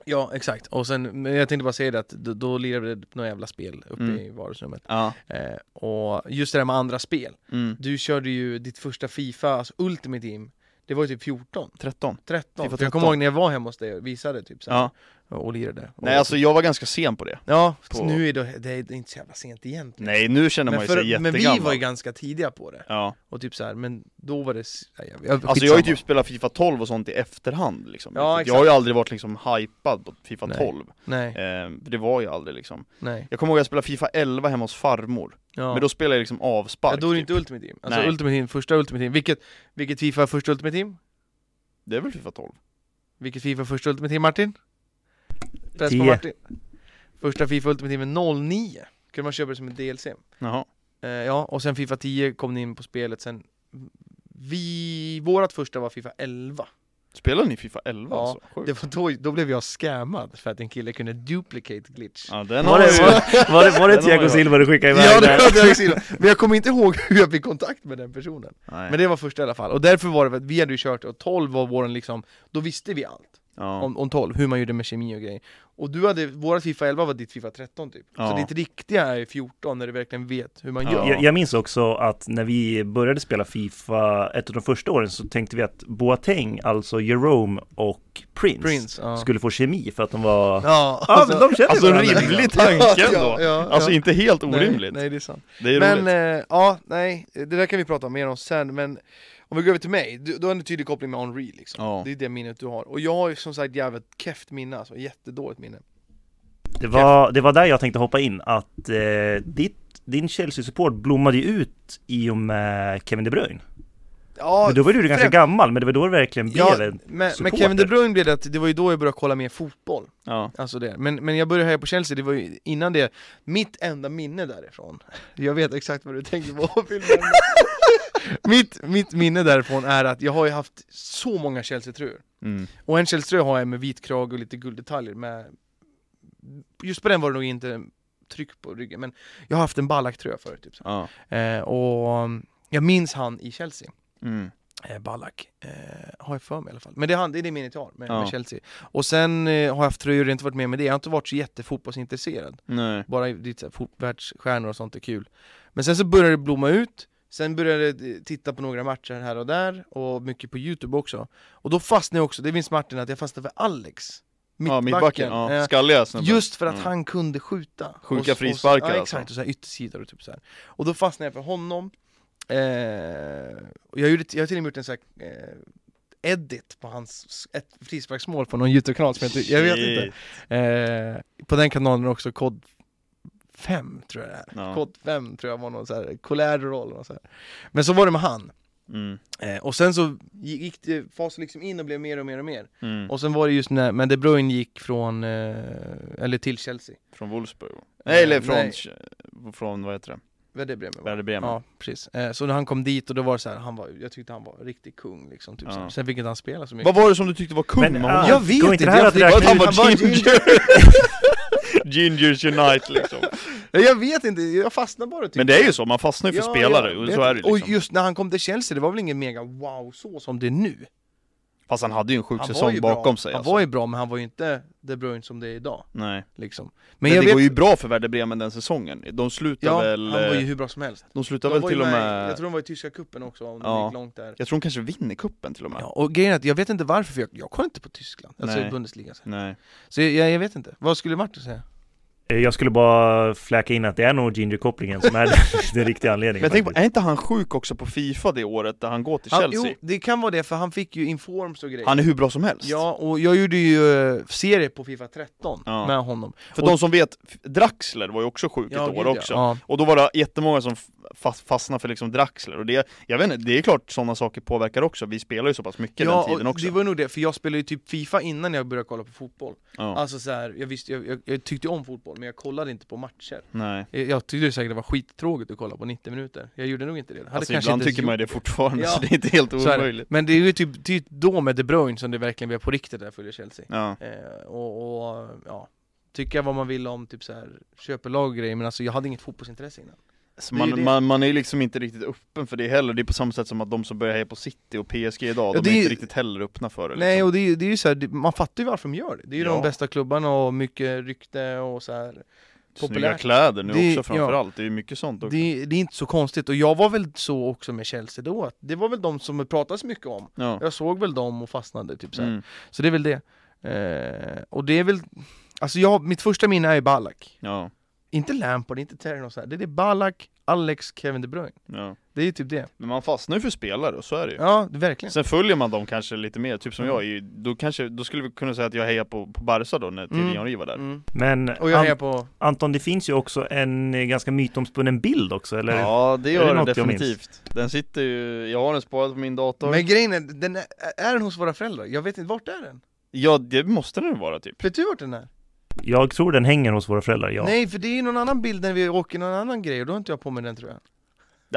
S2: ja exakt, och sen, men jag tänkte bara säga det att då, då lirade vi några jävla spel uppe
S1: Mm.
S2: i vardagsrummet
S1: ja,
S2: eh, Och just det där med andra spel
S1: mm.
S2: Du körde ju ditt första Fifa, alltså Ultimate Team Det var ju typ 14,
S1: 13
S2: 13
S1: FIFA
S2: För Jag
S1: 13.
S2: kommer ihåg när jag var hemma hos dig och visade typ så här,
S1: Ja,
S2: och lirade och,
S1: nej alltså jag var ganska sen på det
S2: Ja,
S1: på-
S2: nu är det, det är inte så jävla sent egentligen
S1: Nej nu känner man
S2: men,
S1: ju sig
S2: men vi var ju
S1: jättegammal
S2: ganska tidiga på det,
S1: Ja,
S2: och typ så här, men då var det... s- ja, Jag, jag,
S1: Alltså jag har ju
S2: skitsamma.
S1: typ spelat Fifa 12 och sånt i efterhand liksom.
S2: Ja,
S1: För att Jag
S2: exakt.
S1: har ju aldrig varit liksom hypad på Fifa
S2: Nej.
S1: 12
S2: Nej,
S1: eh, för Det var jag aldrig liksom
S2: nej
S1: Jag kommer ihåg att jag spelade Fifa 11 hemma hos farmor
S2: ja.
S1: Men då spelade jag liksom avspark
S2: ja, då är det inte
S1: typ.
S2: Ultimate Team, alltså
S1: Nej.
S2: Ultimate Team, första Ultimate Team, vilket, vilket Fifa är första Ultimate Team?
S1: Det är väl Fifa 12?
S2: Vilket Fifa är första Ultimate Team Martin? Press på
S3: Tio.
S2: Martin Första Fifa Ultimate Team är 09, kunde man köpa det som en DLC
S1: Jaha
S2: Eh, ja, och sen Fifa 10 kom ni in på spelet sen vi, vårat första var Fifa 11
S1: Spelade ni Fifa 11
S2: Ja,
S1: alltså? Sjukt.
S2: Det var då, då blev jag scammad för att en kille kunde duplicate glitch
S1: Ja den
S3: Var
S1: har
S3: det,
S1: jag ju
S3: var, var det, var
S1: Den
S3: det
S1: har
S3: Thiago
S1: jag.
S3: Silva du skickade iväg
S2: Ja, det
S3: där?
S2: hade jag sida. Men jag kommer inte ihåg hur jag fick kontakt med den personen
S1: Nej.
S2: Men det var första i alla fall, och därför var det för att vi hade ju kört, och 12 var våren liksom Då visste vi allt
S1: ja.
S2: om, om 12, hur man gjorde med kemi och grejer Och du hade, vårat Fifa 11 var ditt Fifa 13 typ
S1: Ja.
S2: Så ditt riktiga är ju 14 när du verkligen vet hur man
S1: Ja.
S2: gör
S3: Jag, jag minns också att när vi började spela Fifa ett av de första åren så tänkte vi att Boateng, alltså Jerome och Prince,
S2: Prince, ja
S3: skulle få kemi för att de var... Ja,
S2: Ja,
S3: men de känner
S1: Alltså en
S3: varandra.
S1: rimlig tanke
S2: Ja,
S1: ändå!
S2: ja,
S1: Alltså inte helt
S2: Nej,
S1: orimligt,
S2: Nej, det är sant.
S1: det är
S2: men
S1: roligt
S2: eh, ja, nej, det där kan vi prata mer om sen, men om vi går över till mig, du, du har en tydlig koppling med Henri liksom.
S1: Ja.
S2: Det är det minnet du har. Och jag har ju som sagt jävligt keft minne, alltså jättedåligt minne.
S3: Det var, det var där jag tänkte hoppa in, att eh, ditt, din Chelsea-support blommade ju ut i och med Kevin De Bruyne.
S2: Ja,
S3: men då var ju du ganska
S2: främ-
S3: gammal, men det var då det verkligen blev
S2: ja,
S3: en...
S2: men, men
S3: supporter.
S2: Kevin De Bruyne blev det att det var ju då jag började kolla mer fotboll.
S1: ja.
S2: Alltså det. Men, men jag började heja på Chelsea, det var ju innan det, mitt enda minne därifrån, [LAUGHS] jag vet exakt vad du tänker på Wilhelm. [LAUGHS] mitt, mitt minne därifrån är att jag har ju haft så många Chelsea-tröjor.
S1: Mm.
S2: Och en Chelsea-tröja har jag med vit krage och lite gulddetaljer med Just på den var det nog inte tryck på ryggen men Jag har haft en Ballack-tröja förut typ. så.
S1: ja.
S2: eh, Och mm, jag minns han i Chelsea
S1: Mm.
S2: eh, Ballack eh, Har jag för mig i alla fall Men det är, han, det, är det minnet jag har med,
S1: Ja.
S2: med Chelsea Och sen eh, har jag haft tröjor, det har inte varit med med det Jag har inte varit så jättefotbollsintresserad
S1: Nej.
S2: Bara lite så här, fot- världsstjärnor och sånt är kul Men sen så började det blomma ut Sen började jag eh, titta på några matcher här och där Och mycket på Youtube också Och då fastnade jag också, det minns Martin att jag fastnade för Alex
S1: Ja, mittbacken,
S2: Eh,
S1: ja. skalliga snubben
S2: Just för att
S1: Mm.
S2: han kunde skjuta.
S1: Sjuka
S2: Och- och-
S1: frisparkar
S2: ja,
S1: alltså.
S2: exakt, och så här yttersidor och typ så här. Och då fastnade jag för honom. Eh, och jag, gjorde, jag har till och med gjort en så här, eh, edit på hans s- ett frisparksmål på någon Youtube-kanal som jag, inte- jag vet inte.
S1: Shit.
S2: Eh, på den kanalen också kod 5 tror jag det är.
S1: Ja.
S2: Kod 5 tror jag var någon så här collateral och så här. Men så var det med han.
S1: Mm.
S2: Eh, och sen så gick gick det, fas liksom in och blev mer och mer och mer.
S1: Mm.
S2: Och sen var det just när, men De Bruyne gick från, eh, eller till Chelsea.
S1: Från Wolfsburg va? Nej eller
S2: Eh,
S1: från,
S2: nej.
S1: från vad heter det?
S2: Werder Bremen va?
S1: Werder Bremen.
S2: Ja, precis. Eh, Så när han kom dit och då var det så här, han var, jag tyckte han var riktig kung liksom, typ
S1: Ja.
S2: så här. Sen fick inte han spela så mycket.
S1: Vad var det som du tyckte var kung
S3: Men,
S1: med
S3: ah,
S1: honom? [LAUGHS]
S2: Jag vet
S3: går
S2: inte,
S3: inte det här
S2: jag
S3: att
S2: tycker-
S1: Att
S3: räkna
S1: han
S3: ut?
S2: Han var
S1: var ginger! Gingers Unite liksom.
S2: Ja, [LAUGHS] Jag vet inte, jag fastnade bara typ.
S1: Men det är ju så, man fastnar ju för spelare, och så är det ju
S2: Och
S1: liksom.
S2: just när han kom till Chelsea, det var väl ingen mega wow så som det är nu.
S1: Fast han hade ju en sjuk
S2: Han var
S1: säsong
S2: ju
S1: bakom
S2: bra.
S1: sig
S2: Han
S1: alltså.
S2: var ju bra, men han var ju inte De Bruyne som det är idag.
S1: Nej.
S2: Liksom.
S1: Men,
S2: Men, jag
S1: det
S2: vet,
S1: går ju bra för Werder Bremen den säsongen. De slutar
S2: ja,
S1: väl...
S2: han var ju
S1: eh,
S2: hur bra som helst.
S1: De slutar
S2: De
S1: väl
S2: var ju
S1: till och
S2: med-
S1: med...
S2: Jag tror de var i tyska kuppen också, om
S1: Ja.
S2: de gick långt där.
S1: Jag tror de kanske vinner kuppen till och med.
S2: Ja, och grejen är att jag vet inte varför, för jag, jag kollar inte på Tyskland, alltså
S1: Nej.
S2: i Bundesliga. Så,
S1: Nej.
S2: så jag, jag vet inte, vad skulle Martin säga?
S3: Eh, Jag skulle bara fläka in att det är nog ginger-kopplingen som är [LAUGHS] den, den riktiga
S1: Men
S3: anledningen.
S1: jag tänker på,
S3: faktiskt.
S1: är inte han sjuk också på Fifa det året där han går till
S2: Han,
S1: Chelsea?
S2: jo, det kan vara det, för han fick ju informs och grejer.
S1: Han är hur bra som helst.
S2: Ja, och jag gjorde ju eh, serie på Fifa 13
S1: Ja.
S2: med honom.
S1: För
S2: och-
S1: de som vet, F- Draxler var ju också sjuk
S2: Ja,
S1: ett år
S2: gud, ja.
S1: också.
S2: Ja.
S1: Och då var det jättemånga som f- fast, fastnade för liksom Draxler. Och det, jag vet inte, det är klart sådana saker påverkar också. Vi spelar ju så pass mycket den
S2: Ja,
S1: tiden
S2: och
S1: också.
S2: det var nog det, för jag spelade ju typ Fifa innan jag började kolla på fotboll.
S1: Ja.
S2: Alltså så här, jag, visste, jag, jag, jag tyckte om fotboll, men jag kollade inte på matcher.
S1: Nej.
S2: Jag, jag tyckte säkert det var skittråkigt att kolla på 90 minuter. Jag gjorde nog inte det. Hade
S1: Alltså
S2: kanske
S1: ibland
S2: inte
S1: tycker man ju det fortfarande,
S2: Ja.
S1: så det är inte helt
S2: Så är det.
S1: omöjligt.
S2: Men det är ju typ, typ då med De Bruyne som det verkligen blev på riktigt där följer Chelsea.
S1: Ja.
S2: Eh, och, och ja, tycka vad man vill om typ så här köpelag och grejer, men alltså jag hade inget fotbollsintresse innan.
S1: Så
S2: Det är ju
S1: man,
S2: det.
S1: man, man är ju liksom inte riktigt öppen för det heller, det är på samma sätt som att de som börjar heja på City och PSG idag, de
S2: Ja,
S1: är
S2: det är-
S1: inte riktigt heller öppna för det liksom.
S2: Nej, och det är, ju- det är ju så här, det- man fattar ju varför de gör det. Det är ju
S1: Ja.
S2: de bästa klubbarna och mycket rykte och så här.
S1: liksom. Snygga
S2: populärt.
S1: kläder nu
S2: Det-
S1: också framförallt, det är ju mycket sånt också.
S2: Det, det är inte så konstigt, och jag var väl så också med Chelsea då, att det var väl de som det pratades mycket om.
S1: Ja.
S2: Jag såg väl dem och fastnade typ så här.
S1: Mm.
S2: Så det är väl det. Eh, och det är väl, alltså jag, mitt första minne är ju Ballack.
S1: Ja.
S2: Inte Lampard, inte Terry och så här. Det är det Ballack, Alex, Kevin De Bruyne.
S1: ja.
S2: Det är ju typ det.
S1: Men man fastnar ju för spelare, och så är det ju.
S2: Ja, det- verkligen.
S1: Sen följer man dem kanske lite mer, typ som
S2: Mm.
S1: jag, är ju- då, kanske, då skulle vi kunna säga att jag hejar på, på Barca då, när
S2: Mm.
S1: Thierry Henry var där.
S2: Mm.
S3: Men
S2: Och jag
S3: Ant-
S2: hejar på...
S3: Anton, det finns ju också en eh, ganska mytomspunnen bild också, eller?
S1: Ja, det
S3: Är det
S1: gör den
S3: något jag minns?
S1: definitivt. Den sitter ju, jag har den sparad på min dator.
S2: Men grejen är, den är, är den hos våra föräldrar? Jag vet inte, vart är den?
S1: Ja, det måste den ju vara typ.
S2: Vet du vart den är?
S3: Jag tror den hänger hos våra föräldrar, ja.
S2: Nej, för det är ju någon annan bild när vi åker någon annan grej och då har inte jag på mig den tror jag.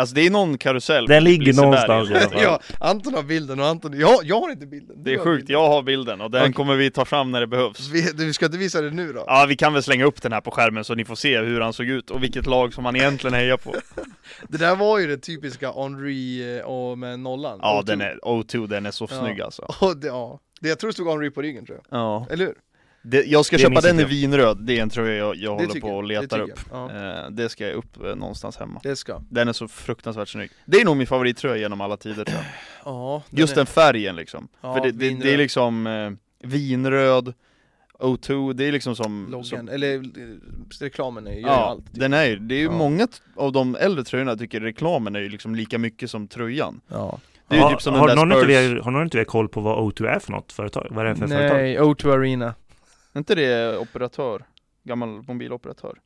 S1: Alltså det är någon karusell
S3: Den ligger
S1: Liseberg
S3: någonstans i alla fall. [LAUGHS]
S2: Ja, Anton har bilden och Anton, jag, jag har inte bilden.
S1: Det
S2: Du
S1: är
S2: har
S1: sjukt,
S2: bilden.
S1: jag har bilden och den
S2: Okej.
S1: kommer vi ta fram när det behövs.
S2: Vi, du ska inte visa det nu då?
S1: Ja, vi kan väl slänga upp den här på skärmen så ni får se hur han såg ut och vilket lag som han egentligen hejar på.
S2: Det där var ju det typiska Henri eh, och med nollan.
S1: Ja,
S2: Och
S1: den
S2: typ-
S1: är, O2, den är så
S2: Ja.
S1: snygg alltså.
S2: Och det, ja. Det, jag tror det stod Henri på ryggen tror jag.
S1: Ja.
S2: Eller hur?
S1: Det, jag ska
S3: Det
S1: köpa
S3: minns
S1: den i
S3: inte
S1: vinröd, det är en tröja jag, jag
S2: Det
S1: håller
S2: tycker
S1: på och
S2: jag. Det
S1: letar upp.
S2: tycker jag. Ja,
S1: Eh, det ska jag upp eh, någonstans hemma.
S2: det ska.
S1: Den är så fruktansvärt snygg. Det är nog min favorittröja genom alla tider tror jag.
S2: Ja,
S1: Just
S2: är-
S1: den färgen liksom.
S2: Ja,
S1: För det, det, det är
S2: vinröd.
S1: liksom eh, vinröd, O2, det är liksom som,
S2: Loggan,
S1: som
S2: eller eh, reklamen är, gör ju
S1: Ja,
S2: allt. typ.
S1: den är ju, det är ju
S2: Ja.
S1: många t- av de äldre tröjorna jag tycker reklamen är ju liksom lika mycket som tröjan
S2: Ja.
S1: Det är ju
S3: har,
S1: typ som
S3: har,
S1: den
S3: någon
S1: där
S3: inte
S1: Spurs,
S3: vi, har någon inte vi har koll på vad O2 är för något företag? Vad är det för företag?
S2: Nej, O2 Arena.
S1: är inte det operatör? Gammal mobiloperatör?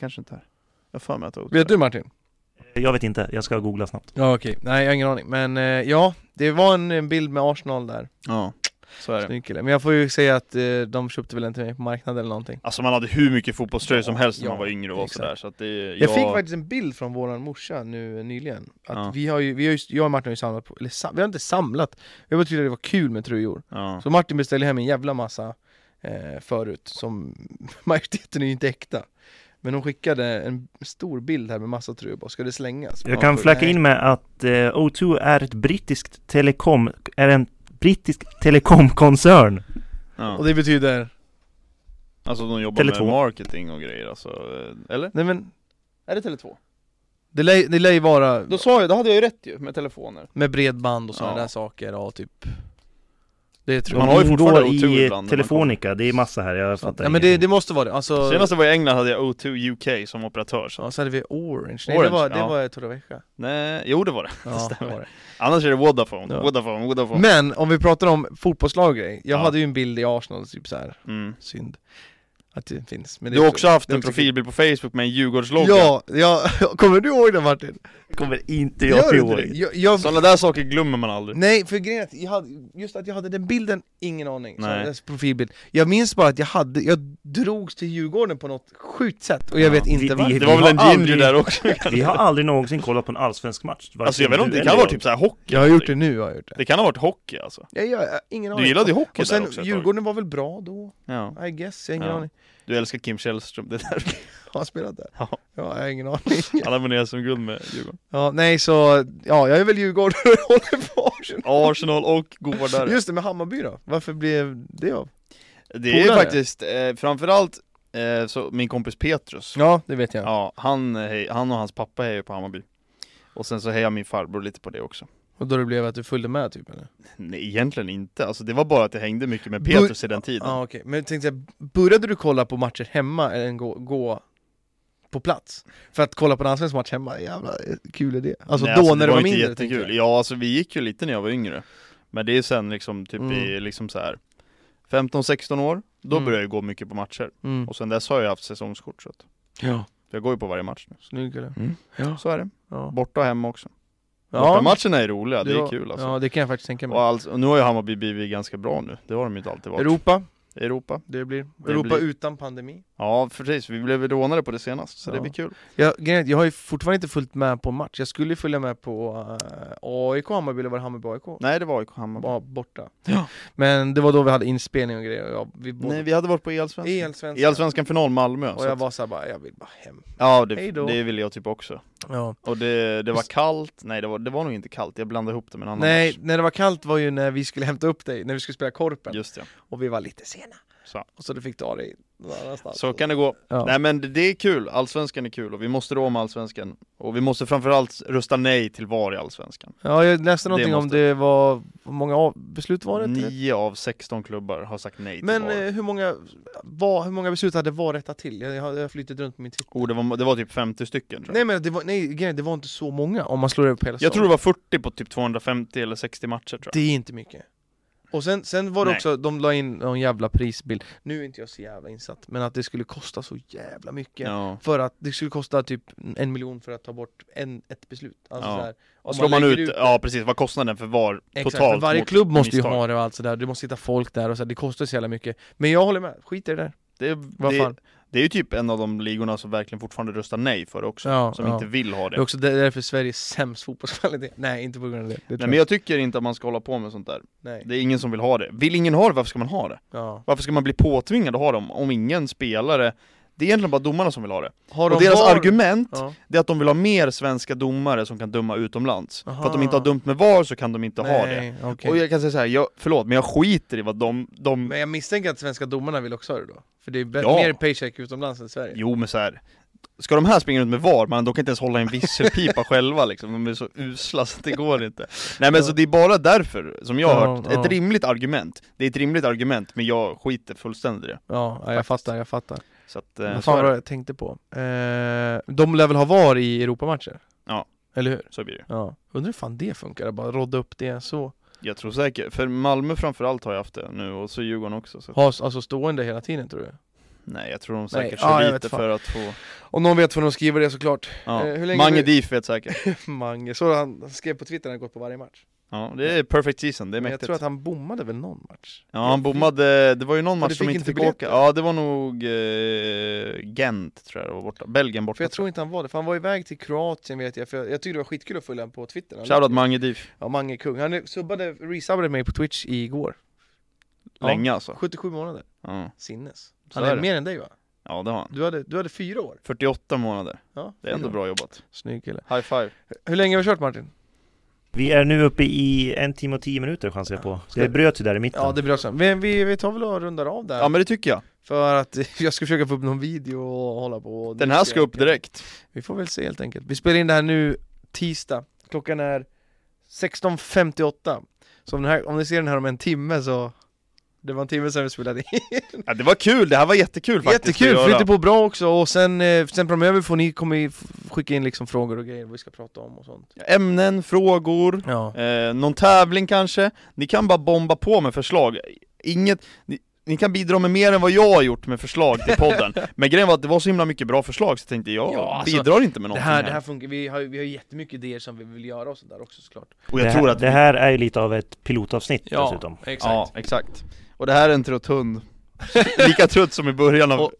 S1: Kanske inte är Jag har för mig att det är
S2: Vet du Martin?
S3: Jag vet inte, jag ska googla snabbt.
S2: Ja okej, nej jag har ingen aning. Men eh, ja, det var en, en bild med Arsenal där.
S1: Ja, så är det
S2: Snygg kille. Men jag får ju säga att eh, de köpte väl en till mig på marknaden eller någonting.
S1: Alltså man hade hur mycket fotbollströjor som
S2: Ja,
S1: helst när man
S2: ja,
S1: var yngre och var
S2: exakt.
S1: sådär så att det, jag,
S2: Jag fick faktiskt en bild från våran morsa nu eh, nyligen. Att
S1: Ja.
S2: vi har ju, vi har ju, jag och Martin har ju samlat på, eller sam, vi har inte samlat, vi har bara tyckt att det var kul med tröjor.
S1: ja.
S2: Så Martin beställde hem en jävla massa eh, förut, som [LAUGHS] majoriteten är ju inte äkta. Men hon skickade en stor bild här med massa tröjor på, ska det slängas?
S3: Jag kan flacka in med att eh, O2 är ett brittiskt telekom, är en brittisk telekomkoncern.
S1: Ja.
S2: Och det betyder,
S1: Alltså de jobbar
S3: Tele2.
S1: med marketing och grejer alltså, eh, eller?
S2: nej men,
S1: Är det Tele2?
S2: det lär, det lär ju vara
S1: Då sa jag, då hade jag ju rätt ju med telefoner
S2: med bredband och sådana
S1: Ja.
S2: där saker och typ Det tror
S1: Man
S2: jag.
S1: har ju fortfarande
S3: ingår
S1: O2
S3: i
S1: ibland när man
S3: Telefonica, det är massa här, jag fattar
S2: Ja men det,
S3: ingenting.
S2: det måste vara det, alltså
S1: Senast jag var i England hade jag O2 UK som operatör så.
S2: Ja, så hade vi Orange, nej
S1: Orange,
S2: det var,
S1: ja.
S2: det var Torrevieja
S1: Nej, jo det var [LAUGHS] det
S2: Ja, det
S1: stämmer.
S2: var det.
S1: Annars är det Vodafone,
S2: Ja.
S1: Vodafone, Vodafone
S2: Men om vi pratar om fotbollslag och grej, jag
S1: Ja.
S2: hade ju en bild i Arsenal, typ så här.
S1: mm.
S2: synd att det finns. Men
S1: Du
S2: det
S1: har
S2: är
S1: också haft
S2: det är
S1: en
S2: också
S1: profilbild på Facebook med en Djurgårdslogga.
S2: Ja, ja, [LAUGHS] kommer du ihåg den Martin?
S3: Kommer inte
S2: du
S3: jag
S2: inte
S3: ihåg.
S2: det? Jag, jag,
S1: Sådana där saker glömmer man aldrig.
S2: nej, för grejen är att jag hade, just att jag hade den bilden, ingen aning. Så
S1: Nej.
S2: dess profilbild. Jag minns bara att jag hade, jag drogs till Djurgården på något sjukt sätt och jag
S1: Ja,
S2: vet inte
S3: vi-
S2: varför.
S3: vi-
S1: Det var väl en
S3: har
S1: ginger
S3: aldrig-
S1: där
S2: [LAUGHS]
S1: också?
S3: Vi har aldrig någonsin kollat på en allsvensk match. varken
S1: Alltså jag vet
S3: du
S1: inte, det
S3: eller
S1: kan ha varit
S3: jag.
S1: typ såhär hockey.
S2: Jag har gjort det nu, har jag gjort det.
S1: Det kan ha varit hockey alltså.
S2: Jag, jag, jag, ingen aning.
S1: Du gillade ju hockey
S2: och sen,
S1: där också ett tag.
S2: Djurgården var väl bra då,
S1: Ja.
S2: I guess, jag har ingen
S1: Ja.
S2: aning.
S1: Du älskar Kim Källström, det där.
S2: Har han spelat där?
S1: Ja.
S2: jag har ingen aning.
S1: Han abonnerar som guld med Djurgården.
S2: Ja, nej så, ja jag är väl djurgårdare [LAUGHS] och håller på Arsenal.
S1: Arsenal och gårdare.
S2: Just det, med Hammarby då? Varför blev det av?
S1: Det är ju
S2: Polare.
S1: faktiskt, eh, framförallt eh, så min kompis Petrus.
S2: Ja, det vet jag.
S1: Ja, han, eh, hej- han och hans pappa hejar ju på Hammarby. Och sen så hejar min farbror lite på det också.
S2: Och då det blev att du följde med typ eller?
S1: Nej, egentligen inte. Alltså det var bara att det hängde mycket med
S2: Bu-
S1: Petrus i den tiden.
S2: Ja okej, men jag tänkte säga, började du kolla på matcher hemma eller gå, gå på plats? För att kolla på en allsvensk match hemma, jävla kul idé. Alltså
S1: Nej,
S2: då när du var,
S1: ju inte
S2: mindre
S1: jättekul.
S2: tänkte jag.
S1: Ja, alltså vi gick ju lite när jag var yngre. Men det är sen liksom typ i
S2: Mm.
S1: liksom så här 15-16 år, då
S2: Mm.
S1: började jag gå mycket på matcher.
S2: Mm.
S1: Och sen dess har jag haft säsongskort så att
S2: Ja,
S1: jag går ju på varje match nu.
S2: snygg eller?
S1: Mm.
S2: Ja.
S1: Så är det.
S2: Ja.
S1: Borta och hemma också.
S2: Ja.
S1: Bortamatcherna är roliga, det
S2: Du
S1: är
S2: har-
S1: kul alltså.
S2: Ja, det kan jag faktiskt tänka
S1: Och,
S2: mig.
S1: alltså, och nu har ju Hammarby blivit ganska bra nu, det har de ju inte alltid varit.
S2: Europa,
S1: Europa.
S2: det blir.
S1: Det
S2: Europa
S1: blir-
S2: utan pandemi.
S1: Ja, precis. Vi blev rånade på det senast, så det
S2: Ja.
S1: blir kul.
S2: Jag, grejen är att jag har ju fortfarande inte följt med på match, jag skulle ju följa med på eh, AIK Hammarby, eller var det Hammarby AIK?
S1: Nej, det var AIK Hammarby.
S2: Var borta.
S1: Ja.
S2: Men det var då vi hade inspelning och grejer, och jag, vi
S1: Nej,
S2: båda...
S1: vi hade varit på Elsvenskan.
S2: Elsvenskan.
S1: Elsvenskan final Malmö.
S2: Och
S1: Så
S2: jag
S1: att,
S2: var såhär bara, jag vill bara hem.
S1: ja,
S2: Hej
S1: det,
S2: då.
S1: det ville jag typ också.
S2: Ja.
S1: Och det, det var kallt, nej det var, det var nog inte kallt, jag blandade ihop det med en annan
S2: Nej, när det var kallt var ju när vi skulle hämta upp dig, när vi skulle spela Korpen,
S1: match. Just det,
S2: och vi var lite sena.
S1: så,
S2: Och så du fick ta dig någon annanstans.
S1: så kan det gå.
S2: Ja.
S1: Nej men det, det är kul, allsvenskan är kul och vi måste rå om allsvenskan. Och vi måste framförallt rösta nej till VAR i allsvenskan.
S2: Ja, jag läste
S1: Det
S2: någonting om
S1: måste-
S2: det var, hur många av, beslut var det? Till?
S1: Nio av 16 klubbar har sagt nej till
S2: Men
S1: VAR.
S2: eh, hur många, var, hur många beslut hade VAR rättat till? Jag, jag har jag har flyttat runt på min titel.
S1: Oh, det, var, det var typ 50 stycken tror jag.
S2: Nej men det var, nej, grejen är, det var inte så många om man slår över på hela
S1: jag
S2: säsongen.
S1: tror det var 40 på typ 250 eller 60 matcher tror jag.
S2: Det är inte mycket. Och sen, sen var det
S1: Nej.
S2: också, de la in någon jävla prisbild. Nu är inte jag så jävla insatt, men att det skulle kosta så jävla mycket.
S1: Ja.
S2: För att det skulle kosta typ en miljon för att ta bort en, ett beslut. Alltså
S1: Ja.
S2: så här, om
S1: Och slår man
S2: lägger
S1: ut, ja precis, vad kostnaden för VAR
S2: Exakt,
S1: totalt
S2: för varje
S1: mot
S2: klubb måste
S1: misstag.
S2: ju ha det och allt sådär, det måste sitta folk där och så här, det kostar så jävla mycket. Men jag håller med, skit i det där.
S1: det,
S2: Vad
S1: det,
S2: fan.
S1: det är ju typ en av de ligorna som verkligen fortfarande röstar nej för det också,
S2: Ja,
S1: som
S2: ja.
S1: inte vill ha
S2: Det
S1: det.
S2: är också där- därför Sverige är sämst fotbollskvalitet. Nej, inte på grund av det. det tror
S1: Nej men jag tycker inte att man ska hålla på med sånt där.
S2: Nej.
S1: Det är ingen som vill ha det. Vill ingen ha det, varför ska man ha det?
S2: Ja.
S1: Varför ska man bli påtvingad att ha dem om ingen spelare Det är egentligen bara domarna som vill ha det.
S2: Har
S1: Och deras
S2: VAR?
S1: argument,
S2: Ja.
S1: det är att de vill ha mer svenska domare som kan döma utomlands. För att de
S2: Aha.
S1: inte har dömt med VAR så kan de inte ha det.
S2: Nej, okej.
S1: Och jag kan säga så här, jag, förlåt men jag skiter i vad de, de
S2: Men jag misstänker att svenska domarna vill också ha det då? För det är bä-
S1: Ja.
S2: mer paycheck utomlands än i Sverige
S1: Jo men så här. Ska de här springa runt med VAR, man, de kan inte ens hålla i en
S2: [LAUGHS]
S1: visselpipa själva liksom, de är så usla så det går inte Nej men
S2: Ja.
S1: så det är bara därför, som jag har
S2: Ja,
S1: hört,
S2: ja.
S1: ett rimligt argument Det är ett rimligt argument, men jag skiter fullständigt i det
S2: Ja, ja jag fattar, jag fattar
S1: Så att, eh,
S2: Vad
S1: så,
S2: fan
S1: är
S2: var
S1: det.
S2: det jag tänkte på? Eh, de lär väl ha VAR i Europamatcher?
S1: Ja.
S2: Eller hur?
S1: så blir det
S2: Ja Undrar hur fan det funkar, att bara rodda upp det så
S1: Jag tror säkert, för Malmö framförallt har jag haft det nu, och så Djurgården också så.
S2: Ha s- alltså stående hela tiden tror du?
S1: Nej jag tror de
S2: Nej,
S1: säkert
S2: ja,
S1: kör
S2: jag
S1: dit
S2: vet
S1: det
S2: fan.
S1: för att få
S2: Om någon vet får de skriva det såklart [LAUGHS]
S1: ja.
S2: Eh, hur länge
S1: Mange
S2: vi-
S1: Dief vet säkert
S2: Mange, så han, han skrev på Twitter när han gått på varje match
S1: Ja, det är perfect season, det är
S2: Men jag
S1: mäktigt
S2: tror att han bommade väl någon match?
S1: Ja han bommade, det var ju någon
S2: Ja, du
S1: match som
S2: fick
S1: inte
S2: inte
S1: fick
S2: biljetter.
S1: åka, ja det var nog eh, Gent tror jag det var borta, Belgien borta
S2: För jag tror inte han var det, för han var iväg till Kroatien vet jag, för jag, jag tyckte det var skitkul att följa honom på Twitter Han-
S1: Shoutout Mange Dief,
S2: Ja, Mange är kung, han är- subbade, resubbade mig på Twitch igår Ja.
S1: länge alltså
S2: 77 månader,
S1: ja.
S2: sinnes
S1: Så
S2: Han
S1: är
S2: är,
S1: det.
S2: mer än dig va?
S1: ja det har han
S2: Du hade, du hade fyra år
S1: 48 månader,
S2: ja,
S1: det är ändå
S2: fyra år.
S1: bra jobbat
S2: Snygg kille
S1: High five
S2: Hur länge har vi kört Martin?
S1: typ-
S3: Vi är nu uppe i en timme och tio minuter chansar jag på.
S2: Ska
S3: Det
S2: vi-
S3: bröt ju där i mitten.
S2: Ja det blir också, vi, vi, vi tar väl och rundar av där
S1: Ja men det tycker jag,
S2: För att [LAUGHS] jag ska försöka få upp någon video och hålla på och
S1: den här ska upp direkt
S2: Vi får väl se helt enkelt Vi spelar in det här nu tisdag, klockan är 16.58 Så om, den här, om ni ser den här om en timme så det var en timme sedan vi spelade in.
S1: ja, Det var kul, det här var jättekul faktiskt
S2: Jättekul,
S1: att
S2: flyter
S1: göra.
S2: på bra också och sen, eh, sen framöver får ni komma i, f- skicka in liksom frågor och grejer vad vi ska prata om och sånt
S1: Ämnen, frågor,
S2: Ja,
S1: eh, någon tävling kanske Ni kan bara bomba på med förslag Inget, ni, ni kan bidra med mer än vad jag har gjort med förslag till
S2: [LAUGHS]
S1: podden Men grejen var att det var så himla mycket bra förslag så jag tänkte jag
S2: Ja, alltså,
S1: bidrar inte med
S2: Det
S1: någonting
S2: här,
S1: här,
S2: det här funkar, vi har, vi har jättemycket idéer som vi vill göra och sådär också såklart
S1: Och jag
S3: det,
S1: tror
S3: här,
S1: att
S3: det här är ju lite av ett pilotavsnitt dessutom.
S2: exakt
S1: Ja, exakt Och det här är en trött hund [LAUGHS] Lika trött som i början av
S2: Och-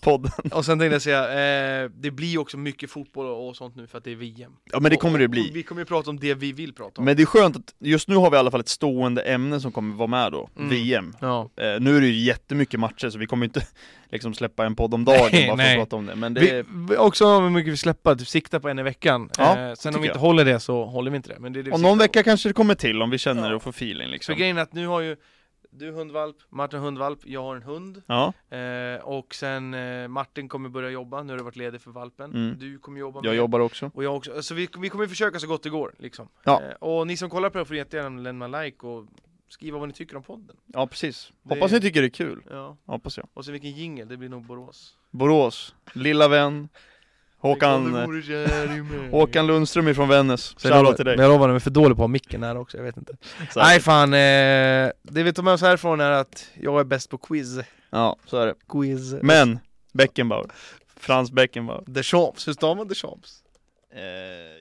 S1: podden
S2: Och sen tänkte jag säga, eh, det blir ju också mycket fotboll och, och sånt nu för att det är VM
S1: Ja men det kommer det
S2: Och-
S1: bli
S2: och Vi kommer ju prata om det vi vill prata om
S1: Men det är skönt att just nu har vi i alla fall ett stående ämne som kommer vara med då,
S2: Mm.
S1: VM
S2: Ja.
S1: Eh, nu är det ju jättemycket matcher så vi kommer inte [LAUGHS] liksom släppa en podd om dagen
S2: Nej,
S1: bara för
S2: nej.
S1: att prata om det Men det
S2: Vi, vi- också hur mycket vi släpper, typ sikta på en i veckan
S1: Ja,
S2: eh, Sen om
S1: tycker
S2: vi inte
S1: jag.
S2: håller det så håller vi inte det, men det är det vi
S1: om
S2: siktar
S1: någon
S2: på.
S1: vecka kanske det kommer till om vi känner
S2: Ja.
S1: och får feeling
S2: För
S1: liksom
S2: grejen är att nu har ju du hundvalp, Martin hundvalp, jag har en hund
S1: Ja,
S2: eh, Och sen eh, Martin kommer börja jobba, nu har du varit ledig för valpen
S1: Mm.
S2: Du kommer jobba
S1: jag
S2: med-
S1: jobbar också
S2: Och jag också, alltså vi, vi kommer försöka så gott det går liksom.
S1: Ja.
S2: Eh, och ni som kollar på det här får jättegärna lämna like och skriva vad ni tycker om podden.
S1: Ja precis,
S2: Det-
S1: hoppas ni tycker det är kul,
S2: Ja.
S1: hoppas jag
S2: Och sen vilken jingel, det blir nog Borås.
S1: Borås, lilla vän Håkan,
S2: Det
S1: eh,
S2: vore kär i
S1: [LAUGHS]
S2: mig.
S1: Håkan Lundström ifrån Vännäs,
S2: Så jag lovar-
S1: shoutout till dig
S2: Men jag lovar, den är för dålig på att ha micken här också, jag vet inte.
S1: Så här.
S2: Nej fan, eh, det vi tar med oss härifrån är att jag är bäst på quiz.
S1: Ja, så är det
S2: Quiz.
S1: Men, Beckenbauer Frans Beckenbauer
S2: Deschamps, hur stavar man Deschamps?
S1: eh,